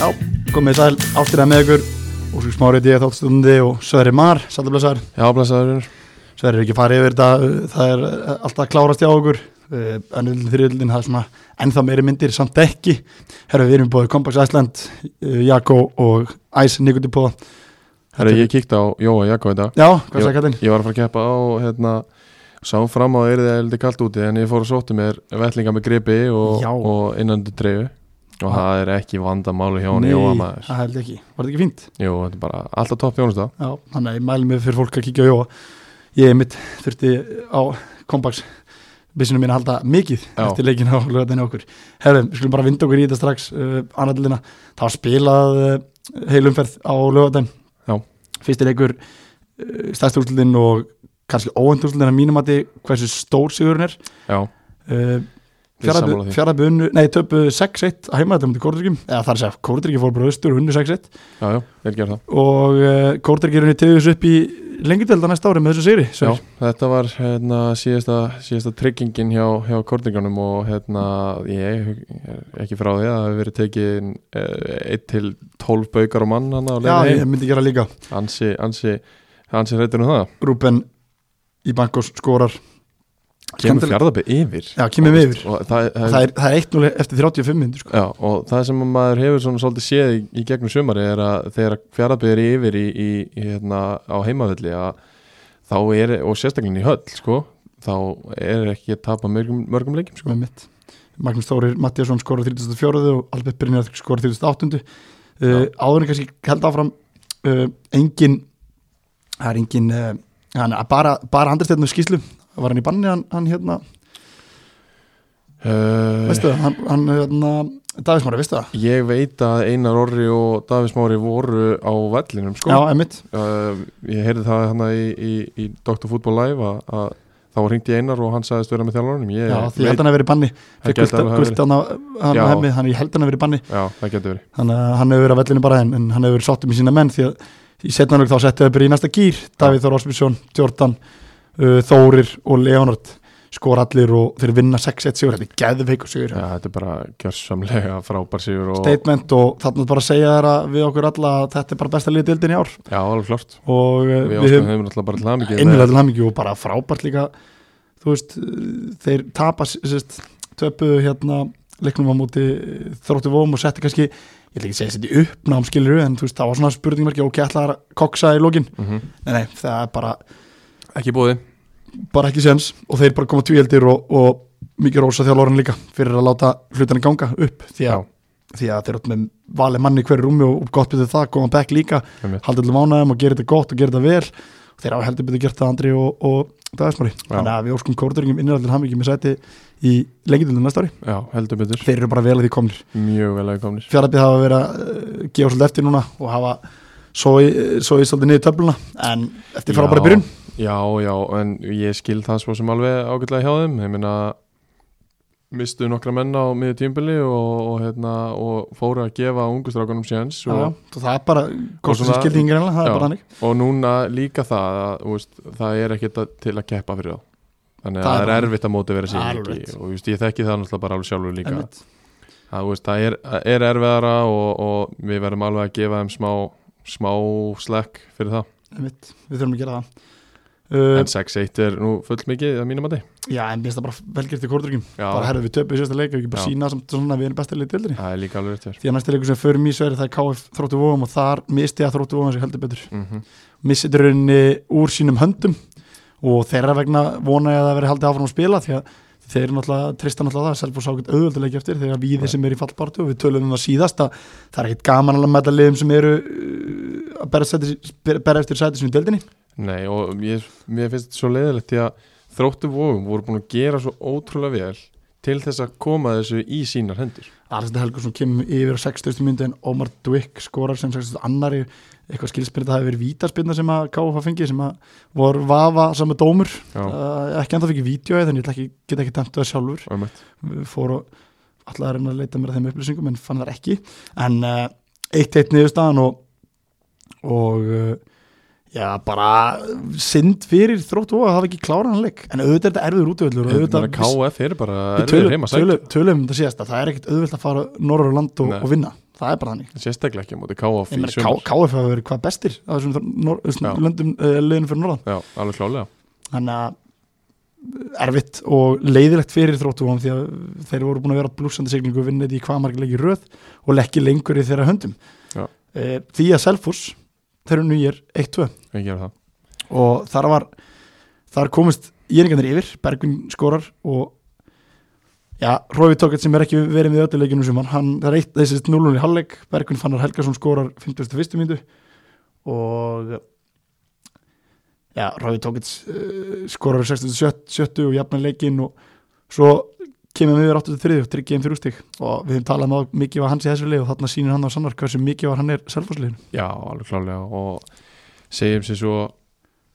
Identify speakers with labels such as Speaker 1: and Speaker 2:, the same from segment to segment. Speaker 1: Já, komið sæl áttir að með ykkur og svo smárið ég þáttstundi og Sverri Mar, sælublasar
Speaker 2: Já, blessaður
Speaker 1: Sverri er ekki farið yfir þetta, það er alltaf að klárast hjá okkur Eh, Önnulinn þriðlinn, það er svona ennþá meiri myndir, samt ekki Herru, við erum búið Kompaks Æsland, Jakko eh, og Æs Nikotipó
Speaker 2: Herra, ég kíkti á Jóa Jakko í dag
Speaker 1: Já, hvað sagði Katrín?
Speaker 2: Ég var að fara að keppa á, hérna Sá fram á að yrði heldur kalt úti En ég fór að sótti mér vellinga með gripi Og,
Speaker 1: Já.
Speaker 2: og innandi dreifu Og
Speaker 1: Ah.
Speaker 2: það er ekki vandamáli hjá hann Jóa maður
Speaker 1: það held ég ekki, var þetta ekki fínt?
Speaker 2: Jú, þetta er bara alltaf topp Jónust það
Speaker 1: Já, þannig að ég mæli mig fyrir fólk að kíkja á Jóa Ég mitt þurfti á kompaks byssinu mín að halda mikið
Speaker 2: Já.
Speaker 1: eftir leikin á lögatinni okkur Herðum, við skulum bara vinda okkur í þetta strax uh, annaðlina, það var spilað uh, heilumferð á lögatin
Speaker 2: Já.
Speaker 1: Fyrsti leikur uh, stærst úrslutin og kannski óönd úrslutin að mínum að þið hversu stór sigurinn er
Speaker 2: Já,
Speaker 1: uh,
Speaker 2: Ég er sammála því.
Speaker 1: Fjarabu unnu, nei töpu 6-1 að heimaðatum til Kórdryggjum, eða það er að segja Kórdryggjum fór bara austur og unnu 6-1
Speaker 2: já, já, þeir gerðu það
Speaker 1: og uh, Kórdergerunni tegðu þessu upp í lengjadölda næsta ári með þessu sigri
Speaker 2: Já,
Speaker 1: Sverrir.
Speaker 2: þetta var hérna, síðasta, síðasta tryggingin hjá, hjá kortingunum og hérna, ég er ekki frá því að það hefur verið tekið 1 til 12 baukar á mann hann á
Speaker 1: Já,
Speaker 2: leiðinni
Speaker 1: ég
Speaker 2: heim.
Speaker 1: myndi gera líka
Speaker 2: ansi, ansi, ansi reytur um það
Speaker 1: Rúben í bankos skorar
Speaker 2: kemur
Speaker 1: Skemmtileg-
Speaker 2: fjardabbi yfir
Speaker 1: Já, kemur við yfir
Speaker 2: og það, það,
Speaker 1: Það er, það er 1-0 eftir 35 myndir sko.
Speaker 2: Já, og það sem maður hefur svona svolítið séð í, í gegnum sumari er að þegar fjardabbi er yfir í, í, í hérna, á heimavelli að þá er, og sérstaklega í höll sko, þá er ekki að tapa mörgum, mörgum leikjum sko.
Speaker 1: með mitt Magnús Þórir Mattiasson skorar 34 og Albert Brynjar skorar 38 uh,
Speaker 2: Já.
Speaker 1: áðurinn kannski held áfram uh, engin það er engin uh, hann, bara, bara andarstæðnum skýslu var hann í banni hann, hann hérna,
Speaker 2: Uh,
Speaker 1: Eh, veistu það, hann, hann hérna, Davísmári, veistu það?
Speaker 2: Ég veit að Einar Orri og Davís Mári voru á vellinum sko.
Speaker 1: Já, emitt,
Speaker 2: uh, Ég heyrði það hann í, í, í Dr. Football Live að, að þá ringdi Einar og hann sagðist vera með þjálfarunum Ég
Speaker 1: já, því ég
Speaker 2: veit,
Speaker 1: held hann að verið í banni
Speaker 2: Það
Speaker 1: fyrir
Speaker 2: gæti alveg hafa
Speaker 1: gult hann á hann á
Speaker 2: Já.
Speaker 1: hemmi, þannig ég held hann að vera í banni
Speaker 2: já, það getur verið
Speaker 1: þannig að hann hefur verið að vellinu bara en, en hann hefur verið sáttum í sína menn því að í setnanlög þá settu þau bara í næsta gýr Davíð Þór Ásbjörnsson, Tjórtan uh, Þórir og Leonard skor allir og þeir vinna 6-1 sigur þetta er geðveikur sigur
Speaker 2: Já, þetta er bara gjörsamlega frábær sigur og,
Speaker 1: statement og þannig að bara segja þeirra við okkur alla að þetta er bara besta liðið dildin í ár
Speaker 2: Já, alveg klart
Speaker 1: og uh,
Speaker 2: Við
Speaker 1: við
Speaker 2: ástum
Speaker 1: höfum
Speaker 2: þeim náttúrulega bara til hamingju með-
Speaker 1: innlega til hamingju og bara frábært líka þú veist, uh, þeir tapa sérst, töpu hérna leiknum á móti uh, þróttu vóum og setti kannski, ég ætla ekki að segja setti uppnám skilur en þú veist, það var svona spurningmarki ok, ætlaðar að koksa í lokin
Speaker 2: Mhm.
Speaker 1: nei, nei, það er bara,
Speaker 2: Ekki búið
Speaker 1: bara ekki sens og þeir bara koma tvíeldir og, og mikið rósa þjálfóran líka fyrir að láta hlutina ganga upp því að, því að þeir eru með valið manni í hverju rúmi og, og gott betur það, koma back líka
Speaker 2: Einmitt.
Speaker 1: halda allum ánægum og gera þetta gott og gera þetta vel og þeir hafa heldur betur gert það Andri og, og Dagasmári, þannig að við óskum kórdöringum innræðlir hamingi með sæti í lengindildum næsta ári,
Speaker 2: Já, heldur betur
Speaker 1: þeir eru bara vel að því komnir
Speaker 2: Mjög vel að komnir
Speaker 1: fjárabíð hafa verið að uh, gefa svolítið eftir núna og hafa svo í, svo í svolítið niður töfluna en eftir fara bara
Speaker 2: Já,
Speaker 1: byrjun
Speaker 2: Já, já, en ég skil það svo sem alveg ágætlega hjá þeim ég meina mistu nokkra menn á miður tímbili og, og, hérna, og fóru að gefa ungustrákunum séns
Speaker 1: Já, já,
Speaker 2: og,
Speaker 1: og það er bara
Speaker 2: Og
Speaker 1: kostur sem
Speaker 2: svona-
Speaker 1: skildi yngri ennlega, það
Speaker 2: Já.
Speaker 1: er bara þannig
Speaker 2: og núna líka það að, þú veist, það er ekkert að- til að keppa fyrir þá þannig að
Speaker 1: Það
Speaker 2: það
Speaker 1: er
Speaker 2: er erfitt að móti vera sér
Speaker 1: Alveg
Speaker 2: ekki
Speaker 1: rétt.
Speaker 2: og þú veist, ég þekki það náttúrulega bara alveg sjálfur líka
Speaker 1: Einmitt.
Speaker 2: að, þú veist, það er, er erfiðara og, og við verðum alveg að gefa þeim smá smá slekk fyrir það
Speaker 1: Einmitt. við þurfum að gera það
Speaker 2: en
Speaker 1: uh,
Speaker 2: 6-1 er nú full mikið að mínum að
Speaker 1: já, en mér finnst það bara velgert í kórdöringum bara
Speaker 2: þið
Speaker 1: herðu við töfum í sérsta leik og ekki bara
Speaker 2: Já.
Speaker 1: sína samt svona að við erum besta liðið dildinni
Speaker 2: það er líka alveg rétt hjá þér.
Speaker 1: því að næsti leikur sem við förum í svo er það er KF þróttu vóum og þar misti að þróttu vóum sem heldur betur
Speaker 2: Mhm.
Speaker 1: missið rauninni úr sínum höndum og þeirra vegna vona ég að það veri haldið áfram að spila því að þeir náttúrulega trista náttúrulega það Selfoss ákveð auðvöldulegi eftir þegar við
Speaker 2: Nei.
Speaker 1: sem eru í fallbartu og við tölum um það síðast að það er ekkit gaman að mæta liðum sem eru uh, að bera, sæti, bera eftir sæti sem í deildinni
Speaker 2: Nei og ég, mér finnst þetta svo leiðilegt því að þróttu vóðum voru búin að gera svo ótrúlega vel til þess að koma þessu í sínar hendur
Speaker 1: Arnstein Helgursson kemur yfir á 60. myndu en Omar Dwick skorar sem 60. annari eitthvað skilspyrna það hefur verið vítaspyrna sem að KFA fengi sem að voru vafa saman dómur
Speaker 2: Já,
Speaker 1: uh, ekki enda fikk ég vídeo þannig ég ætla ekki, get ekki dæmt það sjálfur
Speaker 2: ömmett
Speaker 1: fór og alltaf að reyna að leita mér að þeim upplýsingum en fann það eh, ekki en uh, eitt eitt niðurstaðan og, og uh, Já, bara synd fyrir þrótt og að hafa ekki klárað hann leik en auðvitað er þetta erfiður útvöldur og
Speaker 2: Þetta
Speaker 1: auðvitað
Speaker 2: er KF er bara
Speaker 1: við
Speaker 2: erfið
Speaker 1: tölum,
Speaker 2: heima sætt
Speaker 1: tölum, tölum um þetta síðast að það er ekkert auðvöld að fara norður á land og,
Speaker 2: Nei.
Speaker 1: og vinna það er bara þannig
Speaker 2: Sérstaklega ekki á móti KF
Speaker 1: Ég
Speaker 2: í
Speaker 1: meina, K-
Speaker 2: sumar
Speaker 1: KF hafa verið hvað bestir á þessum þr- nor-
Speaker 2: Já.
Speaker 1: þessum löndum, uh, leiðinu fyrir norðan
Speaker 2: Já, alveg klálega
Speaker 1: þannig að eh, erfitt og leiðilegt fyrir þróttúan því að þeir voru búin að vera á blúsandi siglingu og vinna þetta í hvað margir leiki í röð og leggja lengur í þeirra höndum
Speaker 2: Já.
Speaker 1: Eh, því að Selfors þeir eru nýjir 1-2
Speaker 2: Ég gera það
Speaker 1: og þar var þar komist égningarnir yfir Bergvin skorar og já, Rófi Tókett sem er ekki verið með öllu leikinu sem hann, hann það er eitt þessi núlunni halleg, Bergvin Fannar Helgason skorar 51. myndu og já, Rófi Tókett uh, skorar 67. og jafna leikin og svo kemur við 83 og tryggja um þrjú stík og við höfum talað um mikið var hans í þessu leik og þarna sýnir hann á sannar hversu mikið var hann er selfhúsleginu
Speaker 2: Já, alveg klálega og segjum sér svo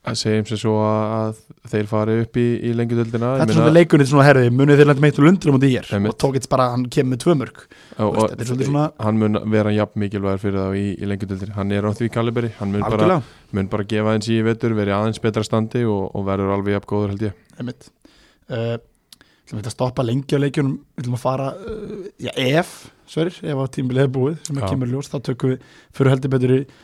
Speaker 2: að segjum sér svo að þeir fari upp í, í lengjudöldina
Speaker 1: Þetta er svona leikunni svona herði, munið þeir lendum eitt og lundur á móti ég er
Speaker 2: Einmitt.
Speaker 1: og Tókits bara, hann kemur með tvö mörg
Speaker 2: og,
Speaker 1: Þetta er svolítið svona-
Speaker 2: hann mun vera jafn mikilvægur fyrir þá í, í lengjudöldin hann er á því kaliberi, hann mun bara,
Speaker 1: algjörlega,
Speaker 2: mun bara gefa eins í vetur, verið aðeins betra standi og, og verður alveg jafn góður held ég
Speaker 1: einmitt uh, ætlum við að stoppa lengi á leikjunum við ætlum að fara, uh, já ef sverir, ef að tímbilið er búið sem
Speaker 2: Já.
Speaker 1: að kemur í ljós, þá tökum við fyrir heldur betur í uh,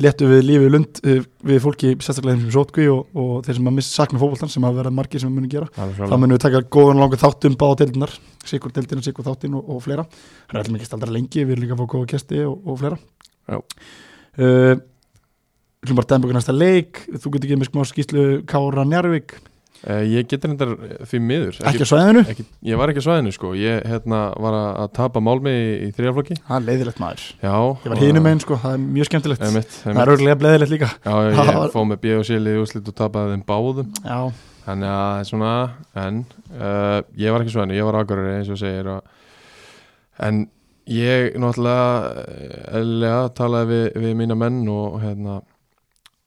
Speaker 1: léttu við lífið lund uh, við fólki, sérstaklega þeim sem sótkví og, og þeir sem að missa sakna fótboltan sem að vera margir sem að muni gera
Speaker 2: alveg
Speaker 1: þá
Speaker 2: klálega
Speaker 1: munum við taka góðan langan þátt um báða deildinar sikur deildina, sikur þáttin og, og fleira þannig að ætlum ekki að staldra lengi, við erum líka að fá góða kesti og, og fleira
Speaker 2: Já.
Speaker 1: uh, Þú bara dæmböku næsta leik þú getur gefið mér smá skýslu Kára Njarvík,
Speaker 2: Eh, ég getur þetta því miður
Speaker 1: ekki á svæðinu
Speaker 2: ekki, ég var ekki á svæðinu sko ég hérna, var að að tapa málmi í, í þrjaflokki
Speaker 1: það er leiðilegt maður,
Speaker 2: já
Speaker 1: ég var hínum einn sko það er mjög skemmtilegt,
Speaker 2: emitt,
Speaker 1: það er örglega bleðilegt líka
Speaker 2: já, ég
Speaker 1: Það var-
Speaker 2: fóð með B og Sili í úrslit og tapaði þeim báðum
Speaker 1: Já,
Speaker 2: þannig að það er svona en uh, ég var ekki á svæðinu, ég var ágörður eins og þú segir og, en ég náttúrulega eh, eðlilega talaði við, við mína menn og hérna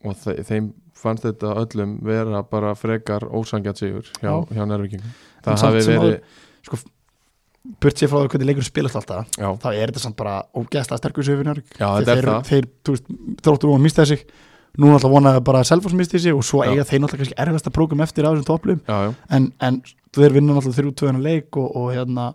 Speaker 2: og þe þeim fannst þetta öllum vera bara frekar ósangjart sigur hjá, hjá Nervíkingum
Speaker 1: En
Speaker 2: það
Speaker 1: samt
Speaker 2: hafi
Speaker 1: sem
Speaker 2: verið,
Speaker 1: burt sér frá því hvernig leikur spilast alltaf
Speaker 2: já,
Speaker 1: þá er þetta samt bara ógeðslega sterkur sögur Njarvík
Speaker 2: já þetta er
Speaker 1: þeir,
Speaker 2: það
Speaker 1: þeir, þú veist, þróttur og mistaði sig núna alltaf vonaði bara að Selfoss mistaði sig og svo
Speaker 2: Já.
Speaker 1: eiga þeir náttúrulega kannski erfast að prógum eftir á þessum topplum
Speaker 2: já, já,
Speaker 1: en, en þeir vinna náttúrulega þrjú tvöðan leik og, og hérna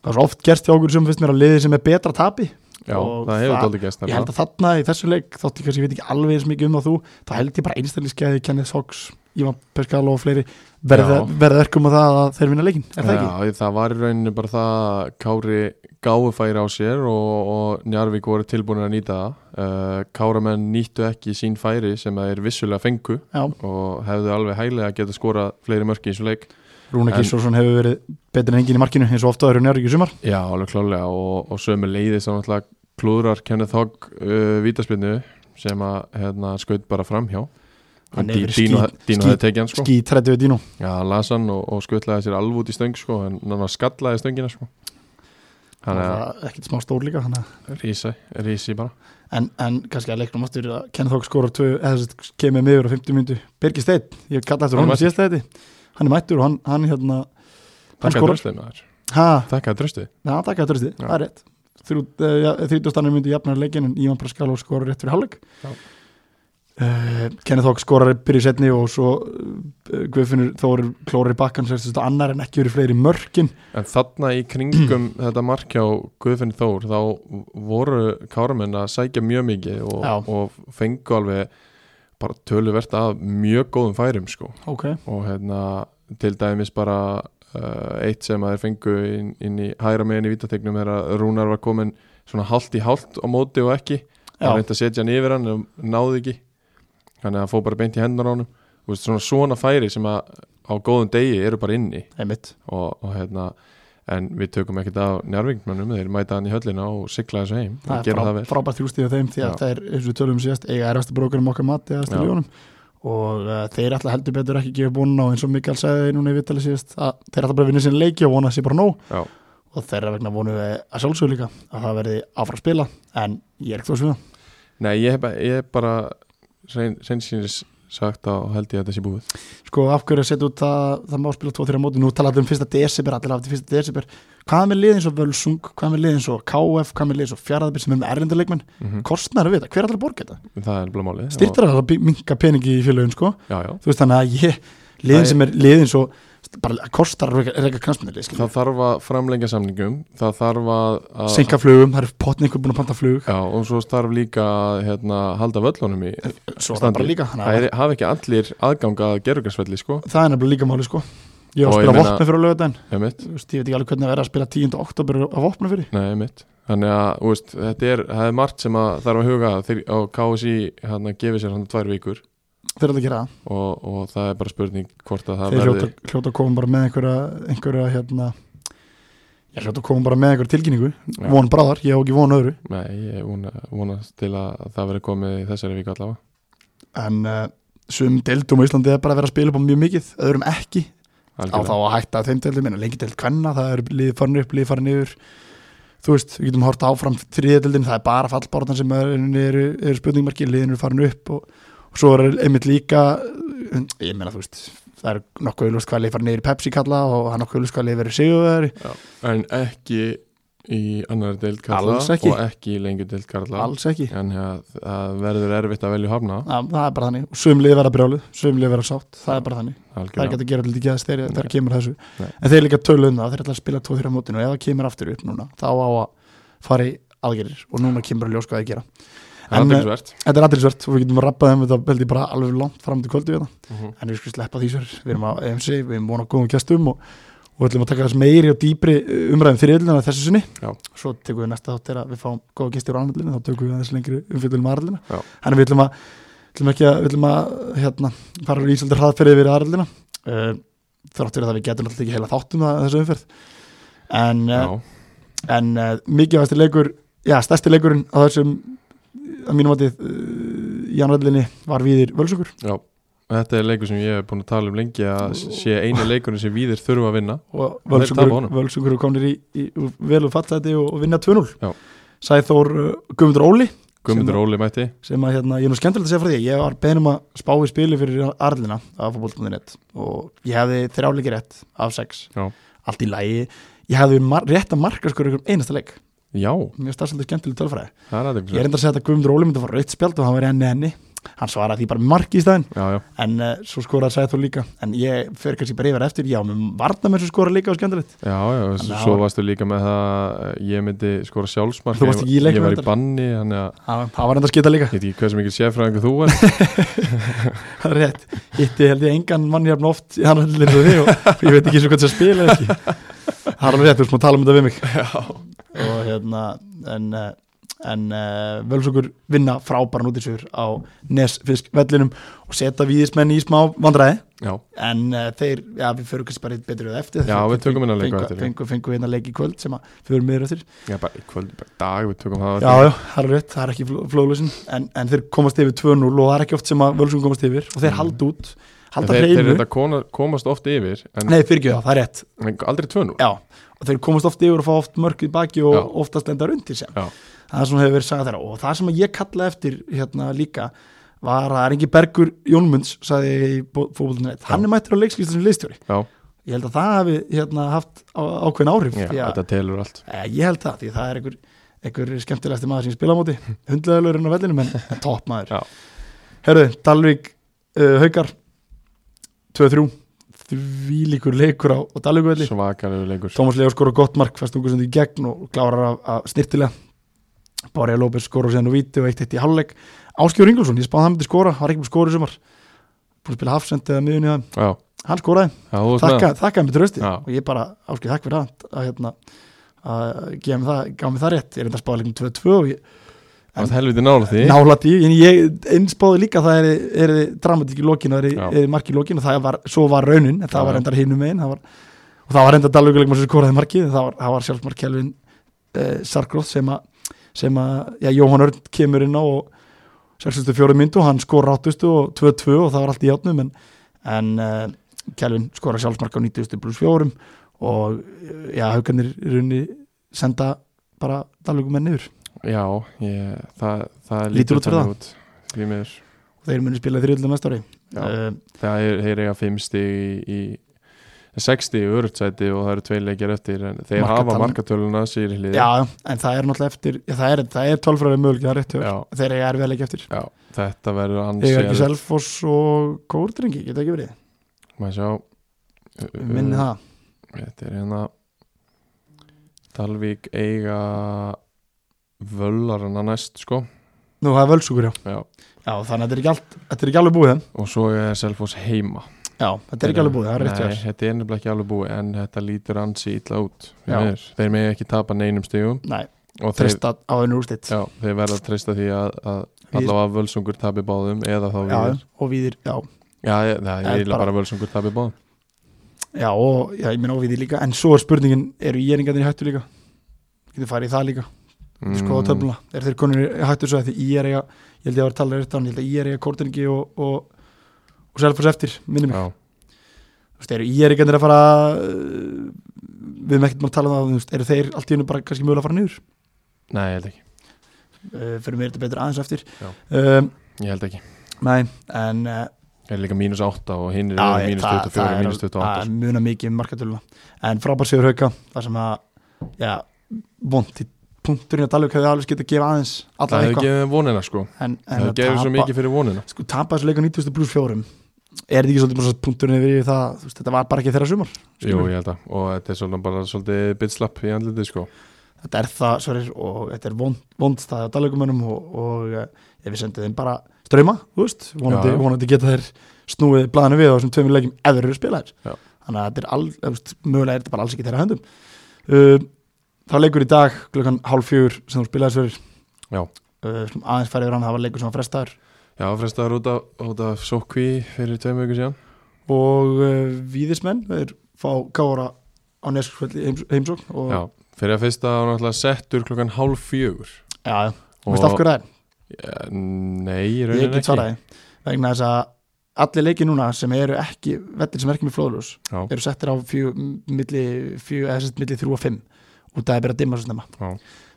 Speaker 1: það er svo oft gerst hjá okkur sem finnst mér að liði sem er betra tapi
Speaker 2: já,
Speaker 1: Og
Speaker 2: það hefur
Speaker 1: það-
Speaker 2: dálítið gæst
Speaker 1: ég held að þarna í þessu leik þótti kannski ég veit ekki alveg eins mikið um það þú þá held ég bara einstæðliskeiði Kenneth Sox Ivan Pescalo og fleiri verða
Speaker 2: Já.
Speaker 1: verða verkum á það að þeir vinna leikin er það ekki?
Speaker 2: Já, það var í rauninu bara það að Kári gáu færi á sér og, og Njarvík voru tilbúin að nýta það uh, Káramenn nýttu ekki sín færi sem þeir vissulega fengu
Speaker 1: Já.
Speaker 2: og hefðu alveg hæglega að geta skora fleiri mörki í þessum leik
Speaker 1: Rúna
Speaker 2: En-
Speaker 1: Gísjórsson hefur verið betur en engin í markinu eins og ofta aðra njárvík í sumar
Speaker 2: Já, alveg klálega og, og sömu leiðis að náttúrulega klúðrar Kenneth Hogg uh, vítaspinnu sem að hérna, skaut bara framhjá
Speaker 1: Hann
Speaker 2: Dí-
Speaker 1: hefur verið
Speaker 2: Dino
Speaker 1: skít-
Speaker 2: Dino
Speaker 1: skít-
Speaker 2: hefði tekið hann sko
Speaker 1: skí 30 dínu
Speaker 2: Já, hann las hann og, og skutlaði sér alveg út í stöng sko, en hann skallaði stöngina sko
Speaker 1: það
Speaker 2: Þannig að
Speaker 1: var ekkert smá stór líka þannig að
Speaker 2: rísi, rísi bara
Speaker 1: en, en kannski að leiknum áttur að Kenneth Hawk skorar tvö, eða þess að kemur miður á 50 myndu, Birgir Steinn, ég kalla eftir
Speaker 2: Hann er
Speaker 1: honum
Speaker 2: mættur.
Speaker 1: síðast þetta, hann er mættur og hann, hann hérna, hann
Speaker 2: Takk að
Speaker 1: skorar
Speaker 2: dröstið maður
Speaker 1: ha,
Speaker 2: Takk að dröstið
Speaker 1: já, takk að trösti,
Speaker 2: Já.
Speaker 1: það er rétt Þrjú, eh, ja, 30 annar myndu jafnar leikin en Ívan Praskaló skorar rétt fyrir hálfleik
Speaker 2: Já.
Speaker 1: uh, Kenneth Hawk skorar byrju setni og svo uh, Guðfinnur Þórir klórir bakkan sérst þetta annar en ekki verið fleiri mörkin
Speaker 2: En þarna í kringum þetta markjá Guðfinn Þór þá voru káramenn að sækja mjög mikið og,
Speaker 1: Já.
Speaker 2: og fengu alveg bara töluvert af mjög góðum færum sko
Speaker 1: ok,
Speaker 2: og hérna til dæmis bara uh, eitt sem að þeir fengu inn, inn í hægra megin í vítategnum er að Rúnar var komin svona hálft í hálft á móti og ekki
Speaker 1: já,
Speaker 2: hann reyndi að setja hann yfir hann en náði ekki þannig að hann fór bara beint í hendur á hann svona, svona færi sem að á góðum degi eru bara inni
Speaker 1: einmitt
Speaker 2: og, og hérna en við tökum ekkert af njárvingmönnum þeir mæta hann í höllina og sigla þessu heim og
Speaker 1: það er
Speaker 2: gera
Speaker 1: frá,
Speaker 2: það vel
Speaker 1: frábært þrjústíð á þeim því að
Speaker 2: Já.
Speaker 1: það er, eins og við tölum síðast, eiga erfasta brókarum okkar mati eða
Speaker 2: Já.
Speaker 1: stiljónum og uh, þeir alltaf heldur betur ekki að gefa búin og eins og Mikael sagði núna í vitali síðast að þeir alltaf bara vinna sinni leiki og vona að sé bara nóg
Speaker 2: Já.
Speaker 1: og þeirra vegna vonum við að sjálfsögur líka að það verði áfram að spila en ég er ekki þó að svina
Speaker 2: Nei, ég, hef bara- ég er bara hrein- hreinskilnis sagt þá held ég að þetta sé búið
Speaker 1: sko af hverju að setja út það, það má spila 2-3 á móti, nú talaðu um fyrsta desiber allir hafði fyrsta desiber, hvað með liðin svo Völsung, hvað með liðin svo KF, hvað með liðin svo Fjaraðabir sem er með erlendarleikmenn,
Speaker 2: mm
Speaker 1: kostnar við þetta, hver allir borga þetta
Speaker 2: Mm-hmm. það er bara málið
Speaker 1: styrtir að minka peningi í félögin sko
Speaker 2: Og- já, já.
Speaker 1: þú veist þannig að ég, liðin
Speaker 2: Það
Speaker 1: sem er liðin svo, bara kostar að reka- reka knastmyndilið,
Speaker 2: það þarf að framlengja samningum það þarf að, að
Speaker 1: senka flugum það eru potni ykkur búin að panta flug
Speaker 2: já, og svo þarf líka að, hérna, halda völlunum í
Speaker 1: svo er það bara
Speaker 2: Standi.
Speaker 1: líka,
Speaker 2: það
Speaker 1: þannig
Speaker 2: er, hafa ekki allir aðgang að gerugarsvelli sko,
Speaker 1: að það er nefnilega líka máli sko ég var
Speaker 2: Og
Speaker 1: að
Speaker 2: ég
Speaker 1: spila
Speaker 2: meina-
Speaker 1: vopna fyrir á lögadaginn
Speaker 2: emitt,
Speaker 1: Þú veist, ég veit ekki alveg hvernig að vera að spila 10. oktober á vopna fyrir
Speaker 2: nei emitt þannig að, þú veist, þetta er, það er margt sem að þarf að huga að þeir, og KSI hann að gefa hérna, sér hann tvær vikur
Speaker 1: þegar það gera það
Speaker 2: og, og það er bara spurning hvort að það
Speaker 1: þeir
Speaker 2: verði
Speaker 1: hljóta, hljóta að koma bara með einhverja, einhverja hérna ég hljóta að koma bara með einhverja tilkynningu
Speaker 2: Já.
Speaker 1: von bráðar, ég á ekki von öðru
Speaker 2: nei, ég vona, vonast til að það verði komið í þessari viku allavega
Speaker 1: en uh, sum deildum á Íslandi er bara að vera að spila upp á mjög mikið, öðrum ekki á þá
Speaker 2: Algjörlega.
Speaker 1: að hætta þeim deildum, en lengi deild kvenna það er liðið farin upp, liðið farin yfir þú veist, við getum horta áfram þriðdeldin, það er bara fallbáratan sem er, eru, eru spurningmarki, liðin eru farin upp og, og svo er einmitt líka eh, ég meina þú veist það er nokkuð auðlust hvað lið farin niður í Pepsi kalla og það er nokkuð auðlust hvað lið verið sigurveri
Speaker 2: en ekki í annar deild karla
Speaker 1: Alls ekki.
Speaker 2: og ekki í lengur deild karla
Speaker 1: alls ekki
Speaker 2: en ja, það verður erfitt að velja hafna
Speaker 1: Það, það er bara þannig, og sumlið verða brjáluð, sumlið verða sátt, það er bara þannig, það er
Speaker 2: algjörlega
Speaker 1: ekki hægt að gera lítið gæðast þegar þegar
Speaker 2: Nei.
Speaker 1: kemur að þessu,
Speaker 2: Nei.
Speaker 1: en þeir líka töluð um það, þeir ætla að spila 2-3 mótinu og ef það kemur aftur upp núna, þá á að fara í aðgerir og núna kemur að ljós hvað þeir gera.
Speaker 2: það er
Speaker 1: En, eh,
Speaker 2: byggsvert
Speaker 1: Þetta er aðeinsvert og við getum að rappa þeim þetta held ég bara alveg langt fram til hérna. kvöldu við það, en við skulum sleppa því sér, við erum á EMC, við erum vona góðum kjastum og, og ætlum að taka þess meiri og dýpri eh, umræðum fyrir yllina þessu sinni,
Speaker 2: Já.
Speaker 1: svo tekum við næsta þátt er að við fáum góða gesti úr annaðlinu, þá tökum við aðeins lengri umfjöldunum aðallina,
Speaker 2: Já.
Speaker 1: þannig við ætlum að ætlum ekki að, við ætlum að hérna, fara úr ísaldur hraðferði við aðallina uh, þráttur að það við getum alltaf ekki heila þáttum að þessu umferð en, uh,
Speaker 2: Já,
Speaker 1: en uh, mikilvægasti leikur já, stærsti leikurinn á þessum að mínum vatið uh, í annaðlinni var viðir völsugur
Speaker 2: já. Þetta er leikur sem ég hef búin að tala um lengi að sé eini leikurinn sem víðir þurfa að vinna
Speaker 1: og
Speaker 2: Og þeir tapa
Speaker 1: völsugur,
Speaker 2: honum.
Speaker 1: völsugur komnir í, í, í vel og fallaði og, og vinna 2-0
Speaker 2: Já.
Speaker 1: Sæþór uh, Guðmundur Óli
Speaker 2: Guðmundur
Speaker 1: Sem
Speaker 2: Óli mætti
Speaker 1: sem að hérna, ég er nú skemmtilegt að segja frá því ég var beðin um að spá í spili fyrir Arlina af fótboll.net og ég hefði þrjáleiki rétt af sex
Speaker 2: Já.
Speaker 1: allt í lægi, ég hefði mar rétt að marka skur ykkur einasta leik,
Speaker 2: Já,
Speaker 1: mér starf svolítið skemmtileg tölfræði
Speaker 2: það er aðeins
Speaker 1: ég er enda að segja að Guðmundur Óli myndi að fara rautt spjald og hann var enni enni, hann svaraði því bara með marki í staðinn
Speaker 2: Já, já,
Speaker 1: en uh, svo skoraði sæði þú líka en ég fer kannski bara yfir eftir, já, með varna með svo skora líka og skemmtilegt,
Speaker 2: já, já
Speaker 1: Þannig
Speaker 2: s-
Speaker 1: að
Speaker 2: Svo
Speaker 1: það-
Speaker 2: varstu líka með það að Ég myndi skora sjálfsmark
Speaker 1: Þú varst ekki í
Speaker 2: Ég-
Speaker 1: leiknum
Speaker 2: Ég var í
Speaker 1: reyndar.
Speaker 2: banni, þannig að
Speaker 1: það það var enda að skita líka
Speaker 2: Ég veit ekki hversu mikil séfræðingu þú er
Speaker 1: Það er rétt, hitti held ég engan mann jafn oft í annar hlutin og þig og ég veit ekki eins og hvað það spila ekki það er alveg rétt, þú veist maður tala um þetta við mig Já. og hérna en, eh, en uh, völsokur vinna frábæran út í sigur á nesfiskvellinum og setja víðismenn í smá vandræði
Speaker 2: Já,
Speaker 1: en uh, þeir, já við förum kannski bara eitt betur eða eftir
Speaker 2: Já, við tökum hérna leik á
Speaker 1: Fengu-
Speaker 2: eftir.
Speaker 1: fengu, fengu hérna leik í kvöld sem að förum meður eftir
Speaker 2: já bara í kvöld, bara í dag Við tökum það
Speaker 1: Já, já, það er rétt, það er ekki flóðlösin en, en þeir komast yfir 2-0 og það er ekki oft sem að völsum komast yfir og þeir
Speaker 2: Mhm.
Speaker 1: halda út,
Speaker 2: En
Speaker 1: halda
Speaker 2: Þeir, þeir
Speaker 1: hreinu
Speaker 2: þetta kona- komast oft yfir En,
Speaker 1: Nei, fyrir ekki það, það er rétt
Speaker 2: en aldrei 2-0
Speaker 1: Já, og þeir komast oft yfir og fá oft mörg í baki og
Speaker 2: Já.
Speaker 1: oftast enda rundir sem
Speaker 2: Já.
Speaker 1: Það er sem hefur verið sagði þeirra og það sem ég kallaði eftir hérna líka var að það er engi Bergur Jónmunds sagði ég í fókbólunni
Speaker 2: Já.
Speaker 1: hann er mættur á leikskýrslu sem leikstjóri
Speaker 2: Já.
Speaker 1: ég held að það hafi hérna, haft á, ákveðin áhrif
Speaker 2: Já,
Speaker 1: því að,
Speaker 2: þetta telur allt
Speaker 1: e, ég held það því að það er einhver, einhver skemmtilegasti maður sem ég spila á móti hundlegaður en á vellinum en en topp maður
Speaker 2: Já.
Speaker 1: Herðu, Dalvík uh, Haukar 2-3 því líkur leikur á, á Dalvík velli
Speaker 2: Svakalegu leikur
Speaker 1: Tómas Leó skora gott mark, fæst ungur sem því gegn og klárar að, að snirtilega Bárja López skora sér nú víti og eitt eitt í halvleik Áskjör Ingolson, ég spáði hann myndi skora var ekki með skora í sumar búin að spila hafsend eða miðunni það,
Speaker 2: Já,
Speaker 1: hann skoraði
Speaker 2: já þú veist
Speaker 1: þakkaði þakka mér trösti
Speaker 2: Já.
Speaker 1: og ég bara áskjör þakk fyrir það að, hérna, að gefa mér það, gaf mér það rétt ég er enda að spáði leikum 2-2 og ég
Speaker 2: Það er helviti nála því
Speaker 1: nála því, en ég einspáði líka að það er, er dramatík í lokin og
Speaker 2: Já.
Speaker 1: er, er mark í lokin og það var, svo var raunin en það
Speaker 2: Já,
Speaker 1: var
Speaker 2: já.
Speaker 1: endar hinum megin það var, og það var endar dalvíkuleikum sem skoraði markið það var, það var sjálfsmark Kelvin uh, Sarkróð sem að sem að, já, Jóhann Örn kemur inn á og 64 myndu, hann skora 80 og 2-2 og það var allt í játnum en, en uh, Kelvin skora sjálfsmark á 90 pluss 4 og eh, já, haugarnir í rauninni senda bara dalvíkumenn yfir
Speaker 2: Já, ég, það, það
Speaker 1: Lítur út fyrir
Speaker 2: þannig út Því miður.
Speaker 1: þeir munu spila þrjöldum næsta ári
Speaker 2: Já.
Speaker 1: uh,
Speaker 2: Eh, það er, þeir eiga fimm stig í, eh, í 60 örutsæti og það eru tvei leikjar eftir en þeir hafa
Speaker 1: Markatalin.
Speaker 2: markatöluna sér í hlið
Speaker 1: já, en það er náttúrulega eftir já, það er, það er tölfræði mögulega rétt hjá þér.
Speaker 2: Já.
Speaker 1: þeir eru erfið að leggja eftir
Speaker 2: Já, þetta verður hans
Speaker 1: Þegar ekki Selfoss og Kórdrengi, geta ekki verið
Speaker 2: maður sjá Eh,
Speaker 1: Minni það,
Speaker 2: þetta er hérna Dalvík eiga völlarna næst sko
Speaker 1: nú það er völsugur já
Speaker 2: já.
Speaker 1: Já, þannig að þetta er ekki, allt, þetta er ekki alveg búið þeim.
Speaker 2: og svo er Selfoss heima
Speaker 1: Já, þetta er ekki alveg búið, það er rétt hjá
Speaker 2: Nei,
Speaker 1: þér
Speaker 2: þetta er nefnilega ekki alveg búið en þetta lítur ansi illa út því
Speaker 1: Já.
Speaker 2: miður. þeir megi ekki tapa neinum stigum
Speaker 1: Nei,
Speaker 2: og þeir,
Speaker 1: trista á einu úrstitt
Speaker 2: já, þeir verða að treysta því að, að
Speaker 1: Við-
Speaker 2: allavega völsungur tapi báðum eða þá
Speaker 1: Já,
Speaker 2: viður
Speaker 1: og viðir, já
Speaker 2: já, ég- það
Speaker 1: En
Speaker 2: er bara,
Speaker 1: bara-
Speaker 2: bara völsungur tapi báðum
Speaker 1: Já, og já, ég meina óvíði líka En svo er spurningin, eru íjæringarnir í hættu líka? Getur farið í það líka, mm. skoða töfluna Er þeir konur í hættu svo að því ég er eiga Ég held ég að vera að tala rétt á hann, ég held að ég er eiga Kórdrengi og, og, og Selfoss eftir, minni mig
Speaker 2: já,
Speaker 1: Þú veist, eru íjæringarnir að fara uh, Við með ekkert maður að tala um það þú veist, Eru þeir allt í hennu bara kannski mögulega að fara niður?
Speaker 2: nei, ég held ekki,
Speaker 1: Uh, fyrir mér er þetta betur aðeins eftir
Speaker 2: Já.
Speaker 1: um,
Speaker 2: ég held ekki
Speaker 1: Nei, en uh,
Speaker 2: það er líka mínus 8 og hinn er
Speaker 1: Já, ég-
Speaker 2: mínus
Speaker 1: það-
Speaker 2: 24,
Speaker 1: það er-
Speaker 2: mínus
Speaker 1: það
Speaker 2: 28
Speaker 1: er munar mikið um markatöluna en frábær sigur hauka það sem að já, vond í punkturinn að Dalvik hefði alveg getið að gefa aðeins
Speaker 2: það
Speaker 1: allan
Speaker 2: hefur
Speaker 1: eitthvað
Speaker 2: gefið vonina sko
Speaker 1: en, en að
Speaker 2: það hefur gefið svo
Speaker 1: tapa,
Speaker 2: mikið fyrir vonina
Speaker 1: sko, tapa þessu leikum 90 pluss fjórum er þetta ekki svolítið bara svo punkturinn yfir í það þú veist, þetta var bara ekki þeirra sumar
Speaker 2: jú,
Speaker 1: skilur.
Speaker 2: ég held að, sko. og þetta er svolítið bara svolítið bitslapp í andlitið sko
Speaker 1: þetta er það sverir, og þetta er vond, vond staði á Dalvikumönnum og, og eh, ef við sendum þeim bara ströyma vonandi,
Speaker 2: Já, já.
Speaker 1: vonandi geta þeir snúið blaðinu við á þessum tveimur leikjum ef þeir eru spilaðir
Speaker 2: Já.
Speaker 1: þannig að þetta er all, eh, þú veist, mögulega er þetta bara alls ekki í þeirra höndum uh, það var leikur í dag klukkan hálf fjögur sem þú spilaði sverir
Speaker 2: Já.
Speaker 1: Uh, skulum aðeins farið yfir hann, það var leikur sem var frestaður
Speaker 2: já, frestaður út af, út af sókví fyrir tveim vöku síðan
Speaker 1: og uh, víðismenn þeir fá kára á neskvöldi heims, heimsókn og
Speaker 2: Já, fyrir að fyrsta var náttúrulega settur klokkan hálf fjögur
Speaker 1: já, já. Og, af hverju það er
Speaker 2: Ja, Nei, í
Speaker 1: ég
Speaker 2: rauninni
Speaker 1: get
Speaker 2: ekki
Speaker 1: svaraði vegna þess að allir leiki núna sem eru ekki, vellir sem er ekki með flóðljós
Speaker 2: Já.
Speaker 1: eru settir á fjö, m- milli, fjö, eða sett milli þrjú og fimm út að það er bara að dimma svo snemma
Speaker 2: Já.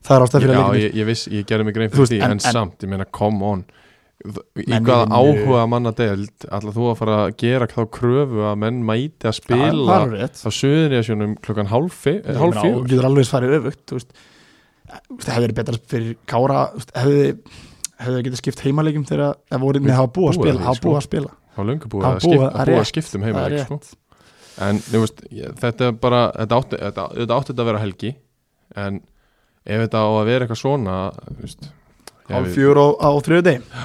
Speaker 1: það er ástæð fyrir
Speaker 2: Já,
Speaker 1: að leikin
Speaker 2: ég, ég viss, ég gerði mig grein
Speaker 1: Þú
Speaker 2: fyrir
Speaker 1: veist,
Speaker 2: því
Speaker 1: en-
Speaker 2: en,
Speaker 1: en-
Speaker 2: samt, ég meina, come on Í
Speaker 1: Menn
Speaker 2: hvaða
Speaker 1: vinnu-
Speaker 2: áhuga manna deild ætla þú að fara að gera þá kröfu að menn mæti að spila
Speaker 1: það er rétt
Speaker 2: á suðunniðasjónum klokkan hálf, fi- eh,
Speaker 1: Ég
Speaker 2: hálf
Speaker 1: meina, og
Speaker 2: fjögur
Speaker 1: getur alveg eins farið öfugt þú veist, Þú veist, það hefði verið betra fyrir Kára þú veist, hefði hefði getið skipt heimalegjum þegar það voru
Speaker 2: Við-
Speaker 1: neða hafa búið að
Speaker 2: búið
Speaker 1: spila
Speaker 2: að því,
Speaker 1: hafa
Speaker 2: sko.
Speaker 1: búið að spila
Speaker 2: á löngu búið
Speaker 1: Það
Speaker 2: að,
Speaker 1: búið að
Speaker 2: skip, að, búið að
Speaker 1: rétt.
Speaker 2: skiptum
Speaker 1: það er
Speaker 2: heima sko.
Speaker 1: rétt
Speaker 2: en þú veist, ég, þetta er bara þetta átti þetta, þetta átti þetta að vera helgi en ef þetta á að vera eitthvað svona þú veist, ég-
Speaker 1: hálf fjör á, á þriðu deg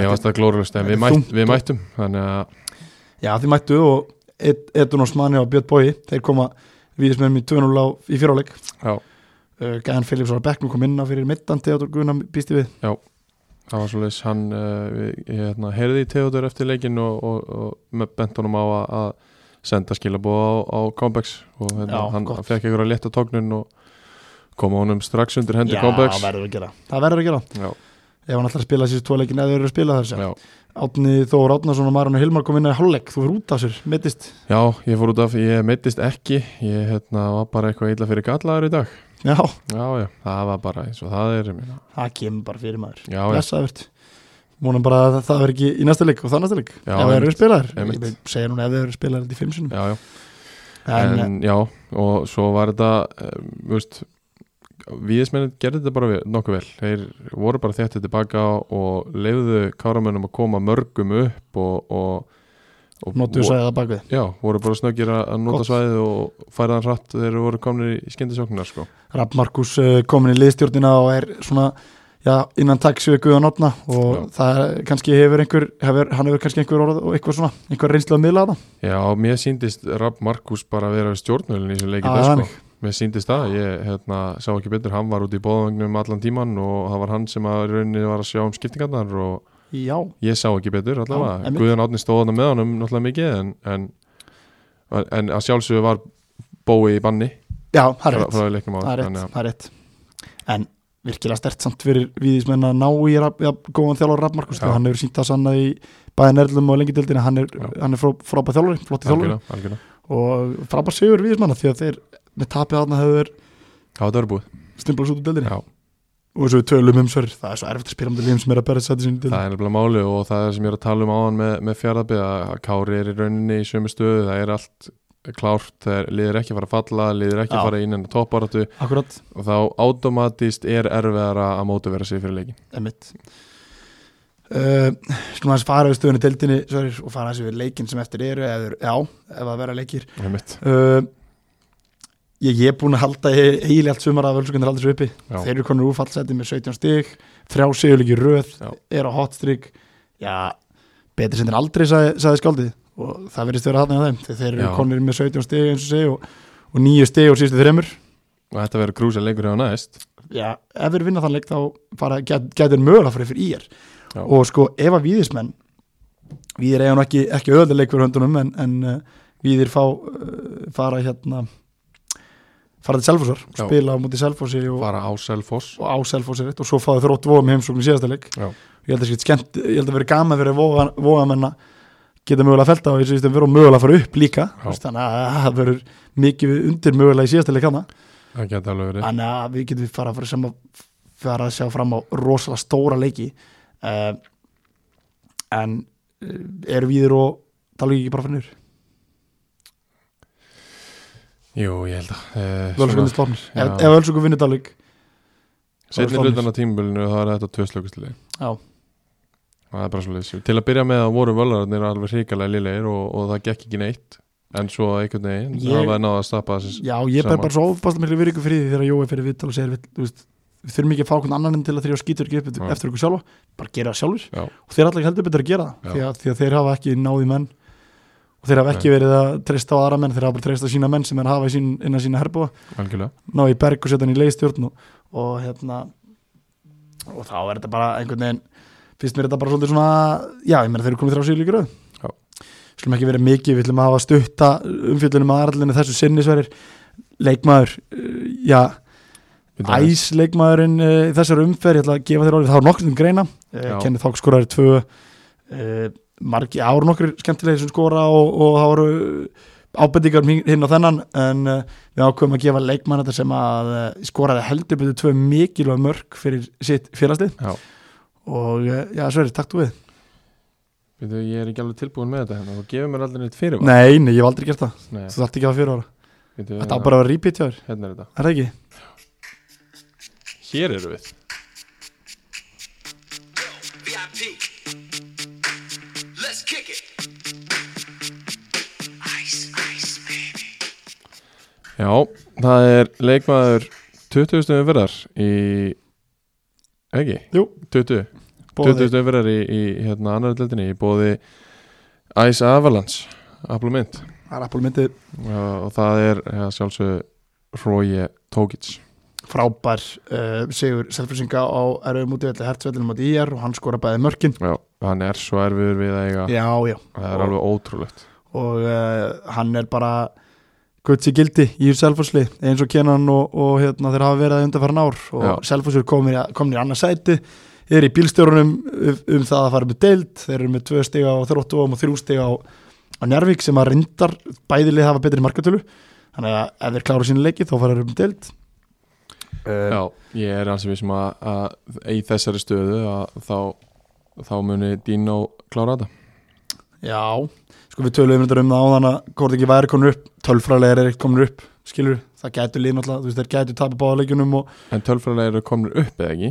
Speaker 2: mér varst það glóruðust en
Speaker 1: þetta er
Speaker 2: við, mætt,
Speaker 1: þungt
Speaker 2: við
Speaker 1: og-
Speaker 2: mættum þannig að
Speaker 1: Já, þið mættu og Ed- Edun Osmani og Björn Bói þeir koma víðismennum í 2-0 á, í fjóráleik
Speaker 2: Já.
Speaker 1: uh, Gæðan Phillips var að bekknum kom inn á fyrir middan Theodor Gunnar býsti við
Speaker 2: Það var svolítið hann, uh, við- ég hérna, heyrði í Theodor eftir leikin og, og, og með bent honum á að, að senda skilabóð á, á Combex og hérna,
Speaker 1: Já,
Speaker 2: hann
Speaker 1: gott.
Speaker 2: fekk einhverja létta tóknun og koma honum strax undir hendi Combex.
Speaker 1: það verður að gera Það verður að gera
Speaker 2: Já,
Speaker 1: Ef hann ætlar að spila þessi tvo leikin eða þeir eru að spila þar sem
Speaker 2: já.
Speaker 1: Átni Þór Átnason og Marun Hilmar kom inn í hálfleik Þú fyrir út af sér, mittist
Speaker 2: já, ég fór út af, ég meittist ekki, ég hérna, var bara eitthvað illa fyrir gallaður í dag.
Speaker 1: Já,
Speaker 2: Já, já, það var bara eins og það er, ég meina.
Speaker 1: það kemur bara fyrir maður
Speaker 2: Já, já,
Speaker 1: Blessaðvert Mónum bara að það verður ekki í næsta leik og það næsta leik
Speaker 2: Já,
Speaker 1: Ef þeir eru að spila þar
Speaker 2: einmitt.
Speaker 1: Ég segja núna ef þeir eru að spila þar til fimm sinum
Speaker 2: já, já.
Speaker 1: En, eh,
Speaker 2: en, já, og svo var þetta um, þú veist viðismennin gerði þetta bara vel- nokkuð vel þeir voru bara þéttið tilbaka og leiðu káramönnum að koma mörgum upp og, og, og
Speaker 1: notu
Speaker 2: og-
Speaker 1: sæðið að bakvið
Speaker 2: Já, voru bara snöggir að að nota
Speaker 1: Gott.
Speaker 2: svæðið og færa hann hratt þegar þeir voru komnir í skyndisóknar sko.
Speaker 1: Rapp Markus uh, komin í liðstjórnina og er svona já, innan takk séu Guðan Otna og
Speaker 2: Já.
Speaker 1: það er- kannski hefur einhver hefur, hann hefur kannski einhver orð og eitthvað svona einhver reynslu að miðla það
Speaker 2: Já, mér síndist Rapp Markus bara að vera stjórnvölin í þessu
Speaker 1: Já,
Speaker 2: leikið ah,
Speaker 1: þannig.
Speaker 2: sko. Mér síndist það, ég hérna, sá ekki betur hann var út í bóðvangnum allan tíman og það var hann sem að í rauninni var að sjá um skiptingarnar og
Speaker 1: Já,
Speaker 2: Ég sá ekki betur allavega,
Speaker 1: Já, einmitt.
Speaker 2: Guðan Átni stóðan með honum náttúrulega mikið en, en, en að sjálfsögur var bói í banni
Speaker 1: já, það er
Speaker 2: frá,
Speaker 1: rétt
Speaker 2: frá leiknum
Speaker 1: það er
Speaker 2: áður
Speaker 1: rétt,
Speaker 2: að-
Speaker 1: það er rétt en virkilega stert samt fyrir viðismenn að ná í rap, ja, góðan þjálfur Rapp Markus
Speaker 2: Já.
Speaker 1: hann hefur sínt það sanna í bæðin erlum og lengi dildina, hann er,
Speaker 2: Já.
Speaker 1: hann er frá, frábæð þjálfur flott í þjálfur
Speaker 2: algjörlega, algjörlega.
Speaker 1: og frábæð sigur viðismanna því að þeir með tapið þarna hefur
Speaker 2: Já, þetta var búið
Speaker 1: stimplast út úr dildinni
Speaker 2: Já.
Speaker 1: og eins og við tölum um sverð það er svo erfitt að spila um það liðum sem er að berja sæti sinni til
Speaker 2: Það er nefnilega máli og það er sem ég er að tala um áðan með, með fjaraðbyð að Kári er í rauninni í sömu stöðu, það er allt klárt, það er, liðir ekki að fara að falla, liðir ekki
Speaker 1: Já.
Speaker 2: að fara inn en topparatu
Speaker 1: akkurat,
Speaker 2: og þá automatist er erfiðara að mótivera sig fyrir leikin.
Speaker 1: emitt uh, slum aðeins fara við stöðunni tildinni sverð og fara aðeins við leikin sem eftir eru eða, já, ef að vera leikir
Speaker 2: Það er mitt.
Speaker 1: uh, ég, ég er búin að halda heili allt sumar að völsugundir halda þessu uppi
Speaker 2: Já.
Speaker 1: þeir eru konur úfallsæti með 17 stig þrjá sigurleiki í röð,
Speaker 2: Já.
Speaker 1: er á hot streak já, betur sinni aldrei sagði, sagði skaldið og það verðist vera hann af þeim, þegar þeir eru
Speaker 2: Já.
Speaker 1: konur með 17 stig eins og segja og, og nýju stig og síðustu þreymur
Speaker 2: Og þetta verður krúsa leikur hjá næst.
Speaker 1: já, ef þeir vinna þann leik þá bara get, getur mögulega fyrir fyrir ír
Speaker 2: Já.
Speaker 1: og sko ef að víðismenn víðir eiga nú ekki, ekki öðuleik fyrir höndunum en, en uh, víðir fá uh, fara hérna fara til Selfossar,
Speaker 2: Já.
Speaker 1: spila á móti Selfossi og,
Speaker 2: Fara á Selfoss.
Speaker 1: og á Selfossi rétt og svo fáðu þrótt vóðum heimsókn í síðasta leik
Speaker 2: Já.
Speaker 1: ég held að það skemmt, ég held að vera gaman fyrir voga, vogamenn að geta mögulega felta og ég syns að vera mögulega að fara upp líka
Speaker 2: Já.
Speaker 1: Þú veist, þannig að það verður mikið undir mögulega í síðasta leik hana
Speaker 2: Það geta alveg verið.
Speaker 1: þannig að við getum fara að fara sem að fara að sjá fram á rosalega stóra leiki uh, en uh, eru viður og tala ekki bara fyrir niður
Speaker 2: Jú, ég held að. Eh,
Speaker 1: Völsugundir slóknir,
Speaker 2: já.
Speaker 1: ef Völsugun vinnur Dalík
Speaker 2: Setni
Speaker 1: Völsungur.
Speaker 2: hlutan á tímabölinu það er þetta tvö slökustili.
Speaker 1: Já.
Speaker 2: Það er bara svo Til að byrja með að voru völararnir alveg hrikalega lilegir og, og það gekk ekki neitt. En svo einhvern veginn
Speaker 1: Ég-
Speaker 2: ég... hafa náða að stappa þessi.
Speaker 1: já ég ber
Speaker 2: Saman.
Speaker 1: bara svo ofpasta miklu virku fyrir því þegar Jói fyrir viðtal og segir við, þú veist, við þurfum ekki að fá okkur annan enn til að þeirra skýtur ekki upp
Speaker 2: Já.
Speaker 1: eftir okkur sjálfa, bara gera það sjálfur
Speaker 2: Já.
Speaker 1: og þeir allir heldur betur að gera
Speaker 2: Já.
Speaker 1: það því að, því að þeir hafa ekki náði menn og þeir hafa ekki verið að treysta á aðra menn þeir hafa bara treysta sína menn sem þeir hafa í sín, innan sína herbúa
Speaker 2: Algjörlega.
Speaker 1: ná í berg og setja hann í leiðstjórn og, og hérna og þá er þetta bara einhvern veginn finnst mér þetta bara svolítið svona já, ég meina þeir eru komið þrjá síðlíkur
Speaker 2: Já.
Speaker 1: slum ekki verið mikið, við ætlum að hafa stutta umfjöldunum að aðrallinu þessu sinnisverir leikmaður, uh, já
Speaker 2: Við erum-
Speaker 1: æs leikmaðurinn uh, í þessari umferð ég ætla að gefa þér orðið, það var nokkrum greina uh,
Speaker 2: Já.
Speaker 1: Kenneth Hawk skoraði tvö uh, margi áru nokkur skemmtilegir sem skora og, og það voru ábendingar um hin- hinn og þennan en uh, við ákveðum að gefa leikmann þetta sem að uh, skoraði heldur betur tvö mikilvæg mörg fyrir sitt félagslið
Speaker 2: Já.
Speaker 1: og uh, já, Sverri, takk þú við
Speaker 2: Veitu, ég er ekki alveg tilbúin með þetta hérna, þú gefur mér allir neitt fyrir
Speaker 1: Nei, nei, ég hef aldrei gert það,
Speaker 2: Nei,
Speaker 1: þú þarft ekki að hafa fyrir ára
Speaker 2: veitu,
Speaker 1: Þetta á bara að vera repeat hjá þér,
Speaker 2: Hérna er þetta
Speaker 1: er það ekki?
Speaker 2: Hér eru við
Speaker 3: VIP. Let's kick it. Ice, ice, baby.
Speaker 2: Já, það er leikmaður 20. umverðar í ekki,
Speaker 1: Jú,
Speaker 2: 20
Speaker 1: bóði
Speaker 2: 20. umverðar í, í hérna annar hlutinni í bóði Ice Avalanche Applement
Speaker 1: Það er Apple myndið
Speaker 2: og það er ja, sjálfsög Róje Tókic
Speaker 1: frábær uh, sigur selfrýsinga á erfum út í velli hertsvellinu mot IR og hann skora bæði mörkin
Speaker 2: Já, hann er svo erfiður við að eiga
Speaker 1: já, já,
Speaker 2: það er alveg ótrúlegt
Speaker 1: og uh, hann er bara gutt sér gildi í selfrýsli eins og kenan og, og hérna, þeir hafa verið að undarfæran ár
Speaker 2: Já.
Speaker 1: og selfrýsir komin, í- komin í annað sæti er í bílstjórunum um, um það að fara með deild, þeir eru með tvö stiga á þróttum og þrjú stiga á, á Njárvík sem að reyndar bæðilið hafa betri markatölu þannig að ef þeir klára sína leiki þá fara þeir um deild
Speaker 2: Já, ég er alls vissum að, að í þessari stöðu að þá, þá muni Dino klára þetta
Speaker 1: Já, sko við töluðum þetta um það áðan að hvort ekki væri konur upp, tölfræðilega er ekkert konur upp skilur, það gætu lið náttúrulega þú veist, þeir gætu tapa báðalegjunum og
Speaker 2: En tölfræðilega eru komnir upp eða ekki?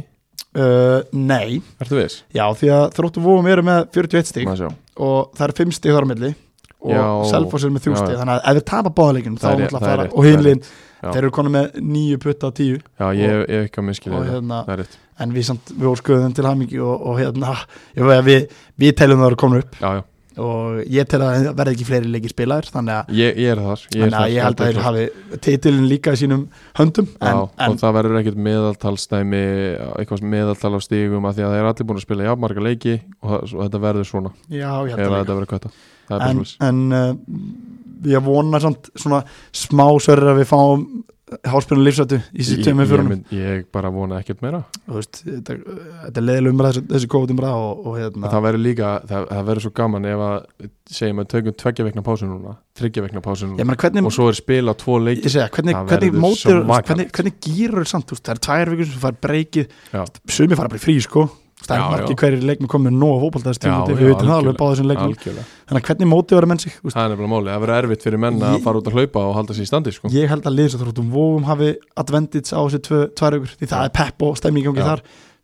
Speaker 1: uh, nei,
Speaker 2: Ertu viss?
Speaker 1: já því að þróttu vóum eru með 41 stík
Speaker 2: Má sjá.
Speaker 1: og það er 5 stík þar á milli og
Speaker 2: Já.
Speaker 1: Selfoss er með 3
Speaker 2: Já,
Speaker 1: stík
Speaker 2: já.
Speaker 1: þannig að ef þeir tapa báðalegjunum þá
Speaker 2: Það er-
Speaker 1: náttúrulega
Speaker 2: það er
Speaker 1: fara
Speaker 2: rétt,
Speaker 1: og
Speaker 2: það er
Speaker 1: hinliðin,
Speaker 2: Já.
Speaker 1: þeir eru konur með 9 putta 10
Speaker 2: Já, ég ég hef ekki að miskila
Speaker 1: og
Speaker 2: þetta.
Speaker 1: hérna,
Speaker 2: Það er rétt.
Speaker 1: en við, samt, við óskuðum þeim til hamingi og, og hérna, ég veit að við, við telum það að koma upp
Speaker 2: Já, já.
Speaker 1: og ég tel að það verði ekki fleiri leikir spilaðir þannig að
Speaker 2: Ég, ég er þar. Ég er
Speaker 1: Þannig að ég held að þeir hafi titilin líka í sínum höndum
Speaker 2: Já,
Speaker 1: en, en
Speaker 2: og það verður ekkert meðaltalsdæmi, eitthvað meðaltal á stígum af því að þeir eru allir búin að spila jafnmarga leiki og, það- og þetta verður svona
Speaker 1: já, ég held
Speaker 2: eða
Speaker 1: að
Speaker 2: þetta verður kvæta. Það
Speaker 1: líka
Speaker 2: er bara
Speaker 1: en, eh,
Speaker 2: svolítið.
Speaker 1: en uh, ég vona samt svona smá sverður að við fáum háspennu lífsættu í sér tveimur
Speaker 2: ég,
Speaker 1: fyrir
Speaker 2: mynd- ég bara vona ekkert meira
Speaker 1: þetta þetta er leiðileg umræð þessi, þessi COVID umræð og, og hérna
Speaker 2: það verður líka, það, það verður svo gaman ef að, segjum að tökum tveggja vekna pásu núna þryggja vekna pásu núna
Speaker 1: ég meina hvernig
Speaker 2: og svo er spil á tvo
Speaker 1: ég
Speaker 2: leiki
Speaker 1: segja, hvernig,
Speaker 2: Það
Speaker 1: hvernig
Speaker 2: verður
Speaker 1: mótir
Speaker 2: svo makalegt.
Speaker 1: hvernig, hvernig gýrur samt, þú veist, það er tvær vikur sem fær breykið,
Speaker 2: Já.
Speaker 1: sumi fara bara í frí sko það
Speaker 2: Já,
Speaker 1: er
Speaker 2: já.
Speaker 1: margir hverjir leikmi komið nóg að fókbalta þessi
Speaker 2: Já,
Speaker 1: tíma,
Speaker 2: já,
Speaker 1: við veitum það
Speaker 2: algjörlega.
Speaker 1: alveg bá þessum leikmi,
Speaker 2: algjörlega,
Speaker 1: þannig að hvernig mótið vera menn sig, þú veist,
Speaker 2: það er nefnilega málið það verður erfitt fyrir menn að
Speaker 1: Ég-
Speaker 2: fara út að hlaupa og halda sér í standi sko.
Speaker 1: ég held að liðs og þróttum vóum hafi advendits á þessi tvö, tvær vikur, því það
Speaker 2: Já.
Speaker 1: er pepp og stemming í gangi
Speaker 2: Já.
Speaker 1: þar,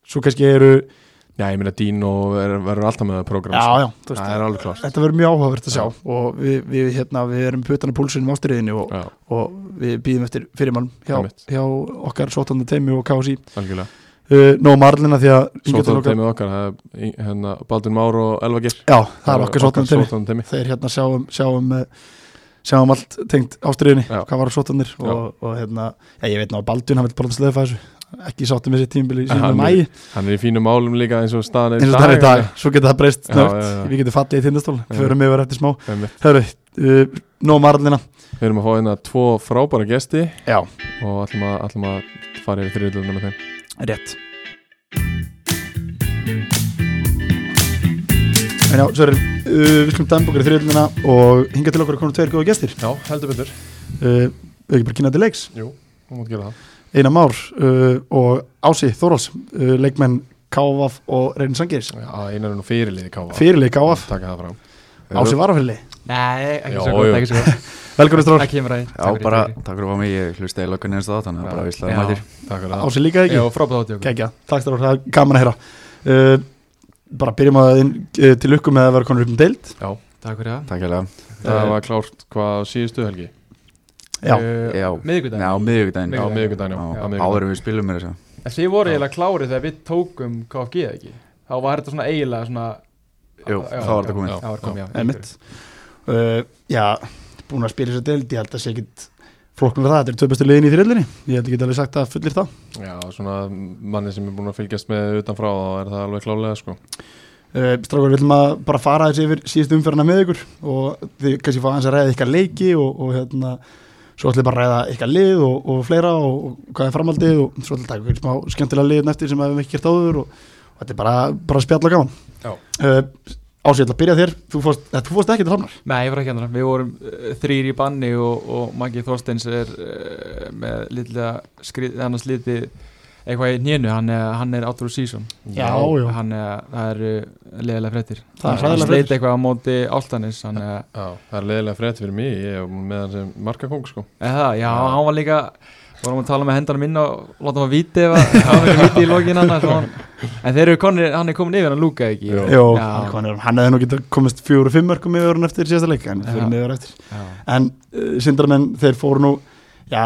Speaker 1: svo kannski eru já,
Speaker 2: já, ég meina dín og verður alltaf með það program sko.
Speaker 1: já, þú veist,
Speaker 2: það er alveg klart
Speaker 1: þetta verður mjög áhugavert að sjá
Speaker 2: Já.
Speaker 1: og við, við, hérna, við erum putan að púlsunum ástriðinu og,
Speaker 2: já,
Speaker 1: og við býðum eftir fyrirmálum hjá,
Speaker 2: Einmitt.
Speaker 1: hjá okkar sótandi teimi og KSI
Speaker 2: algjörlega,
Speaker 1: uh, nóg marlina því að
Speaker 2: svo
Speaker 1: hingað til
Speaker 2: það
Speaker 1: okkar-
Speaker 2: teimið okkar það er í- hérna, Baldur Már og Elva Gil
Speaker 1: já, það er okkar sótandi teimi
Speaker 2: sótandi teimi
Speaker 1: þeir hérna sjáum sjáum, eh, sjáum allt tengt ástriðinni,
Speaker 2: Já.
Speaker 1: hvað var á sótandir
Speaker 2: Já.
Speaker 1: og, og hérna, ég, ég veit ná að Baldun hann vil bara slefa þessu, ekki sáttum við sér tímbili sem við
Speaker 2: Hann er-
Speaker 1: mæi
Speaker 2: hann er í fínum málum líka eins og staðan
Speaker 1: eins og það er í dag, svo getur það breyst
Speaker 2: Já,
Speaker 1: snögt
Speaker 2: já, já.
Speaker 1: við getum fallið í tindastól,
Speaker 2: Já.
Speaker 1: förum yfir eftir smá
Speaker 2: Einmitt.
Speaker 1: Hörru, uh, nóg marlina
Speaker 2: við erum að fá hérna tvo frábæra gesti
Speaker 1: Já,
Speaker 2: og ætlum að, ætlum að fara yfir þriðlunum með þeim
Speaker 1: rétt En já, svo erum uh, við skulum dæmbokkar í þriðlunina og hinga til okkur að koma tveir góða gestir
Speaker 2: já, heldur betur
Speaker 1: uh, Við ekki bara kynna til leiks
Speaker 2: Jú, hún mútt gera það
Speaker 1: Einar Már uh, og Ási Þórals uh, leikmenn Kávaf og Reyn Sangiris
Speaker 2: Já, einar er nú fyrirliði káfa
Speaker 1: Fyrirlið Kávaf,
Speaker 2: Takk það fram
Speaker 1: Ási varafyrirlið
Speaker 4: Nei, ekki
Speaker 2: Jó,
Speaker 4: svo gott,
Speaker 2: jú.
Speaker 4: ekki svo gott
Speaker 1: Velkomin
Speaker 4: Það
Speaker 1: stráð,
Speaker 4: kemur að því.
Speaker 5: Já,
Speaker 4: Takk fyrir,
Speaker 5: bara,
Speaker 4: takk fyrir.
Speaker 5: takk fyrir að fá mig, ég hlusti eða lokkan eins og það, þannig að
Speaker 2: Já.
Speaker 5: bara visla
Speaker 4: Já.
Speaker 5: það mætir.
Speaker 2: Takk fyrir það
Speaker 1: Ási líka ekki
Speaker 4: Já, frábæð átti okkur
Speaker 1: Kækja, takk stráð, það er gaman að heyra uh, Bara byrjum að inn, uh, til lukku með að vera konur upp um deild
Speaker 4: Takk fyrir það
Speaker 5: Takk hérlega.
Speaker 2: Það var klárt hvað á síðustu helgi
Speaker 1: Já,
Speaker 4: Eh,
Speaker 5: Já,
Speaker 4: Miðvikudaginn.
Speaker 5: Nei, á miðvíkudaginn.
Speaker 2: Já, miðvikudaginn,
Speaker 4: Miðvikudaginn.
Speaker 2: já,
Speaker 5: Já,
Speaker 2: á miðvikudaginn.
Speaker 5: áður en við spilum mér þess að.
Speaker 4: En þið voru eiginlega klárið þegar við tókum KFG eða ekki Þá var þetta svona eiginlega svona
Speaker 5: Jú,
Speaker 4: Já,
Speaker 5: þá var þetta
Speaker 4: já,
Speaker 5: komið.
Speaker 4: Já, var komið, já
Speaker 1: einmitt uh, Já, búin að spila þess að deild Ég held að sé ekkit flokknar það Þetta er tvö bestu liðin í þriðlinni Ég held ekki alveg sagt að fullir það
Speaker 2: Já, svona manni sem er búin að fylgjast með utanfrá þá er það alveg klálega sko
Speaker 1: uh, Strákar, við ætlum að bara fara þessi yfir síðustu umferðina með ykkur og þið kannski fá hans að ræða ykkar leiki og, og hérna Svo ætlum við bara að ræða ykkar lið og, og fleira og, og hvað er framhaldið og svo ætlum við að taka ykkur smá skemmtilega liðin eftir sem við hefum ekki gert áður og, og þetta er bara, bara spjall og gaman
Speaker 2: Já.
Speaker 1: uh, Ásveit, ég ætla að byrja þér Þú fórst, eh, þú fórst ekki til hafnar
Speaker 4: Nei, ég var ekki annar Við vorum uh, þrýr í banni og, og Maggi Þorsteins er uh, með lilla skrið, hann sliti eitthvað í nénu, hann, er- hann er áttur úr season
Speaker 1: já.
Speaker 4: hann er, það eru leðilega fréttir
Speaker 1: Það er
Speaker 4: hann
Speaker 1: hræðilega
Speaker 4: sleit
Speaker 1: fréttir.
Speaker 4: eitthvað á móti áltanis hann er
Speaker 2: Já, það er leðilega frétt fyrir mig Ég er með hann sem markakong sko
Speaker 4: Eða, já, hann var líka vorum að tala með hendanum inn og láta hann að víti ef að hann var ekki víti í lokin annars og hann, en þeir eru konir, hann er komin yfir hann Luka ekki
Speaker 2: Jú.
Speaker 1: Jó,
Speaker 4: Já.
Speaker 1: hann, kom niður. hann hefði nú getað komist fjóru og fimm mörgum yfir hann eftir síðasta leik en
Speaker 4: Já.
Speaker 1: fyrir mig yfir eftir
Speaker 4: Já.
Speaker 1: en uh, sindramenn þeir fóru nú já,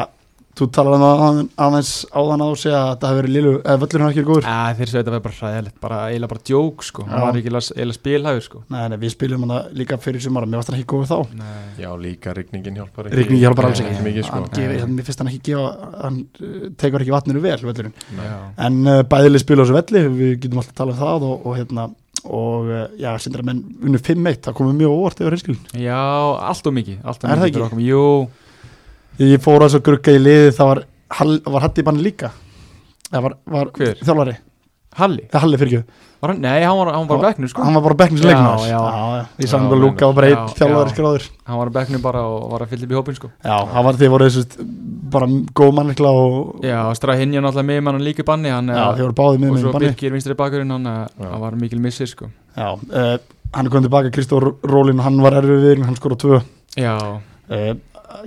Speaker 1: þú talar um að aðeins áðan á sig að það hefur verið lilu eða völlur hann ekki verið góður
Speaker 4: Æ, þeir svo þetta var bara hræðilegt, bara eiginlega bara djók sko, hann
Speaker 1: Já.
Speaker 4: var ekki eiginlega eiginlega spilhæfur sko
Speaker 1: nei, nei, við spilum hann líka fyrir sumar mér varst hann ekki góður þá
Speaker 4: Nei,
Speaker 2: Já, líka rigningin hjálpar
Speaker 1: Rigningin hjálpar alls
Speaker 4: ekki.
Speaker 2: Mikið sko
Speaker 1: hann gefi, hann, mér finnst hann ekki gefa hann uh, tekur ekki vatninu vel völlurinn
Speaker 2: Nei.
Speaker 4: já.
Speaker 1: en uh, bæðileg spila á þessu velli við getum alltaf talað um það og, og hérna og uh, já, sindramenn unnu 5-1 það komið mjög óvart yfir hinskilin
Speaker 4: já, allt og mikið allt og
Speaker 1: Er það
Speaker 4: mikið
Speaker 1: ekki?
Speaker 4: fyrir okkur, jú
Speaker 1: Þegar ég fór að svo grugga í liði það var, Hall- var Hatti bann líka það var, var
Speaker 4: Hver?
Speaker 1: þjálfari
Speaker 4: Halli,
Speaker 1: það Halli fyrir ekki,
Speaker 4: var hann, nei, hann var, hann var á bekknum sko
Speaker 1: hann var bara bekknum
Speaker 4: Já,
Speaker 1: sem leikmaður
Speaker 4: já.
Speaker 1: já, ég sagði
Speaker 2: Já,
Speaker 1: hann bara Lúka
Speaker 2: meinar.
Speaker 1: og bara einn
Speaker 4: Já,
Speaker 1: þjálfari
Speaker 4: já.
Speaker 1: skráður já,
Speaker 4: hann var á bekknum bara og var að fylla upp í hópin sko
Speaker 1: það var þeir voru þessu bara góð mannekla og já,
Speaker 4: já, Strahinja náttúrulega með mann líka í banni hann, eh,
Speaker 1: þeir voru báðið með
Speaker 4: og
Speaker 1: mig í
Speaker 4: svo
Speaker 1: banni
Speaker 4: Birgir vinstri bakurinn hann, eh,
Speaker 2: Já.
Speaker 4: hann var mikil missir sko
Speaker 1: já, uh, hann er komið tilbaka Kristór Rólin og hann var erfið við hann skora tvö
Speaker 4: já,
Speaker 1: uh,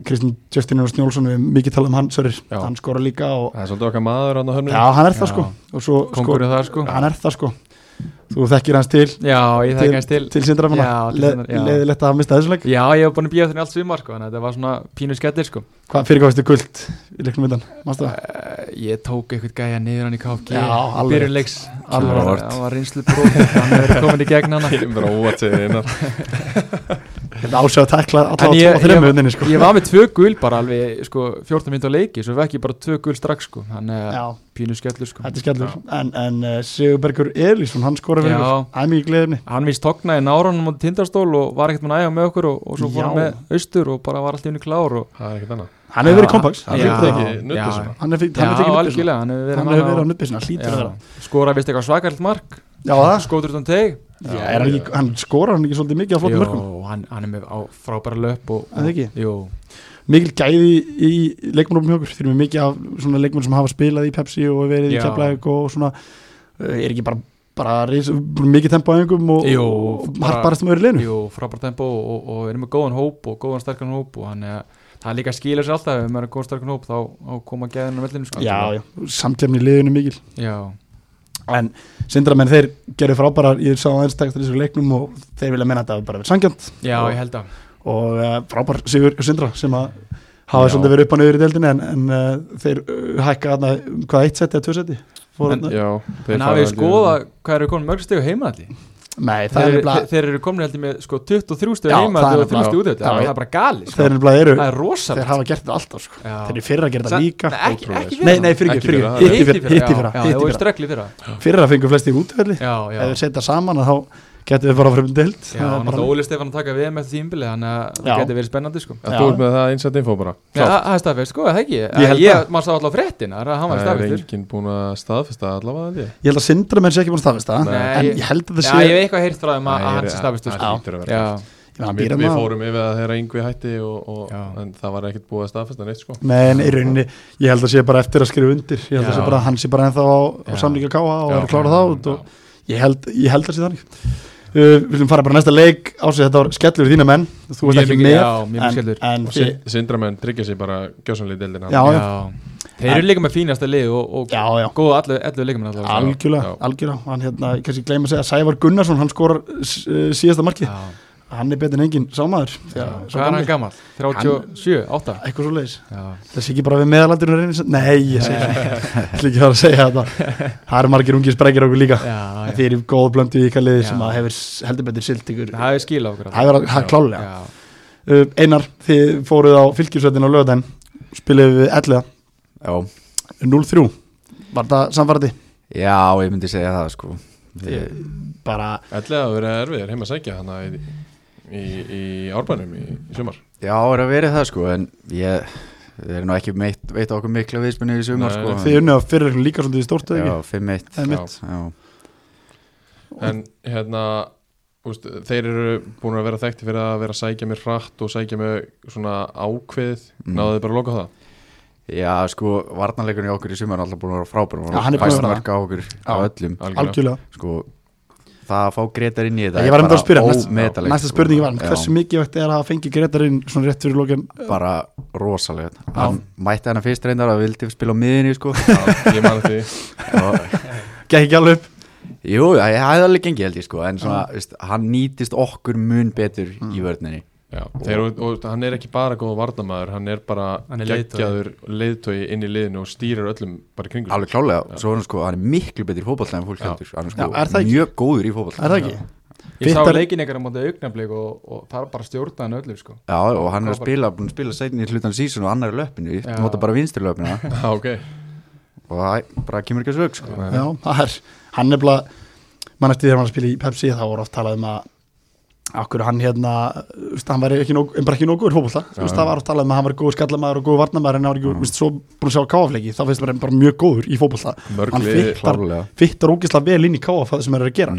Speaker 1: Kristinn Justin Jóns Njólfsson við mikið talað um hann, sorry,
Speaker 2: Já.
Speaker 1: hann skora líka og,
Speaker 2: Það er svolítið okkar maður hann á höfnum
Speaker 1: já, hann er það
Speaker 4: Já.
Speaker 1: sko og svo, sko,
Speaker 4: kongurinn þar sko
Speaker 1: hann er það sko þú þekkir hans til
Speaker 4: Já, ég þekki hans til
Speaker 1: til sindramanna
Speaker 4: Já, til
Speaker 1: Le,
Speaker 4: Sindra- já.
Speaker 1: leiðilegt að hafa mistað þessu leik
Speaker 4: Já, ég hef búin að býja þenni allt sumar sko, þannig að þetta var svona pínu skellir sko
Speaker 1: hvað fyrir hvað veistu guld í leiknum undan mástu það
Speaker 4: uh, Ég tók eitthvað gæja niður hann í KFG
Speaker 1: Já, alveg rétt.
Speaker 4: Byrjun leiks
Speaker 1: Alveg
Speaker 4: Hann var-
Speaker 5: rétt.
Speaker 4: Hann var rinslu brók, hann er komin í gegn hann
Speaker 2: hérna. Ég er bara óvart segir einar
Speaker 1: Þetta ásjáðu tækla
Speaker 4: En
Speaker 1: allavega
Speaker 4: ég-
Speaker 1: tvo og þrejum
Speaker 4: ég-
Speaker 1: unninni sko
Speaker 4: Ég var með tvö gul bara alveg sko, 14 minn á leiki, svo vekk ég bara tvö gul strax sko, þannig að
Speaker 1: Já,
Speaker 4: pínu skellur sko.
Speaker 1: þetta er skellur En, en uh, Sigurbergur Elísson, hann skorar fyrir
Speaker 4: Já.
Speaker 1: ykkur Það er mikið gleðinni
Speaker 4: Hann víst tognaði náranum á tindastól og var ekkert með nægja með okkur og, og svo fór hann
Speaker 1: Já.
Speaker 4: með austur og bara var alltaf innu klár og
Speaker 2: það er ekkert annað
Speaker 1: Hann hefur verið kompaks
Speaker 2: Hann
Speaker 4: Já,
Speaker 2: er ekki
Speaker 4: já,
Speaker 2: nuttið svona
Speaker 1: Hann hefur
Speaker 4: Já,
Speaker 1: verið
Speaker 4: algjörlega, hann hefur
Speaker 1: sko.
Speaker 4: verið
Speaker 1: Hann
Speaker 4: mann
Speaker 1: hefur verið á
Speaker 4: á-
Speaker 1: nutbissina, hlýtur að
Speaker 4: Já.
Speaker 1: vera
Speaker 4: Skoraði vist eitthvað svakarilt mark
Speaker 1: Já, það
Speaker 4: skotur utan teg
Speaker 1: Já, er hann, ekki, hann skorar hann ekki svolítið mikið Ah. á flottum
Speaker 4: Jú,
Speaker 1: mörgum
Speaker 4: hann, hann er með á frábæra löp og,
Speaker 1: Er það
Speaker 4: og,
Speaker 1: ekki?
Speaker 4: Jú,
Speaker 1: Mikil gæði í leikmannum hjá okkur Þeir eru mikið af svona leikmann sem hafa spilað í Pepsi og verið í
Speaker 4: Já.
Speaker 1: Keflæk og svona eh, er ekki bara, bara reis, mikið tempo á einhverjum og,
Speaker 4: Jú,
Speaker 1: og
Speaker 4: bara-
Speaker 1: harparast með öðru leinu
Speaker 4: jú frábæra tempo og, og, og er með góðan hóp og góðan sterkan hóp og hann er, það er líka skilur sér alltaf ef maður er með góðan sterkan hóp þá, þá koma gæðin á vellinu sko.
Speaker 1: Já, já, samtlefni í liðinu mikil
Speaker 4: já,
Speaker 1: en sindramenn þeir gerir frábærar ég sá aðeins tekstur í þessu leiknum og þeir vilja menna að þetta hafi bara verið sangjant
Speaker 4: já,
Speaker 1: Og-
Speaker 4: ég held að
Speaker 1: og uh, frábær sigur hjá sindra sem að hafa
Speaker 4: Já.
Speaker 1: svolítið verið upp á nöður í deildinni en, en uh, þeir uh, hækka hana, um, hvað eitt seti eða tvö seti Fóru
Speaker 4: En-
Speaker 1: þarna-
Speaker 2: Já, þeir
Speaker 4: En
Speaker 2: fara
Speaker 4: hafið
Speaker 2: held ég-
Speaker 4: skoða hvað eru komin mörg stegu heimaðalli
Speaker 1: nei, það er
Speaker 4: þeir,
Speaker 1: nefnilega-
Speaker 4: þeir, þeir eru komin heldur með sko 23 stegu
Speaker 1: Já, það er
Speaker 4: heimaðalli og 3
Speaker 1: nefnilega-
Speaker 4: stegu
Speaker 1: Já,
Speaker 4: útöðalli það
Speaker 1: já.
Speaker 4: er bara gali
Speaker 1: þeir
Speaker 4: sko.
Speaker 1: nefnilega eru
Speaker 4: það er
Speaker 1: þeir
Speaker 4: rosalegt
Speaker 1: hafa gert þetta alltaf sko.
Speaker 4: Já.
Speaker 1: þeir eru fyrir að gera þetta
Speaker 4: Sa-
Speaker 1: líka
Speaker 4: Nei, ekki,
Speaker 2: Ótrúlegt.
Speaker 4: ekki
Speaker 1: nei,
Speaker 4: fyrir
Speaker 1: nei, fyrir
Speaker 2: Ekki
Speaker 1: ekki, fyrir
Speaker 2: fyrra,
Speaker 1: ekki hitt í fyrra,
Speaker 4: hitt
Speaker 1: hitt í
Speaker 4: fyrir
Speaker 1: fyrra,
Speaker 4: já,
Speaker 1: hitt
Speaker 4: og
Speaker 1: í
Speaker 4: í
Speaker 1: fyrra
Speaker 4: stregli fyrra
Speaker 1: fyrir að fengu flest í útvelli
Speaker 4: já, já
Speaker 1: ef þeir setja saman að þá getur við bara að fyrir um deild
Speaker 4: Já,
Speaker 1: Það er
Speaker 4: hann
Speaker 1: bara-
Speaker 4: átti Óli Stefán að taka við með þetta tímbili þannig að
Speaker 1: Já.
Speaker 4: það geti verið spennandi sko
Speaker 2: Að
Speaker 1: Já.
Speaker 2: Þú ert með það einsett info bara
Speaker 4: Já, það það er staðfest sko, er það ekki
Speaker 1: Ég held
Speaker 4: Ég,
Speaker 1: það.
Speaker 4: maður sá alltaf fréttina, það er að hann var
Speaker 2: Það er
Speaker 4: staðfestur
Speaker 2: enginn búin að staðfesta allavega held ég.
Speaker 1: ég held að sindramenn sé ekki búin að staðfesta
Speaker 4: Nei.
Speaker 1: en ég held að það
Speaker 4: Já,
Speaker 1: sé
Speaker 4: ég hef eitthvað heyrt frá þeim að
Speaker 2: Það
Speaker 4: að
Speaker 2: er-
Speaker 4: hann sé staðfestur
Speaker 2: það
Speaker 4: sko
Speaker 2: hlýtur að vera.
Speaker 4: Já,
Speaker 1: Ég meina, hann býr
Speaker 2: Við
Speaker 1: hérna
Speaker 2: við
Speaker 1: þarna.
Speaker 2: fórum yfir að þeirra yngvi hætti og,
Speaker 4: Já.
Speaker 2: og, en það var ekkert búið að staðfesta neitt sko
Speaker 1: Nei, en í rauninni, ég held að sé bara eftir að skrifa undir Ég held að
Speaker 4: Já.
Speaker 1: sé bara að hann sé bara ennþá á, á
Speaker 4: Já.
Speaker 1: samlíka káa og
Speaker 2: Já.
Speaker 1: er að klára það út og ég held, ég held að sé þannig uh, Við viljum fara bara í næsta leik Ásveg, þetta var skellur í þína menn Þú veist
Speaker 4: Mjög
Speaker 1: ekki
Speaker 4: mikið-
Speaker 1: með
Speaker 4: já, mjög mikið skellur.
Speaker 1: en, en
Speaker 2: Og
Speaker 1: þið,
Speaker 2: Sin- Sindramenn tryggja sér bara gjössanlega í deildina
Speaker 1: Já,
Speaker 4: já Þeir eru líka með fínasta lið og, og
Speaker 1: Já, já,
Speaker 4: góða allu, allu leikum alltaf sko.
Speaker 1: algjörlega,
Speaker 2: Já.
Speaker 1: algjörlega Hann hérna, ég kannski gleyma að segja að Sævar Gunnarsson Hann skorar s- uh, síðasta markið
Speaker 4: Já,
Speaker 1: Hann er betur en engin sámaður
Speaker 4: já.
Speaker 1: þegar- sá
Speaker 4: Hvað er
Speaker 1: gamli.
Speaker 4: hann gammal? 37, 8
Speaker 1: Eitthvað svo leiðis
Speaker 4: Já,
Speaker 1: Það sé ekki bara við meðalandurinn reynir Nei, ég segi Það er ekki að fara að segja þetta Það eru margir ungir sprækir okkur líka
Speaker 4: já,
Speaker 1: En
Speaker 4: já
Speaker 1: þið eru góð blöndu í ykkar liði
Speaker 4: Já.
Speaker 1: sem að hefur s- heldur betur silt ykkur
Speaker 4: Það hefur skil á okkur
Speaker 1: Það hefur það er klálega
Speaker 4: Já,
Speaker 1: uh, Einar, þið fóruð á fylgjusveitin á lögadaginn spiluðu við 11
Speaker 5: Já,
Speaker 1: 0-3 Var það samfærdi?
Speaker 5: já, ég myndi segja það sko Ég-
Speaker 1: Bara,
Speaker 2: Ætlaði að vera erfiðir heima að sækja hana í, í, í árbænum í, í sumar
Speaker 5: Já, er að verið það sko En ég, við erum nú ekki meitt, veit okkur mikla viðspunni í sumar
Speaker 2: Nei,
Speaker 5: sko
Speaker 2: nei.
Speaker 1: þið unnið að fyrir ykkur líka svolítið í stórtu
Speaker 5: Já,
Speaker 1: ekki?
Speaker 5: 5-1
Speaker 1: Það er
Speaker 2: Já.
Speaker 1: mitt
Speaker 5: Já,
Speaker 2: En hérna úst, Þeir eru búin að vera þekkti fyrir að vera að sækja mér hratt og sækja mér svona ákveðið
Speaker 5: Mm.
Speaker 2: Náðu þið bara að loka á það
Speaker 5: já sko, varnarleikunni okkur í sumar er alltaf búin að vera frábærum
Speaker 1: Já, hann er búinn að vera það.
Speaker 5: mörg á okkur á
Speaker 1: Já.
Speaker 5: öllum
Speaker 2: Algjörlega.
Speaker 1: Algjörlega
Speaker 5: sko, það að fá Gretar inn í þetta
Speaker 1: Ég var einmitt að spyrja, næst-
Speaker 5: ómetalegt,
Speaker 1: Næsta
Speaker 5: sko.
Speaker 1: spurningi var, en
Speaker 5: Já,
Speaker 1: hversu mikilvægt er að fengi Gretarinn svona rétt fyrir lókin
Speaker 5: bara rosalegt hann mætti hana fyrst reyndar að vildi spila á miðinni sko
Speaker 2: Já, Ég man því
Speaker 5: og,
Speaker 1: Gekk ekki alveg upp
Speaker 5: jú, það hefði alveg gengið held ég sko en svona, veist, hann nýtist okkur mun betur í
Speaker 1: Mm.
Speaker 5: vörninni
Speaker 2: Já, þeir, og, og hann er ekki bara góð varnamæður, hann er bara
Speaker 4: Hann er leiðtogi.
Speaker 2: geggjaður leiðtogi inn í liðinu og stýrir öllum bara í kringum. sig.
Speaker 5: alveg klálega, svo er hann sko hann er miklu betur í fótballtæð en fólk
Speaker 2: Já.
Speaker 5: heldur hann er
Speaker 1: Já, er
Speaker 5: sko
Speaker 1: það ekki?
Speaker 5: mjög góður í
Speaker 1: Er það
Speaker 5: fótballtæð
Speaker 1: ekki?
Speaker 4: Ég sá
Speaker 1: Fyrtar-
Speaker 4: leikin eitthvað á móti augnablik og, og það er bara stjórnaðan öllu sko
Speaker 5: Já, og hann er að
Speaker 4: Frábær.
Speaker 5: spila, búin að spila sætin í hlutan sísun og annar löppinu,
Speaker 4: Já.
Speaker 5: nota bara vinstri löppina
Speaker 2: Já, ok.
Speaker 5: og það bara kemur ekki að svög sko.
Speaker 1: Já, það er, hann nefnilega mann eftir þegar hann var að spila í Pepsi þá voru oft talað um að okkur hann hérna, þú veist, hann var ekki nóg, en bara ekki nógur hópulta, það var oft talað um að hann var góð skallamæður og góð varnamæður en hann var ekki, þú veist, svo búin að sjá káafleiki, þá finnst maður hann bara mjög góður í fótbolta
Speaker 2: Mörg
Speaker 1: hann
Speaker 2: lið-
Speaker 1: fittar,
Speaker 5: klárlega. Mhm.
Speaker 1: fittar ógislega vel inn í káaf það sem er að gera,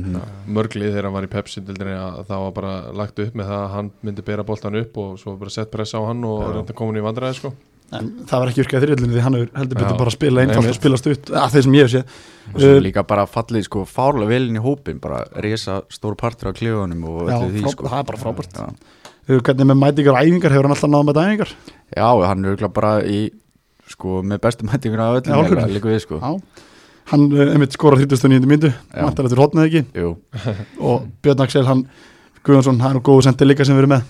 Speaker 2: Mörglið þegar hann var í Pepsi-dildinni að það var bara lagt upp með það að hann myndi bera boltan upp og svo bara sett pressa á hann og reynda að koma hann í vandræði, sko.
Speaker 1: en það var ekki virkað þriðlunni því hann hefur heldur betur
Speaker 2: Já.
Speaker 1: bara að spila einfalt
Speaker 2: Einmitt.
Speaker 1: og spila stutt, að þeir sem ég hef séð
Speaker 5: og svo
Speaker 1: Uh,
Speaker 5: líka bara fallið sko fárlega vel inn í hópin bara reysa stór partur af klefunum og
Speaker 1: Já,
Speaker 5: öllu því
Speaker 1: frá-
Speaker 5: sko
Speaker 1: það er bara frábært.
Speaker 5: já,
Speaker 1: Uh, hvernig með mætingar og æfingar, hefur hann alltaf náðum með æfingar
Speaker 5: já og hann er auðvitað bara í sko með bestu mætinguna af
Speaker 1: Já,
Speaker 5: öllum
Speaker 1: okkur.
Speaker 5: eiginlega, líka við sko
Speaker 1: Já. hann uh, einmitt skora 39. myndu,
Speaker 5: Já.
Speaker 1: mættar eftir hotnað ekki
Speaker 5: jú,
Speaker 1: og Björn Axel hann Guðjónsson, hann er nú góðu sendi líka sem við erum með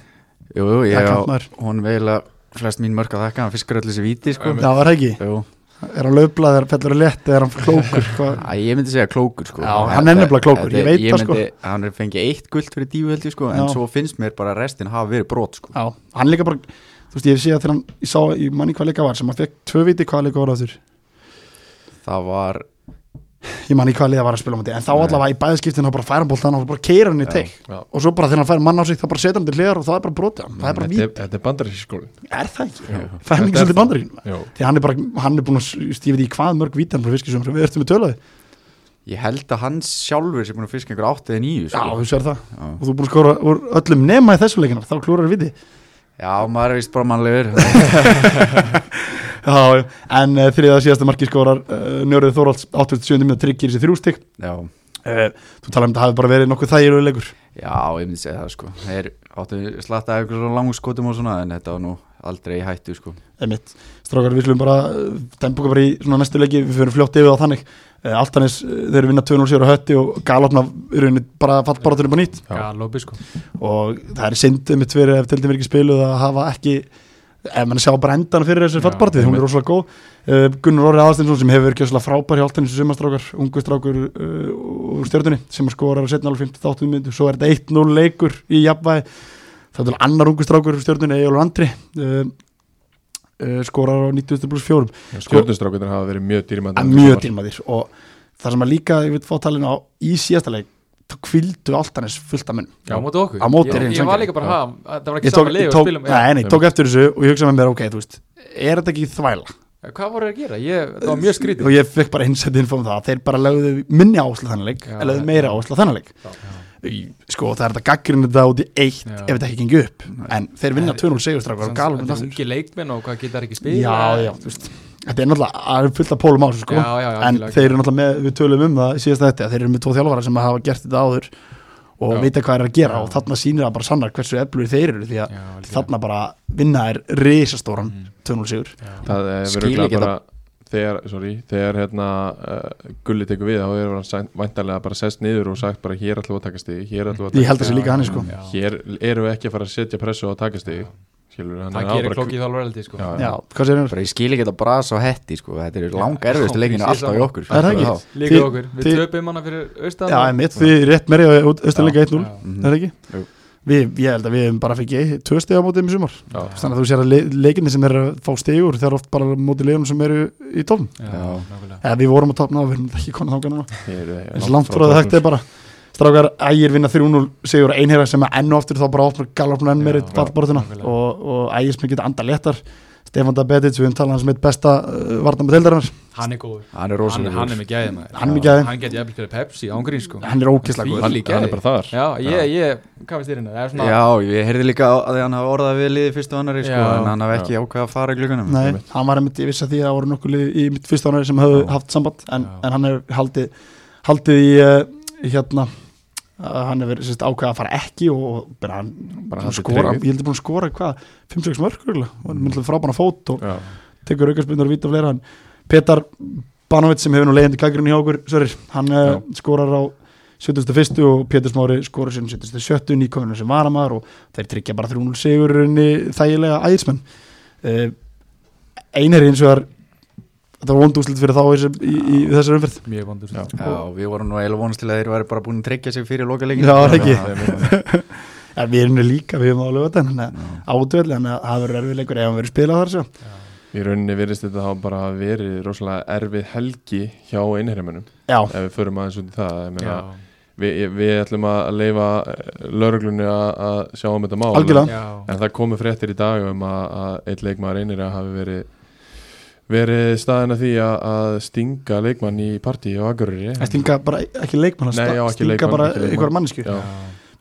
Speaker 5: jú, jú, ég
Speaker 1: Takk,
Speaker 5: á
Speaker 1: kantmaður.
Speaker 5: hún veila flest mín mörg að þekka hann fiskar öllu þessi viti sko
Speaker 1: Já, var það ekki
Speaker 5: jú,
Speaker 1: er hann löfblað, er hann fellur að létt er hann klókur, hvað
Speaker 5: Æ, ég myndi segja klókur sko
Speaker 1: Já, hann er nefnilega klókur, ég veit það, sko.
Speaker 5: sko Hann er fengið eitt guld fyrir dífu held ég sko En
Speaker 1: Já.
Speaker 5: svo finnst mér bara að restin hafa verið brot sko
Speaker 1: Já, hann líka bara þú veist, ég sé að þegar hann, ég sá, ég manni hvað leika var sem hann fekk tvö viti hvað leika var á þér
Speaker 5: Það var,
Speaker 1: ég manni hvað liða var að spila á móti, en þá allavega í bæðskiptin þá bara færa hann bólt hann og bara keira hann í teik
Speaker 2: já.
Speaker 1: og svo bara þegar hann fær mann á sig þá bara setja hann til hliðar og það er bara brotið hann, það er bara
Speaker 2: Þetta
Speaker 1: vít,
Speaker 2: er- Þetta er bandarískólin
Speaker 1: er það ekki? Það er mikið svolítið bandarín
Speaker 2: Jó
Speaker 1: því hann er bara, hann er búin að, þú veist, ég veit ekki hvað mörg víti hann frá fiskisum, við ertum með tölaði
Speaker 5: ég held að hans sjálfur sem búin að fiska einhver 8 eða 9
Speaker 1: Já,
Speaker 5: sko
Speaker 1: þú sér það, og þú er búin að skora úr öllum nema í þessu leikinar, þá klúrar viti
Speaker 5: Já, maður er vist bara mannlegur
Speaker 1: Já, já. en uh, þriða síðasta marki skorar uh, Njörður Þóralds 87. minúti tryggir sér þrjústig
Speaker 5: Já,
Speaker 1: uh, Þú talar um þetta hafi bara verið nokkuð þægilegu leikur
Speaker 5: já, ég myndi segja það sko Þeir áttu slatta eitthvað svona langskotum og svona En þetta var nú aldrei í hættu sko
Speaker 1: Einmitt. Strákar, við slum bara uh, dembuka bara í svona næstu leiki, við fyrir fljótt yfir á þannig uh, Altanis, uh, þeir eru vinna 2-0 sigur á hötti og galopna í rauninni bara fattbaratunum bara nýtt
Speaker 2: Já.
Speaker 4: Galopi sko
Speaker 1: og það er syndið mitt fyrir ef tildin verið ekki spiluð að hafa ekki ef mann sjá bara endan fyrir þessu
Speaker 4: Já,
Speaker 1: fattbartið, hún
Speaker 2: einmitt.
Speaker 1: er rosalega góð uh, Gunnar Orri Aðarstinsson sem hefur ekki rosalega frábær hjá Altanis sumastrákar, ungu strákur uh, úr stjörnunni sem skorar á setna alveg 58 myndu, svo er þetta 1-0 leikur í jafnvæði, það er til annar ungu strákur úr stjörnunni, Egilur Andri uh, uh, skorar á 90 pluss 4
Speaker 2: Stjórnustrákutin hafa verið mjög dýrmætt
Speaker 1: að sko. mjög dýrmæðir og það sem að líka, ég veit fá talinu á í síðasta leik, þá kvildu Altanis fullt af munn
Speaker 4: Já, á móti okkur
Speaker 1: Á móti
Speaker 4: Ég-
Speaker 1: er hinn
Speaker 4: Ég var
Speaker 1: sanngjarn.
Speaker 4: líka bara að hafa Það
Speaker 1: ég
Speaker 4: var ekki
Speaker 1: tók,
Speaker 4: saman
Speaker 1: ég
Speaker 4: lið og um-
Speaker 1: tók,
Speaker 4: spilum
Speaker 1: nei, nei, ég tók eftir þessu og ég hugsaði með mér, ok, þú veist er þetta ekki þvæla?
Speaker 4: Já, Hvað voru þeir að gera? Ég, það var mjög skrítið
Speaker 1: og ég fekk bara innsætt info um það að þeir bara lögðu minni ásla þannleik
Speaker 4: Já,
Speaker 1: eða lögðu
Speaker 4: já.
Speaker 1: meira ásla þannleik sko, það er þetta gaggrinu þetta út í eitt
Speaker 4: Já.
Speaker 1: ef þetta ekki gengur upp en þeir vinna 2-0 segurstrákar og galum
Speaker 4: Þetta er
Speaker 1: þetta
Speaker 4: ungi leikmenn og hvað geta þeir ekki spila
Speaker 1: já, já, þú veist þetta er náttúrulega það er fullt af pólum á þessu sko
Speaker 4: Já, já, já,
Speaker 1: en
Speaker 4: algjörlega.
Speaker 1: þeir eru náttúrulega með, við tölum um það í síðasta þetta, þeir eru með tvo þjálfara sem hafa gert þetta áður og
Speaker 2: Já.
Speaker 1: vita hvað er að gera
Speaker 4: Já.
Speaker 1: og þarna sýnir það bara sannar hversu eflur þeir eru því að
Speaker 4: Já, algjörlega. Mm.
Speaker 1: þarna bara vinna er risastóran 2-0 sigur
Speaker 2: Það er
Speaker 5: Skil
Speaker 2: virkulega
Speaker 5: ekki
Speaker 2: bara þegar, sorry, þegar hérna uh, Gulli tekur við þá er hann sænt- væntanlega bara sest niður og sagt bara hér ætlum við að taka stig hér ætlum við
Speaker 1: ég
Speaker 2: að
Speaker 1: held að sé líka hann sko
Speaker 4: Já.
Speaker 2: taka hér erum við ekki að fara að setja pressu og taka stig skilur hann
Speaker 4: Það
Speaker 2: á
Speaker 4: gerir
Speaker 2: bara-
Speaker 4: klokki þjálfur eldi sko
Speaker 2: Já,
Speaker 1: Já, hvað sér hann?
Speaker 5: Bara ég skil ekki þetta bras á hetti sko Þetta eru langa erfiðustu leikinu
Speaker 4: ég sé
Speaker 5: alltaf
Speaker 4: það.
Speaker 5: í okkur sko.
Speaker 1: Er það ekki?
Speaker 5: Já.
Speaker 4: Líka
Speaker 1: Þið-
Speaker 4: okkur
Speaker 1: þið-
Speaker 4: Við töpum hana fyrir austan
Speaker 1: Já,
Speaker 4: og-
Speaker 1: ég mitt, við rétt meiri á austanleika
Speaker 4: Já,
Speaker 1: 1-0
Speaker 4: já.
Speaker 5: Mhm.
Speaker 1: Það er ekki?
Speaker 5: Jú.
Speaker 1: Við, ég held að við hefum bara fengið eitt- tvö steg á mótið um sumar
Speaker 2: Já.
Speaker 1: Þannig að þú sér að le leikinni sem er að fá stegur Það er oft bara mótið leikunum sem eru í tofn
Speaker 4: Já,
Speaker 5: Já.
Speaker 4: nákvæmlega
Speaker 1: Eða við vorum að topna og við erum ekki konar þangar núna
Speaker 2: Þeir eru
Speaker 1: Eins langt frá það hægt er bara Strákar ægir vinna 3-0 sigur á einherja sem að enn og aftur þá bara opnar galopnum enn meiri
Speaker 4: Já,
Speaker 1: fallborðuna
Speaker 4: nákvæmlega.
Speaker 1: og, og ægir sem geta anda léttar Stefán Dabetic, við höfum talað um hans mitt besta uh, varnar með deildarinnar
Speaker 4: Hann er góður
Speaker 5: Hann er
Speaker 4: Hann,
Speaker 5: rosalega
Speaker 4: hann er með gæði maður
Speaker 1: Hann er með gæði.
Speaker 4: Hann geti jafnvel fyrir Pepsi ángrín sko
Speaker 1: Hann er ókislega góð
Speaker 2: hann, hann er bara þar
Speaker 4: Já, ég, ég, hvað finnst þér hérna? Það er svona
Speaker 5: Já, ég heyrði líka að hann hafa orðað við liði fyrst og annari sko,
Speaker 4: Já.
Speaker 5: en hann hafi ekki ákveða að fara í gluggunum
Speaker 1: Nei,
Speaker 2: Einmitt.
Speaker 1: hann var einmitt, ég vissi að því að það voru nokkuð lið í mitt fyrsta ánari sem höfðu
Speaker 2: Já.
Speaker 1: haft samband en,
Speaker 4: Já.
Speaker 1: en hann hefur haldið, haldið í uh, hérna uh, hann hefur sérst, ákveða að fara ekki og og bara hann
Speaker 2: Bara
Speaker 1: búinn að
Speaker 2: haldið
Speaker 1: skora,
Speaker 2: tregið.
Speaker 1: ég heldur búin að skora hvað 5-6 mörg og hann
Speaker 2: Mm.
Speaker 1: myndið frábæna fót og
Speaker 2: Já.
Speaker 1: tekur aukarspunnar og víta fleira hann Petar Banovit sem hefur nú leiðandi kakirinn hjá okkur Sörir, hann uh, skorar á 71. og Pétur Smári skorar sér 77. nýkominu sem varamæður og þeir tryggja bara 3-0 sigurunni þægilega ægismenn uh, Einar eins og þar þetta var vondúslit fyrir þá í, þessu- í, í þessar umferð
Speaker 4: Mjög vondur sko.
Speaker 2: Já.
Speaker 5: Já, við vorum nú eiginlega vonast til að þeir væri bara búin að tryggja sig fyrir loka leikin
Speaker 1: Já, var það ekki?
Speaker 2: Já,
Speaker 1: en við erum nú líka, við hefum á eh, lögata þannig að átvöld, þannig að eh, það verður erfið leikur ef hann verður spilað þar svo
Speaker 2: í rauninni virðist þetta hafa bara verið rosalega erfið helgi hjá einherjumönum
Speaker 1: Já,
Speaker 2: ef við förum aðeins út í það ég meina,
Speaker 4: Já,
Speaker 2: við, við ætlum að leifa lauruglunni að að sjá um þetta mál
Speaker 1: Algjörlega.
Speaker 4: já
Speaker 2: en það komu fréttir í dag um að, að eitt leikmaður einir að hafi verið verið staðin að því að, að stinga leikmann í partí á Akureyri
Speaker 1: það stinga bara e-, ekki leikmann
Speaker 2: Nei, já,
Speaker 1: það
Speaker 2: ekki
Speaker 1: stinga
Speaker 2: leikmann,
Speaker 1: bara
Speaker 2: ekki leikmann.
Speaker 1: einhver mannsku
Speaker 2: Já.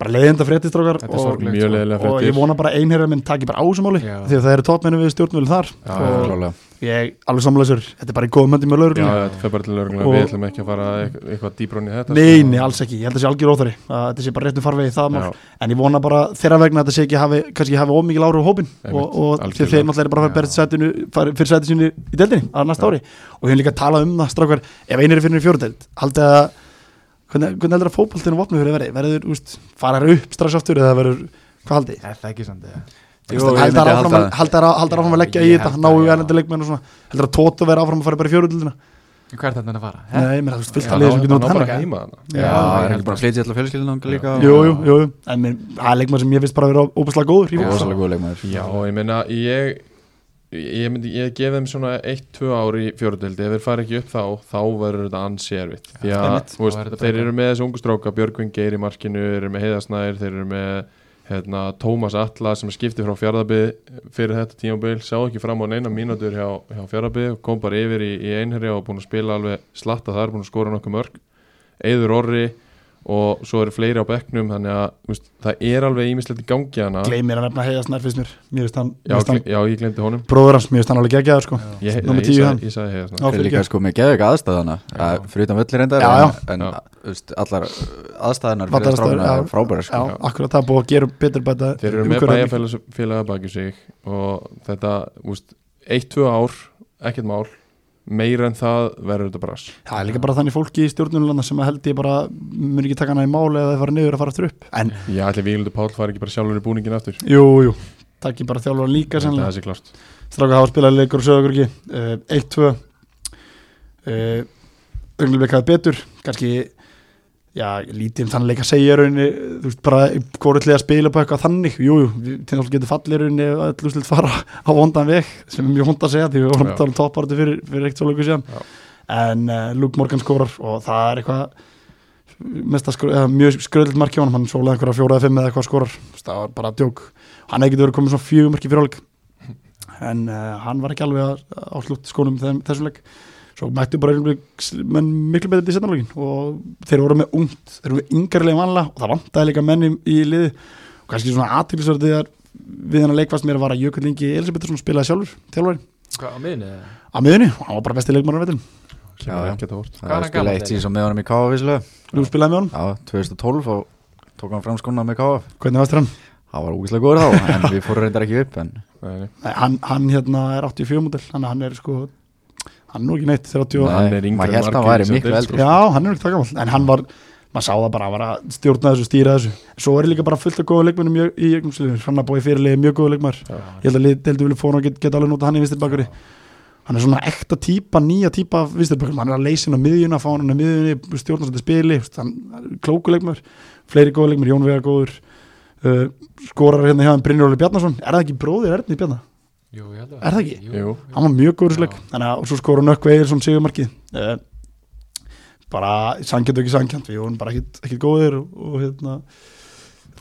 Speaker 1: bara leiðinda fréttistrákar
Speaker 4: Þetta er
Speaker 1: og
Speaker 4: sorglegt,
Speaker 2: mjög
Speaker 4: sko.
Speaker 2: leiðilega
Speaker 1: og ég
Speaker 2: fréttir
Speaker 1: vona bara að einherjar minn taki bara á þessu máli
Speaker 4: Já.
Speaker 1: því að það eru topmennu við stjórnvölu þar
Speaker 2: Já,
Speaker 1: og
Speaker 5: Klálega.
Speaker 1: ég alveg samlæsur, þetta er bara í góðum höndum með
Speaker 2: Já,
Speaker 1: lauruglum
Speaker 2: þetta fer bara til laurugluna,
Speaker 1: Og-
Speaker 2: við ætlum ekki að fara eitthvað, eitthvað dýbrón í þetta sko.
Speaker 1: Nei, nei, alls ekki, ég held að sé algjör óþari að þetta sé bara réttum farvegi í það mál
Speaker 2: Já.
Speaker 1: en ég vona bara þeirra vegna að þetta sé ekki hafi kannski hafi ómikið láru á hópin
Speaker 2: Einmitt,
Speaker 1: og, og
Speaker 2: algjörlega.
Speaker 1: þeir þeir náttúrulega eru bara að fara berð sætinu fara- fyrir sætinu sínu í deildinni að næsta ári og ég hef líka talað um það strákar ef einir er fyrir fjórdeild haldið að hvernig, hvernig heldur að fótboltinu vopnum fyrir verið verður, úst, farar upp strax aftur eða verður, hvað haldið?
Speaker 4: Er það ekki samt eða?
Speaker 5: Jú,
Speaker 1: Þú veist,
Speaker 5: ég
Speaker 1: haldar
Speaker 5: myndi
Speaker 1: áfram
Speaker 5: halda
Speaker 1: að-
Speaker 5: það.
Speaker 1: haldar á- haldar áfram að leggja í
Speaker 5: Ég
Speaker 1: þetta
Speaker 5: held
Speaker 1: náu
Speaker 5: það, já.
Speaker 1: erlendu leikmenn og svona heldur að Tóto verði áfram að fara bara í fjöröldina
Speaker 4: Hvað er þetta að fara? Hæ?
Speaker 1: nei, menn það er fullt
Speaker 4: Já,
Speaker 1: að liða sem getur
Speaker 2: hann á
Speaker 1: nótt hennar
Speaker 2: bara ekki heima þarna.
Speaker 5: Já, það er ekki bara að flytja alltaf fjölskyldin ánga líka
Speaker 1: um. jú, jú, jú, jú. en minn, það er leikmenn sem ég finnst bara að vera óbúslega góður í
Speaker 5: Og
Speaker 1: fótbolta.
Speaker 5: rosalega góð leikmaður
Speaker 2: Já, ég meina ég ég myndi, ég gef þeim svona 1-2 ár í fjóruðildi, ef þeir fara ekki upp þá þá verður þetta ansi erfitt því að,
Speaker 1: einmitt.
Speaker 2: þú veist,
Speaker 4: Þá verður þetta
Speaker 2: þeir
Speaker 4: breyta.
Speaker 2: eru með þessi ungu stráka, Björgvin Geir í markinu þeir eru með Heiðasnæður, þeir eru með hérna, Tómas Alla sem skipti frá fjárðabið fyrir þetta tímabil sá ekki fram á neina mínútur hjá, hjá fjárðabið kom bara yfir í, í einherja og búin að spila alveg slatta þar, búin að skora nokkuð mörg Eður Orri og svo eru fleiri á bekknum þannig að þú veist, það er alveg ímislegt í gangi hérna. hana
Speaker 1: gleymir að nefna heiða snær fyrst mér mér finnst hann,
Speaker 2: Já,
Speaker 1: mér finnst hann
Speaker 2: gle- já, ég glemdi honum
Speaker 1: bróður hans, mér finnst hann alveg geggjaður sko
Speaker 2: Ég, ég,
Speaker 1: Númer
Speaker 2: ég,
Speaker 1: tíu hann.
Speaker 2: sagði, ég sagði hérna. hér svona.
Speaker 1: Já,
Speaker 5: Þeir
Speaker 1: fyrir
Speaker 5: líka
Speaker 1: ekki.
Speaker 5: sko með geðug aðstæðana
Speaker 4: Já.
Speaker 5: Fyrir utan völlur reyndar
Speaker 1: Já,
Speaker 5: en-
Speaker 1: já.
Speaker 5: En
Speaker 2: Já.
Speaker 5: þú veist, allar aðstæðanar fyrir
Speaker 1: Vallaraðstæður,
Speaker 5: strákana
Speaker 1: já.
Speaker 5: eru frábæra
Speaker 1: já,
Speaker 5: sko
Speaker 1: akkurat það er búið að gera betur bæta
Speaker 2: Þeir eru með
Speaker 1: umhverfið.
Speaker 2: bæjarfélaga baki sig og þetta, úst, eitt, tvö ár ekkert mál, meira en það verður þetta brass
Speaker 1: það er líka bara þannig fólki í stjórnulanda sem að held ég bara mun ekki taka hana í máli eða það fara niður að fara aftur upp en,
Speaker 2: Ég ætli Vígildur Páll fari ekki bara sjálfur í búningin aftur
Speaker 1: jú, jú, takk ég bara þjálfur líka
Speaker 2: Þetta
Speaker 1: sannlega
Speaker 2: er þessi klart
Speaker 1: Stráka hafa spilað leikur og sögur ekki uh, 1-2 uh, Öngluleik hafði betur kannski já, lítið um þann leik að segja í rauninni þú veist bara hvort liða að spila på eitthvað þannig jújú, jú, til getur fallið í rauninni ef öll úslit fara á vondan veg sem er mjög hond að segja því við vorum
Speaker 2: Já.
Speaker 1: að tala um toppartu fyrir, fyrir eitt svo leiku síðan
Speaker 2: Já.
Speaker 1: en uh, Luke Morgan skorar og það er eitthvað mesta skr eða, mjög skröðlut marki á honum, hann svolega einhverja fjóra eða fimm eða eitthvað skorar Þú veist, það var bara djók hann hefði getur verið komið svona fjögum marki fyrir áleik en uh, hann var ekki alveg að- á slutt skónum þeim, þessum leik svo mættu bara Augnablik menn miklu betur í setnarlegin og þeir voru með ungt þeir voru með yngarlega vanlega og það vantaði líka menn í, í liði og kannski svona aðtilsverði þegar við hennar leikvast mér var að Jökull Ingi Elisabethsson spilaði sjálfur þjálfari
Speaker 4: Hvað á miðinni? eða?
Speaker 1: á miðunni og hann var bara besti leikmann á vettun
Speaker 2: sem
Speaker 5: Já,
Speaker 2: er
Speaker 5: já.
Speaker 2: ekki þetta vort
Speaker 5: Það
Speaker 4: Hvað er
Speaker 5: er
Speaker 4: hann
Speaker 5: spila
Speaker 4: gamall,
Speaker 5: eitt
Speaker 4: Eli?
Speaker 5: síðan með honum í KF vissulega
Speaker 1: þú spilaði með honum,
Speaker 5: Já, 2012 og tók hann fram skóna með KF
Speaker 1: hvernig varst þér hann?
Speaker 5: Það var úgislega góður þá, en við fórum reyndar ekki upp en
Speaker 2: Nei, nei.
Speaker 1: Nei, hann, hann hérna er 84 mútil hann, hann er sko hann er nú ekki neitt 30 og
Speaker 2: hann er yngri
Speaker 5: maður
Speaker 2: en
Speaker 5: held að hann
Speaker 2: margir
Speaker 5: væri
Speaker 2: sem
Speaker 5: miklu
Speaker 2: deilt,
Speaker 5: eldri
Speaker 2: sko.
Speaker 1: já, hann er nú ekki það gamall en hann var, maður sá það bara hann var að stjórna þessu, stýra þessu svo er líka bara fullt af góða leikmennum í- í jögnumsliður hann að búið fyrirlið mjög góða leikmar ég held að lið- deildu vilja fóna og get, geta alveg nota hann í vistirbakari hann er svona ekta típa, nýja típa af vistirbakari, hann er að leysa hann á miðjuna fá hann á miðjunni, stjórna svolítið spili þú veist, hann hann er klókuleikmar, fleiri góðleikmar Jón Vegar góður uh, skorar hérna hjá hann Brynjar Óli Bjarnason er það ekki bróðir Erni Bjarnar?
Speaker 4: Jú, ég held að
Speaker 1: Er það ekki?
Speaker 2: Jú,
Speaker 1: hann var mjög góður í sleg
Speaker 4: Já.
Speaker 1: þannig að og svo skora nökkva eða svona sigurmarkið uh, bara sankjönd og ekki sankjönd við vorum bara ekkit, ekkit góðir og, og hérna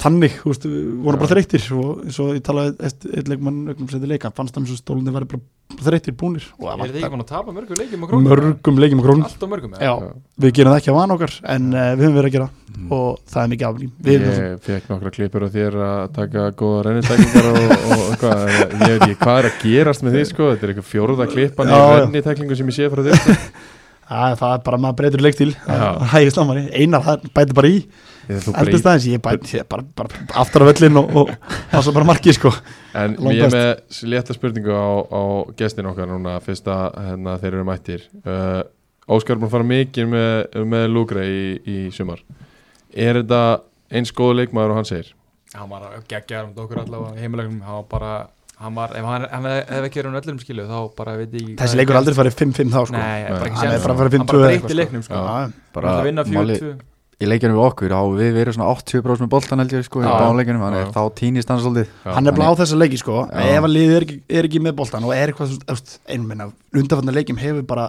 Speaker 1: þannig, þú veist, við vorum bara þreyttir og eins og ég talaði eitt, eitt leikmann ögnum setið leika, fannst það eins og stólunni væri bara þreyttir búnir og
Speaker 4: Er þið
Speaker 1: það
Speaker 4: ekki búin að tapa mörgum leikjum á
Speaker 1: var
Speaker 4: krónum?
Speaker 1: mörgum leikjum og krónum
Speaker 4: Allt á mörgum,
Speaker 1: já,
Speaker 2: Já. Mm.
Speaker 1: við gerum það ekki á van okkar en uh, við höfum verið að gera og það er mikið aflýn við erum
Speaker 2: ég fekk nokkra klippur á þér að taka góða rennitæklingar og, og hvað, ég veit ekki hvað er að gerast með því sko, þetta er eitthvað fjóruða klippan í
Speaker 1: Já, já.
Speaker 2: rennitæklingu sem ég sé frá þér sko.
Speaker 1: að, það er bara maður breytur leikstil
Speaker 2: Já.
Speaker 1: hægist á manni, einar það bæti bara í
Speaker 2: Þegar þú breytir
Speaker 1: eldist aðeins, ég bæti ég bara, bara aftur á völlin og, og passa bara markið sko
Speaker 2: En
Speaker 1: Langbest.
Speaker 2: ég er með létta spurningu á, á gestin okkar núna, fyrst að hérna, þeir eru mættir. Uh, Óskar er búin að fara mikið með, með Lúgre í, í sumar. Er þetta eins góð leikmaður og hann segir?
Speaker 4: Hann var geggjaður um okkur allavega í heimilegnum Hann var bara, hann var, ef hann, hann hef ekki verið um öllum skilu þá bara veit ég ekki
Speaker 1: þessi leikur er aldrei farið 5-5 þá sko
Speaker 4: Nei, bara ekki
Speaker 2: Hann
Speaker 4: séð
Speaker 2: er bara
Speaker 1: farið
Speaker 4: Hann
Speaker 1: 5-2
Speaker 4: bara breytti
Speaker 1: eitthvað,
Speaker 4: leiknum sko
Speaker 1: Já,
Speaker 4: Bara að vinna
Speaker 5: máli-
Speaker 4: 4-2
Speaker 5: í leikjunum við okkur, þá við verið svona 80% með boltan held ég sko, í
Speaker 4: Já.
Speaker 5: báðum leikjunum þannig
Speaker 2: Já.
Speaker 5: að þá týnist hann svolítið
Speaker 1: hann er
Speaker 5: hann
Speaker 1: blá
Speaker 5: er-
Speaker 1: þessa leiki sko
Speaker 5: Já.
Speaker 1: ef að liðið er, ekki- er ekki með boltan og er eitthvað þú veist, einmenn af undanfannar leikim hefur bara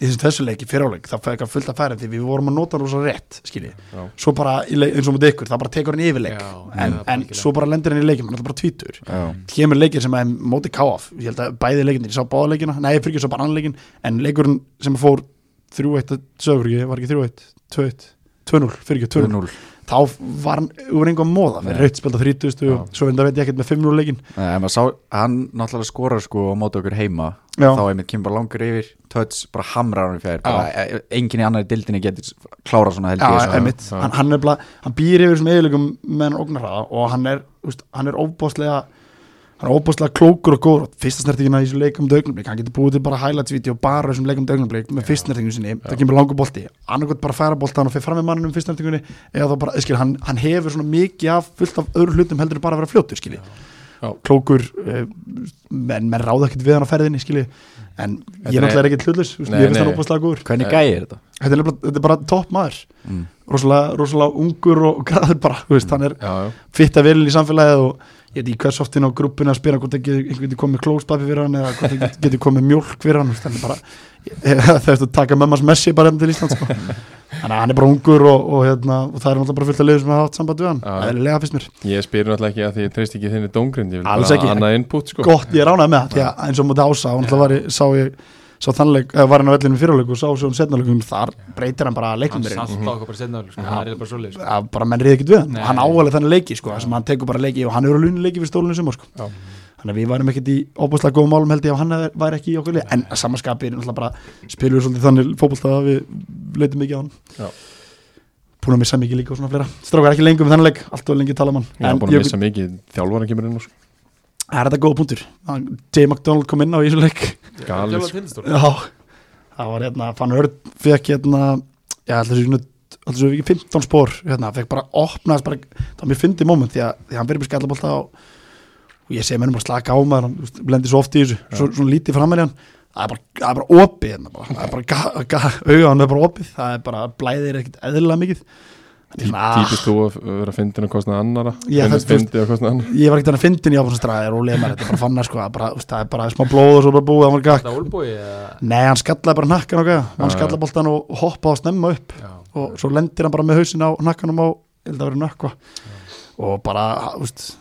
Speaker 1: í þessu, þessu leiki fyriráleik það fæði eitthvað fullt að færa því við vorum að nota hann rosa rétt skilji,
Speaker 2: Já.
Speaker 1: svo bara í leik, eins og með ykkur, það bara tekur hann yfir leik
Speaker 4: Já,
Speaker 1: en,
Speaker 4: já,
Speaker 1: en
Speaker 4: algjörlega.
Speaker 1: svo bara lendir hann í leikim, hann er alltaf bara tvítur
Speaker 5: Já,
Speaker 1: kemur leikir sem er móti káaf ég held að bæði leikinir, ég sá báða leikina nei, fyrir ekki, ég sá bara annan leikin, en leikurinn sem fór 3-1 að sögur var ekki 3-1, 2-1, 2-0 fyrir ekki 2-0,
Speaker 5: 2-0
Speaker 1: þá var hann úr einhver móða,
Speaker 5: Nei.
Speaker 1: fyrir rautt spilta 30 og svo enda veit ég ekkert með 5-0 leikin
Speaker 5: Nei, en maður sá- Hann náttúrulega skorar sko á móti okkur heima
Speaker 1: Já.
Speaker 5: þá einmitt kemur bara langur yfir touch, bara hamrar hann í fjær bara, e- enginn í annar í dildinni getur klára svona held
Speaker 1: Já,
Speaker 5: ég sko.
Speaker 1: einmitt, hann, hann, er bla, hann býr yfir þessum eiginleikum með hann ógnarraða og hann er, úst, hann er óbóðslega hann er óbóðslega klókur og góður og fyrsta snertingina í þessu leikum dögnumblík um hann getur búið til bara highlights-vídeó bara þessum leikum dögnumblík með fyrst snertingu sinni, það kemur langur bolti annarkot bara færa boltan og fyrir fram með manninum fyrst eh, snertingunni eða þá bara, skil, hann, hann hefur svona mikið af fullt af öðru hlutum heldur en bara að vera fljótur, skilji
Speaker 2: Já.
Speaker 1: klókur eh, menn, menn ráða ekkert við hann á ferðinni skilji, en
Speaker 2: Þetta
Speaker 1: ég
Speaker 2: er-
Speaker 1: er náttúrulega ekkert hlutlus, ég
Speaker 2: Nei,
Speaker 1: finnst hann
Speaker 2: nei.
Speaker 1: opaslega góður
Speaker 5: Hvernig gæi er þetta?
Speaker 1: þetta er, nefnilega- þetta er bara topp maður
Speaker 5: Mm.
Speaker 1: rosalega, rosalega ungur og græður bara, þú
Speaker 2: Mm.
Speaker 1: veist, hann er
Speaker 2: já, já,
Speaker 1: fitt að velin í samfélagið og ég veit ekki hvers oft inn á grúppinu að spila hvort það getur einhvern veginn komið klóspapi fyrir hann eða hvort það getur komið mjólk fyrir hann þú veist, hann er bara, það er að taka mömmas messi bara hérna til Íslands sko. þannig að hann er bara ungur og, og, hérna, og það er náttúrulega bara fullt af liður sem hafa haft samband við hann
Speaker 2: Já.
Speaker 1: eðlilega finnst mér,
Speaker 2: ég spyr náttúrulega ekki að því ég treyst ekki þinni dóngrind, ég vil
Speaker 1: Alls ekki.
Speaker 2: bara annað input sko.
Speaker 1: gott ég er ánægð með það því að eins og múti ása, hann náttúrulega var ég, sá ég sá þannleik, eða var hann á vellinu fyrirleik og sá svo um setnaleikum, þar breytir hann bara
Speaker 4: hann
Speaker 1: leikumurinn
Speaker 2: Mhm.
Speaker 4: salta okkur bara setna sko. það er bara svolítið sko.
Speaker 1: að bara menn reyði ekkert við hann
Speaker 4: Nei.
Speaker 1: hann ávalið þannig leiki sko, þar sem hann tekur bara leiki og hann eru lúni leiki fyrir stólunum sumar sko.
Speaker 2: Já.
Speaker 1: þannig að við værum ekkert í óbúslega góðum málum held ég ef hann hefði- væri ekki í okkur lið en að samaskapir náttúrulega bara spilur við svolítið þannig fótbolta að við leitum mikið á hann
Speaker 2: Já.
Speaker 1: búin að missa mikið líka og svona fleira strákar ekki lengur með þannig leik, allt og lengi tala um mann
Speaker 2: ég er búin að missa mikið þjálfara kemur inn og sko.
Speaker 1: það er þetta góða punktur Hann- J. McDonald kom inn á í þessu leik
Speaker 2: galið sko.
Speaker 4: sko.
Speaker 1: Já, það var hérna Fann Örn fekk hérna Já, alltaf svo svona- alltaf svo ekki 15 spór hérna, fekk bara opnaðast bara það var mér fyndið moment því að, því að hann verið með skallabólta og, og ég segi mennum bara slaka á um maður hann þú veist, lendir svo oft í þessu, svo, svona lítið framar hann það er bara, það er bara opið hérna, bara, það er bara ga, ga, auga hann er bara opið það er bara blæðir ekkert eðlilega mikið Hann er svona, ah,
Speaker 2: típist þú að vera fyndin að kostna annara
Speaker 1: Já, það-
Speaker 2: fyndin að kostna annara
Speaker 1: ah, ég var ekkert hann að fyndin í áframstræðir og leið maður þetta er bara fannar sko, það er bara, þú veist, það er bara smá blóð og svo bara búið, það var gakk
Speaker 4: það er ólbúi eða-
Speaker 1: Nei, hann skallaði bara nakkan og gæða hann
Speaker 2: Já, já.
Speaker 1: skallaði boltan og hoppaði að snemma upp
Speaker 4: já.
Speaker 1: og svo lendir hann bara með hausin á nakkanum á ég held að vera nökkva og bara, úst,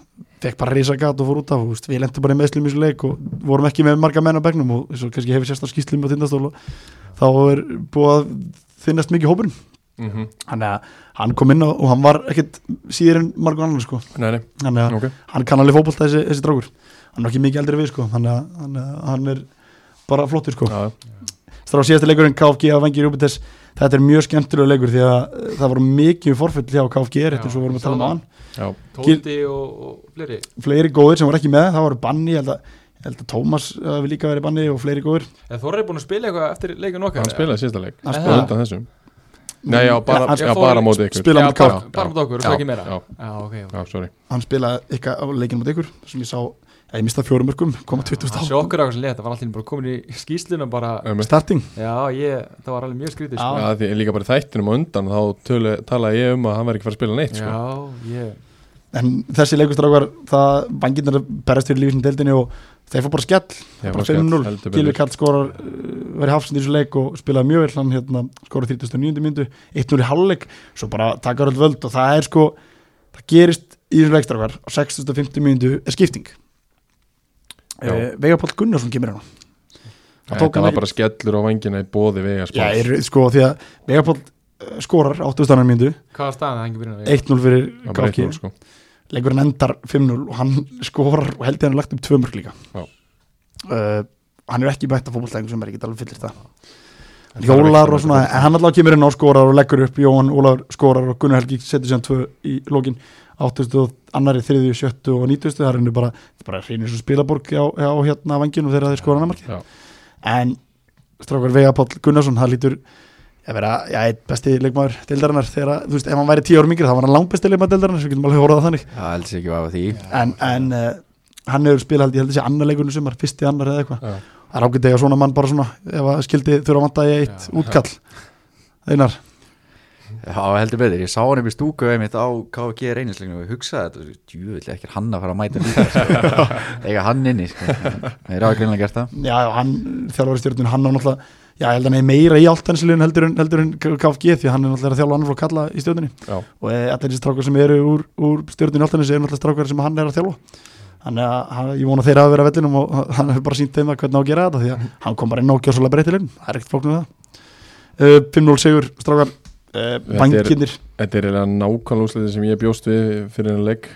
Speaker 1: fekk bara risa gat og fór út af, úst, við lendum bara í meðslum í þessu leik og vorum ekki með marga menn á begnum og svo kannski hefur sérstaklega skýslum á tindastól og þá er búið að þinnast mikið hópurinn,
Speaker 2: Mhm.
Speaker 1: þannig að hann kom inn á, og hann var ekkit síður en margur annar sko,
Speaker 2: nei, nei,
Speaker 1: þannig að
Speaker 2: ok
Speaker 1: hann kann alveg fótbolta þessi, þessi drákur hann er ekki mikið eldri en við sko, þannig að, þannig að hann er bara flottur sko
Speaker 2: Já, já.
Speaker 1: Strá síðasta leikurinn KFG á Vengi Rúbites Þetta er mjög skemmtilega leikur því að eh, það voru mikið forföll hjá KFG rétt eins og
Speaker 4: Já,
Speaker 1: við vorum að tala um
Speaker 4: sama.
Speaker 1: hann
Speaker 2: já,
Speaker 4: Tóti og, og fleiri
Speaker 1: Fleiri góðir sem voru ekki með, það voru banni Ég held að, ég held að Tómas uh, við líka verið banni og fleiri góðir
Speaker 4: eða Þorri er búin að spila eitthvað eftir leikin okkar
Speaker 2: hann spilaði síðasta leik
Speaker 1: Hann
Speaker 2: og
Speaker 4: spilaði.
Speaker 2: undan þessum nei, já, bara,
Speaker 1: Hann
Speaker 2: já,
Speaker 4: fór-
Speaker 2: bara móti ykkur
Speaker 1: spilaði
Speaker 4: Já,
Speaker 1: móti
Speaker 4: bara-
Speaker 2: KR.
Speaker 4: bara móti okkur,
Speaker 2: Já,
Speaker 4: svo ekki meira
Speaker 2: já.
Speaker 4: já, ok, ok
Speaker 2: já, sorry
Speaker 1: Hann spilaði eitthvað á leikinn mot ykkur sem ég sá, eða ég mistaði fjórum mörgum koma 20
Speaker 4: Það
Speaker 1: stá
Speaker 4: sjokkur á þessu leið, það var allir bara komin í skýsluna bara,
Speaker 2: um,
Speaker 1: Starting
Speaker 4: já ég, það var alveg mjög skrítið sko.
Speaker 2: Já, því líka bara í þættinum á undan þá tölu, talaði ég um að hann væri ekki fara að spila neitt sko.
Speaker 4: Já, ég
Speaker 1: En þessi leikustrákar, það vangirnar berast fyrir lífsinn deildinni og þeir fór bara skell
Speaker 2: Þeir
Speaker 1: bara
Speaker 2: fá skell,
Speaker 1: 5-0,
Speaker 2: heldur betur.
Speaker 1: Gilvi Kall skorar uh, verið hafsend í þessu leik og spilaði mjög vel hann hérna, skorar 39. myndu 1-0 í hálfleik, svo bara takar öll völd og það er sko, það gerist í þessu leikstrákar á 6050 myndu er skipting
Speaker 2: Já.
Speaker 1: uh, Veigar Páll Gunnarsson kemur hann
Speaker 2: Þetta var bara skellur á vangina í bóði Vegas
Speaker 1: Já, er, sko, því að Veigar Páll uh, skorar 80. myndu,
Speaker 4: Hvaða staðan það hérna? hengi byrjun
Speaker 1: 1-0 fyrir
Speaker 2: Það var bara
Speaker 1: KFG
Speaker 2: 1-0, sko.
Speaker 1: leikurinn endar 5-0 og hann skorar og held ég hann er lagt upp 2 mörg líka
Speaker 2: Já.
Speaker 1: uh, hann er ekki bætt að fótbolltæðing sem er ekki alveg fyllir það
Speaker 2: En það er
Speaker 1: Jólar
Speaker 2: ekki
Speaker 1: og svona,
Speaker 2: mörg.
Speaker 1: en hann allavega kemur inn á skorar og leggur upp Jóhann Ólar skorar og Gunnar Helgi setur sér 2 í lokin 8. annari, 3. 7. og 90. það er henni bara, þetta er bara hreinir svo spilaborg á, á hérna vanginu þegar þeir skora annamarki
Speaker 2: Já.
Speaker 1: en strákar Veiga Páll Gunnarsson það lítur að vera já, einn besti leikmaður deildarinnar þegar, að- þú veist, ef hann væri 10 árum yngri þá var hann langbesti leikmaður deildarinnar, svo getum alveg horfað að þannig
Speaker 5: Það heldur sér ekki að því
Speaker 1: en, en uh, hann hefur spilað held ég held þessi annar leikunum sumar, fyrsti annar eða eitthvað
Speaker 2: Já.
Speaker 1: það er ágætt eiga svona mann bara svona ef að skildi þurfa að vanta í eitt
Speaker 4: Já.
Speaker 1: útkall einar,
Speaker 5: Já, heldur betur, ég sá hann upp í stúku einmitt á KG reynisleiknum og ég hugsaði þetta, djúvill ekki hann að fara að mæta líka, sko. eiga hann inni sko. það er ágreinlega gert það
Speaker 1: já, já, hann þjálfari stjórnun, hann á náttúrulega já, ég held hann er meira í áltansliðun heldur en, heldur en KFG því að hann er náttúrulega að þjálfa annar flokk kalla í stjórnunni
Speaker 2: Já.
Speaker 1: og eh, allir þessi strákar sem eru úr, úr stjórnunni áltanis eru náttúrulega strákar sem hann er að þjálfa þannig að hann- ég vona þeirra að vera að vellinum og hann hefur bara sínt þeim að hvernig á að gera þetta því að hann kom bara inn á gjósalega breytilegum, það er ekkert flóknum það uh, 5-0 sigur, strákar uh,
Speaker 2: er-
Speaker 1: bankinir
Speaker 2: Þetta er eiginlega nákvæmlega úsliðið sem ég bjóst við fyrir henni leik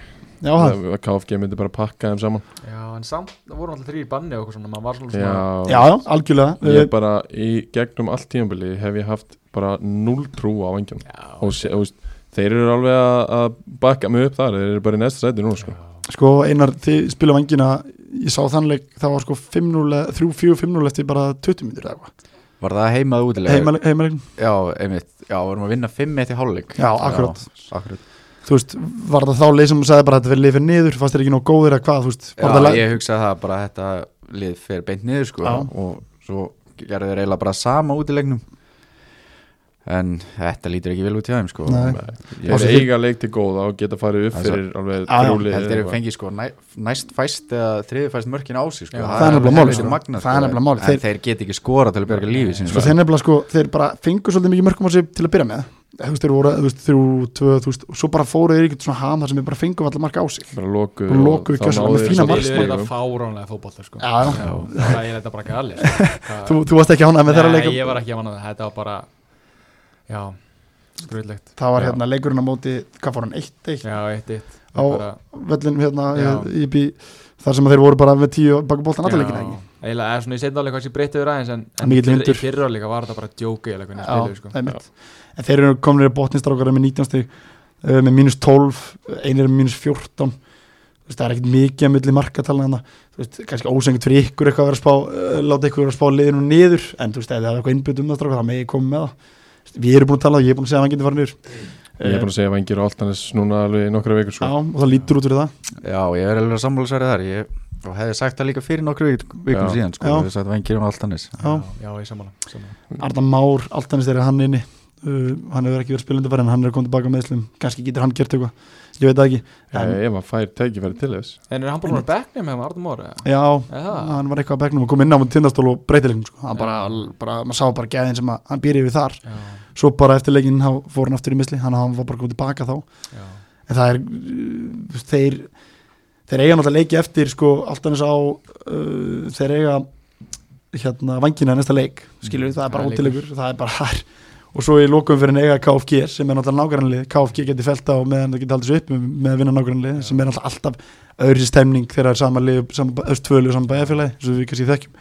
Speaker 1: Já, það,
Speaker 2: að KFG myndi bara pakka þeim saman
Speaker 4: Já, en samt, það voru alltaf þrýr banni og eitthvað svona, maður var svona svona
Speaker 2: Já,
Speaker 1: já, já, algjörlega Eh,
Speaker 2: Ég
Speaker 1: Við-
Speaker 2: bara í gegnum allt tíðanbili hef ég haft bara null trú á vangina
Speaker 4: Já,
Speaker 2: og sé, þú veist, þeir eru alveg að- að bakka mig upp þar, þeir eru bara í næsta sæti núna sko.
Speaker 1: Sko, Einar, þið spila vangina Ég sá þannleik, það var sko 5-0 3-4-5-0 eftir bara 20 minnur eða eitthvað
Speaker 5: Var það heimað útilega?
Speaker 1: Heimaleik- Heimaleikn
Speaker 5: Já, einmitt, já, vorum að vinna 5-1 í hálfleik
Speaker 1: Já, akkurat.
Speaker 5: Já, akkurat
Speaker 1: þú veist, var það þá leið sem sagði bara að þetta verið leið fyrir niður, fannst þér ekki nóg góðir að hvað, þú veist, var það
Speaker 5: Já,
Speaker 1: leið
Speaker 5: ég hugsaði það bara að þetta lið fer beint niður sko
Speaker 1: Já.
Speaker 5: og svo gerðu þeir eiginlega bara sama út í leiknum en þetta lítur ekki vel út hjá þeim sko
Speaker 1: Nei.
Speaker 2: Ég
Speaker 1: Og
Speaker 2: er
Speaker 1: svo-
Speaker 2: eiga leik til góða og geta farið upp
Speaker 5: Það er svo-
Speaker 2: fyrir alveg
Speaker 1: Já, já,
Speaker 2: trúlið
Speaker 5: heldur þeir fengið sko næ, næst fæst eða þriði fæst mörkin á sig sko
Speaker 4: Já,
Speaker 1: það er nefnilega málið,
Speaker 5: helviti
Speaker 1: sko.
Speaker 5: magnað,
Speaker 1: Það er nefnilega málið.
Speaker 5: en þeir, geti ekki skora til að björga lífi sinni
Speaker 1: Sko þeir nefnilega sko, þeir bara fengur svolítið mikið mörgum á sig til að byrja með Þú veist, þeir voru, þú veist, þrjú, tvö, þú veist og svo bara fóru þeir ekkert svona ham þar sem þeir bara fengum allar marka á sig Já,
Speaker 2: bara lokuð
Speaker 1: Bara lokuð,
Speaker 2: þá
Speaker 1: gjörsamlega
Speaker 2: náðu
Speaker 1: með
Speaker 2: þeir
Speaker 1: fína
Speaker 2: svolítið
Speaker 4: Liðið er
Speaker 2: stigum.
Speaker 4: þetta fáránlega fótbollar sko
Speaker 1: já,
Speaker 4: Það er þetta bara galið sko. Það-
Speaker 1: þú, þú varst ekki ánægð með þeirra
Speaker 4: Nei,
Speaker 1: leikum
Speaker 4: ég var ekki að manna það, þetta var bara Já, skröðlegt
Speaker 1: Það var
Speaker 2: Já.
Speaker 1: hérna leikurinn á móti, hvað fór hann, 1-1
Speaker 4: Já, eitt, eitt
Speaker 1: á völlin hérna
Speaker 4: Já.
Speaker 1: í bí þar sem þeir voru bara með tíu bakabóltan allar leikin ekki
Speaker 4: Eila, eða svona í setnáleik hvað sem breytið við aðeins En, en
Speaker 1: Mikill
Speaker 4: fyrr, í
Speaker 1: vindur.
Speaker 4: fyrráleika var þetta bara djóki Eða hvernig
Speaker 1: Já,
Speaker 4: spiluðu sko
Speaker 1: það er mitt En þeir eru komin í botnistrákara með 19 stig uh, með mínus 12, einir með mínus 14 Þú veist, það er ekkert mikið að milli markatalna hana, þú veist, kannski ósengt fyrir ykkur eitthvað að vera að spá, uh, láta ykkur vera að spá liðinu niður, en þú veist, ef það er eitthvað innbytt um það strákar, það megi koma með það Þú veist, Við erum búin að tala og ég er búin að segja að hann getur farið niður Eh,
Speaker 2: Ég er búin að segja vengir á Altanis núna alveg í nokkra vikur
Speaker 1: Já,
Speaker 2: sko
Speaker 1: og það lítur út fyrir það
Speaker 5: já, ég er alveg sammálisverið þar ég, og hefði sagt það líka fyrir nokkru vik- vikum
Speaker 2: Já.
Speaker 5: síðan sko,
Speaker 1: Já.
Speaker 5: ég hefði sagt vengir um allt hannis
Speaker 1: Já.
Speaker 4: já, ég samanlega, samanlega.
Speaker 1: Arna Már, allt hann er hann inni uh, hann hefur ekki verið spilandi bara en hann er komið tilbaka með slum, kannski getur hann gert eitthvað ég veit það ekki, en,
Speaker 2: Ég var Eh, fær tækifæri til þess
Speaker 4: En er hann búin að bekna með Arnum Mór? hérna, eða?
Speaker 1: já,
Speaker 4: Já,
Speaker 1: hann var eitthvað að begnum og kom inn á hann tindastól og breytilegum sko. hann bara, bara, maður sá bara gæðin sem að, hann býr yfir þar
Speaker 4: já,
Speaker 1: svo bara eftir leikinn þá fór hann aftur í misli hann, hann var bara komið tilbaka þá
Speaker 4: já
Speaker 1: en það er, uh, þeir þeir eiga náttúrulega leiki eftir sko, allt annars á uh, þeir eiga hérna vangina næsta leik skilur það er bara
Speaker 4: Mm, Það er leikur.
Speaker 1: ótilegur, það er bara þar og svo í lókum fyrir eiga KFG sem er náttúrulega nágrannlið, KFG geti felt á meðan það geti haldið svo upp með- með að vinna nágrannlið sem er náttúrulega alltaf öðru stemning þegar það er sama lið, sama, öst tvölu og sama bæjarfélagi, svo við kannski þekkjum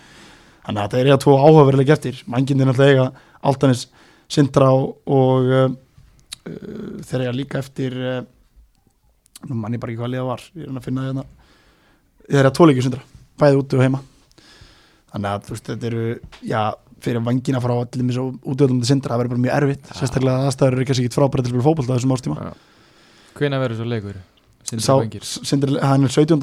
Speaker 1: þannig að það er eiga tvo áhugaverðileg eftir mangindir náttúrulega eiga Altanis Sindra og, og uh, uh, þeir eiga líka eftir uh, nú mann ég bara ekki hvað liða var ég er að finna það hérna þeir eiga tvoleikjur Sindra, bæði úti og heima þannig að þú veist þetta eru já, fyrir vangina frá allir með svo útöðlum til sindra, það verður bara mjög erfitt sérstaklega að aðstæður eru kannski ekki frábæri til að spila fótbolta á þessum ástíma,
Speaker 4: Hvenær verður svo leikur? Sindri
Speaker 1: sá,
Speaker 4: Vengir
Speaker 1: sindri, hann er 17.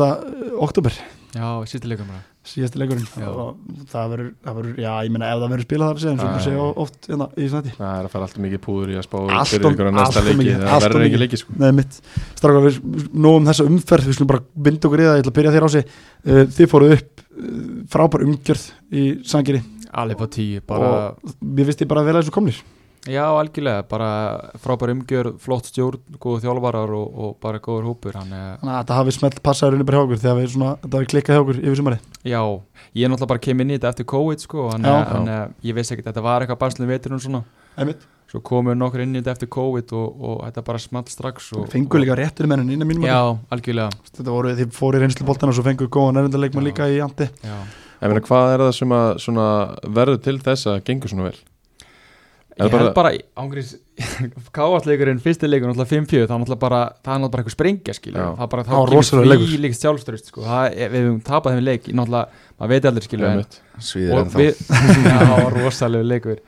Speaker 1: oktober,
Speaker 4: Já, sýtti leikum bara
Speaker 1: síðasti leikurinn
Speaker 4: Já.
Speaker 1: og það verður, það verður, já, ég meina ef það verður spilað þar sem
Speaker 2: Já,
Speaker 1: við
Speaker 2: já,
Speaker 1: segja
Speaker 2: já.
Speaker 1: oft hérna, í snætti
Speaker 2: Það er að fara alltaf mikið púður í að spá
Speaker 1: Allt
Speaker 2: fyrir
Speaker 1: of-
Speaker 2: ykkur á næsta
Speaker 1: allt of
Speaker 2: leiki
Speaker 1: mikið,
Speaker 2: Það
Speaker 1: allt of
Speaker 2: verður ekki
Speaker 1: mikið.
Speaker 2: leiki sko
Speaker 1: Nei mitt, strákar við nóg um þessa umferð, við skulum bara binda okkur í það, ég ætla að byrja þér á sig uh, þið fóruð upp uh, frábær umgjörð í sangeri
Speaker 4: Alveg á tíu, bara
Speaker 1: og mér finnst ég bara vel að þessu komnir
Speaker 4: Já, algjörlega, bara frábær umgjör Flott stjórn, góðu þjálfarar og, og bara góður hópur Hann er
Speaker 1: þannig að þetta hafi smelt passaðurinn bara hjá okkur þegar við svona, þetta hafi klikkað hjá okkur yfir sumari
Speaker 4: Já, ég er náttúrulega bara kem inn í þetta eftir COVID sko, en,
Speaker 1: Já.
Speaker 4: en ég veist ekki að þetta var eitthvað barslu veitur og svona,
Speaker 1: Einmitt.
Speaker 4: svo komur nokkur inn í þetta eftir COVID og, og þetta bara smalt strax og,
Speaker 1: fengu líka réttur mennin innan mínum
Speaker 4: Já, algjörlega
Speaker 1: þetta voru þið fóru í reynsluboltan og svo fengu góðan erindaleikmann
Speaker 4: Já.
Speaker 1: líka í andi
Speaker 4: já.
Speaker 2: sko. Ég meina hvað er það sem að svona, verður til þess að gengur svona vel Er
Speaker 4: Ég
Speaker 2: bara-
Speaker 4: held bara, ángrís káastleikurinn, fyrsti leikur náttúrulega 5-4, það er náttúrulega bara það er náttúrulega bara eitthvað sprengja skilju
Speaker 2: Já.
Speaker 4: það er bara,
Speaker 1: Það var rosalegur leikur.
Speaker 4: því líkt sjálfstörust sko. það, er- við höfum tapað þeim leik, náttúrulega maður veit aldrei skilju, en
Speaker 2: Einmitt.
Speaker 5: svíður
Speaker 4: og
Speaker 5: ennþá
Speaker 4: við, já, það var rosalegu leikur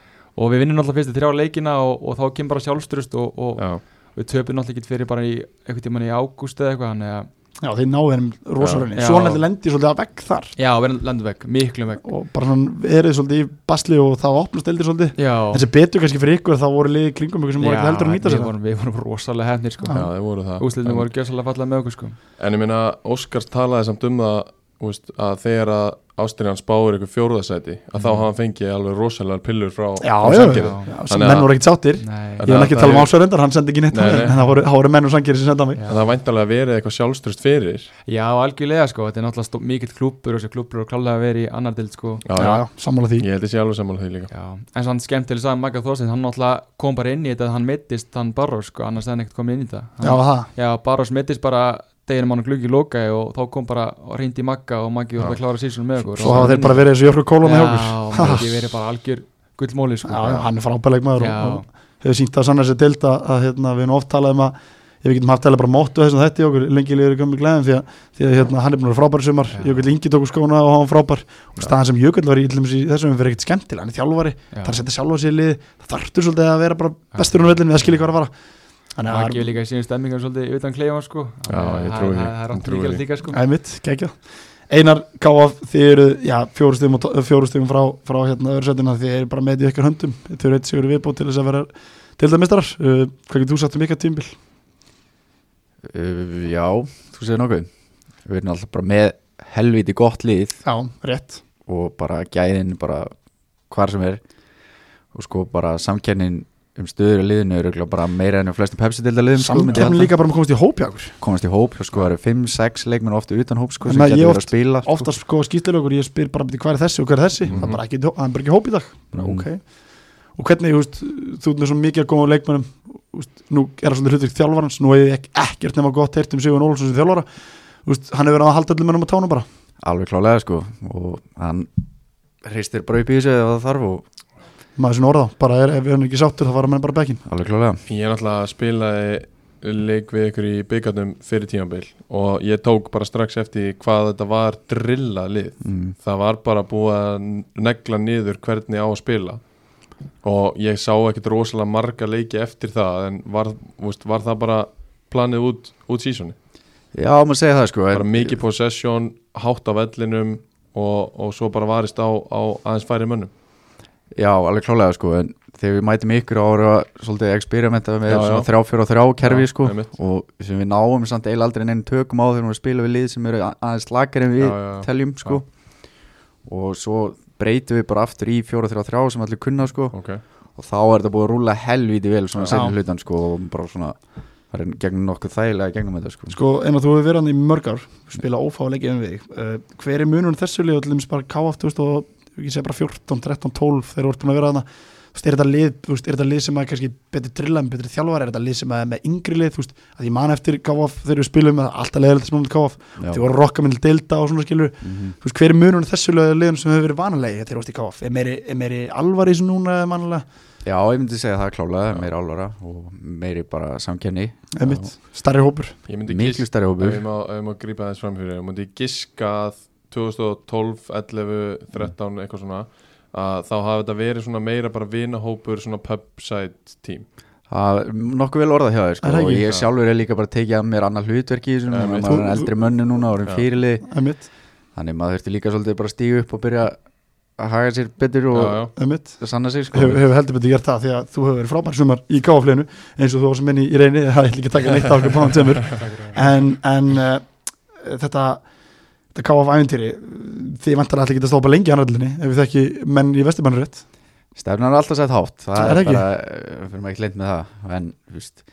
Speaker 4: og við vinnum náttúrulega fyrstu þrjá leikina og, og þá kemur bara sjálfstörust og, og,
Speaker 2: Já,
Speaker 4: við töpum náttúrulega ekki fyrir bara í einhvern tímann í ágúst eða eitthvað þannig að
Speaker 1: já þeir náðu hennum rosalega
Speaker 4: Já.
Speaker 1: svo hann lendi svolítið að vegg þar
Speaker 4: já, við erum landum vekk, miklum vekk
Speaker 1: og bara svona eruð svolítið í basli og það opnast eldir svolítið
Speaker 4: já,
Speaker 1: þessi betur kannski fyrir ykkur þá voru liðið kringum ykkur sem voru
Speaker 4: Já,
Speaker 1: ekki heldur að nýta
Speaker 4: við
Speaker 1: sér það
Speaker 4: vorum, við vorum rosalega hefnir sko
Speaker 2: já, þeir voru það
Speaker 4: úsliðin
Speaker 2: En-
Speaker 4: voru gjössalega fallað með okkur sko
Speaker 2: En ég meina, Óskars talaði samt um það þú veist, að þegar að Ástriðan spáir ykkur fjórðasæti að þá hafa hann fengið alveg rosalega pillur frá
Speaker 1: Mhm. Já,
Speaker 2: frá
Speaker 1: já,
Speaker 2: Sandgerði.
Speaker 4: Já.
Speaker 1: Já, sem
Speaker 2: Þannig að-
Speaker 1: menn voru ekkert sáttir
Speaker 4: nei,
Speaker 1: ég vil ekki
Speaker 2: það
Speaker 1: tala um
Speaker 2: er-
Speaker 1: ásverðendar, hann sendi ekki neitt á
Speaker 2: Nei,
Speaker 1: mig,
Speaker 2: nei.
Speaker 1: en það voru, það voru menn og sangeri sem senda mig
Speaker 4: Já.
Speaker 2: En það væntalega verið eitthvað sjálfstrust fyrir
Speaker 4: já, algjörlega sko, þetta er náttúrulega stó- mikill klúpur og þessi klúpur og klálega verið í annar dild sko
Speaker 2: Já,
Speaker 1: já, já, sammála því
Speaker 2: Ég held ég sé alveg sammála því líka
Speaker 4: já, en sann skemmt til þess að um Magga Þorsteins hann náttúrulega kom bara inn í þetta, hann mittist hann Barros sko, annars hefði hann ekkert komið inn í þetta
Speaker 1: já,
Speaker 4: hann,
Speaker 1: það,
Speaker 4: já Barros mittist bara deginum hann og gluggi loka og þá kom bara og reyndi í Magga og Maggi var bara að klára sísun með okkur
Speaker 1: svo
Speaker 4: Og-
Speaker 1: hafa þeir bara verið þessu jökru kólum hjá okkur
Speaker 4: Já, maður ekki verið bara algjör gullmóli sko.
Speaker 1: Já, já, hann er frábæleik maður
Speaker 4: Já.
Speaker 1: og, og hefur sínt að sanna sér deild að, að hérna, við erum oft talað um að ef við getum haft talað bara móttu þessum þetta í okkur lengi liður í gömlu gleðum því að, því að hérna, hann er búin að vera frábær í sumar,
Speaker 4: Já.
Speaker 1: Jökull Ingi tók úr skóna og hann var frábær og staðan sem Jökull var í, til dæmis í þessum verið ekkert skemmtilega, hann er þjálfari
Speaker 4: Já.
Speaker 1: það er að setja sjálfa sér í lið, það þarftur svolítið að vera bara bestur um vellinu, það skilja hvað er að fara Þannig að
Speaker 4: Maggi er
Speaker 1: það
Speaker 4: líka í sínum stemmingar svolítið utan klefa sko
Speaker 2: Já, ég
Speaker 4: Það-
Speaker 2: trúi því,
Speaker 4: það- Það er
Speaker 2: ég
Speaker 4: átt
Speaker 2: trúi
Speaker 4: líka
Speaker 2: því.
Speaker 4: líka sko
Speaker 1: er mitt, gegja Einar Káaf, þið eru já, fjórustum, fjórustum frá, frá hérna öðursætina, þið eru bara með í ykkar höndum þið eru eitt sigur í viðbót til þess að vera til það mistrar, uh, hvað getur þú sagt um ykkar tímbil?
Speaker 5: uh, Já, þú segir nokkuð Við erum alltaf bara með helviti gott lið
Speaker 1: Já, rétt
Speaker 5: og bara gæðin bara hvar sem er og sko bara samkennin um stöður í liðinu er örugglega bara meira enn um flestum Pepsi-dilda liðum sko, myndi ég
Speaker 1: Samkjöfn
Speaker 5: halda.
Speaker 1: líka bara með komast í hópjákur
Speaker 5: komast í hóp og sko það eru 5-6 leikmenn ofta utan hóp sko,
Speaker 1: En
Speaker 5: sem
Speaker 1: maður-
Speaker 5: getur
Speaker 1: ég
Speaker 5: verið
Speaker 1: oft-
Speaker 5: að spila sko.
Speaker 1: Oftast sko skýttilegur, ég spyr bara "Bíddu, hvað er þessi og hvað er þessi það, er bara ekki, það er Mhm. bara ekki hóp í dag mm
Speaker 5: Mhm.
Speaker 1: Og hvernig, þú veist, þú ert með svo mikið að koma á leikmönnum úst, Nú er það svolítið hlutverk þjálfarans Nú hefði ekki ekkert nema gott heyrt um Sigurinn Ólfsson sem þjálfara úst, Hann hefur verið að halda öllum mönnum á tánum bara
Speaker 5: alveg klálega sko og hann hristir bara upp í þessu ef það þarf og
Speaker 1: maður sinna orða, bara er, ef hann er ekki sáttur þá fara menn bara bekkin
Speaker 5: alveg klálega
Speaker 2: Ég er alltaf að spila leik við ykkur í byggarnum fyrir tímanbíl og ég tók bara strax eftir hvað þetta var drilla lið
Speaker 5: mm.
Speaker 2: það var bara búið að negla niður hvernig á að spila og ég sá ekkert rosalega marga leiki eftir það en var, þú veist, var það bara planið út, út sísoni
Speaker 5: já maður segja það sko
Speaker 2: bara mikið possession, hátt á vellinum og, og svo bara varist á, á aðeins færi mönnum
Speaker 5: já alveg klálega sko en þegar við mætum ykkur ára svolítið eksperimenta með
Speaker 2: Já,
Speaker 5: svona
Speaker 2: já.
Speaker 5: þrjá fyrir og þrjá kerfi
Speaker 2: Já,
Speaker 5: sko
Speaker 2: einmitt.
Speaker 5: og sem við náum samt eil aldrei neinn tökum á þegar við spila við lið sem eru a- aðeins slakar en við
Speaker 2: Já, já, já.
Speaker 5: teljum sko og svo breytum við bara aftur í 4-3-3 sem allir kunna sko
Speaker 2: okay.
Speaker 5: og þá er þetta búið að rúla helvíti vel svona
Speaker 1: Já.
Speaker 5: setjum hlutan sko og bara svona það er gegnum nokkuð þægilega gegnum þetta sko
Speaker 1: sko, en að þú hefur verið hann í mörg ár spila ófá að leggja um við þig uh, hver er munurinn þessu lið og til dæmis bara KF þú veist, og ég segi bara 14, 13, 12 þegar þú ert búin að vera þarna Þú veist, er þetta lið, þú veist, er þetta lið sem að kannski betri drilla en betri þjálfar, er þetta lið sem að er með yngri lið þú veist, að ég man eftir KF þegar við spilum að alltaf leiðilegt sem við KF,
Speaker 5: Já.
Speaker 1: þið voru rokka minn delta og svona skilur,
Speaker 5: Mhm.
Speaker 1: þú veist, hver er munurinn þessu lið- liðum sem hefur verið vanalegi þegar þú veist í KF, er meiri, er meiri alvar í þessu núna eða mannlega,
Speaker 5: Já, ég myndi segja það klálega, meiri álvara og meiri bara samkenni
Speaker 1: emitt, starri hópur
Speaker 2: ég myndi
Speaker 5: miklu
Speaker 2: giska
Speaker 5: stærri hópur
Speaker 2: ef ég má, ef ég má grípa þess fram fyrir ég myndi giska að 2012, 11, 13 eitthvað svona að þá hafi þetta verið svona meira bara vinahópur svona pubside team
Speaker 5: Það er nokkuð vel orðað hjá þér sko
Speaker 1: Er það
Speaker 5: og
Speaker 1: ekki?
Speaker 5: ég sjálfur er líka bara að tekið að mér annað hlutverki í þessum,
Speaker 2: Já,
Speaker 5: þannig
Speaker 2: mitt.
Speaker 5: að maður er
Speaker 1: Þú-
Speaker 5: eldri mönnu núna
Speaker 2: Já.
Speaker 5: og erum fyrirlið
Speaker 1: emitt,
Speaker 5: þannig maður þurfti líka svolítið bara að stíga upp og byrja að haga sér betur og
Speaker 2: já, já.
Speaker 1: emitt
Speaker 5: sanna sig sko
Speaker 1: hefur hef heldur betur gert það því að þú hefur verið frábær sumar í gáfleginu eins og þú sem minni í reyni það er ekki að taka neitt af okkur báðum semur en, en uh, þetta þetta káf æventýri þið vantar allir geta stoppa lengi hann öllinni ef við þekki menn í vesturbannu rétt
Speaker 5: Stefnan er alltaf sett hátt Það
Speaker 1: Er
Speaker 5: er,
Speaker 1: ekki?
Speaker 5: bara, eh, fyrir maður ekki leint með það En, þú veist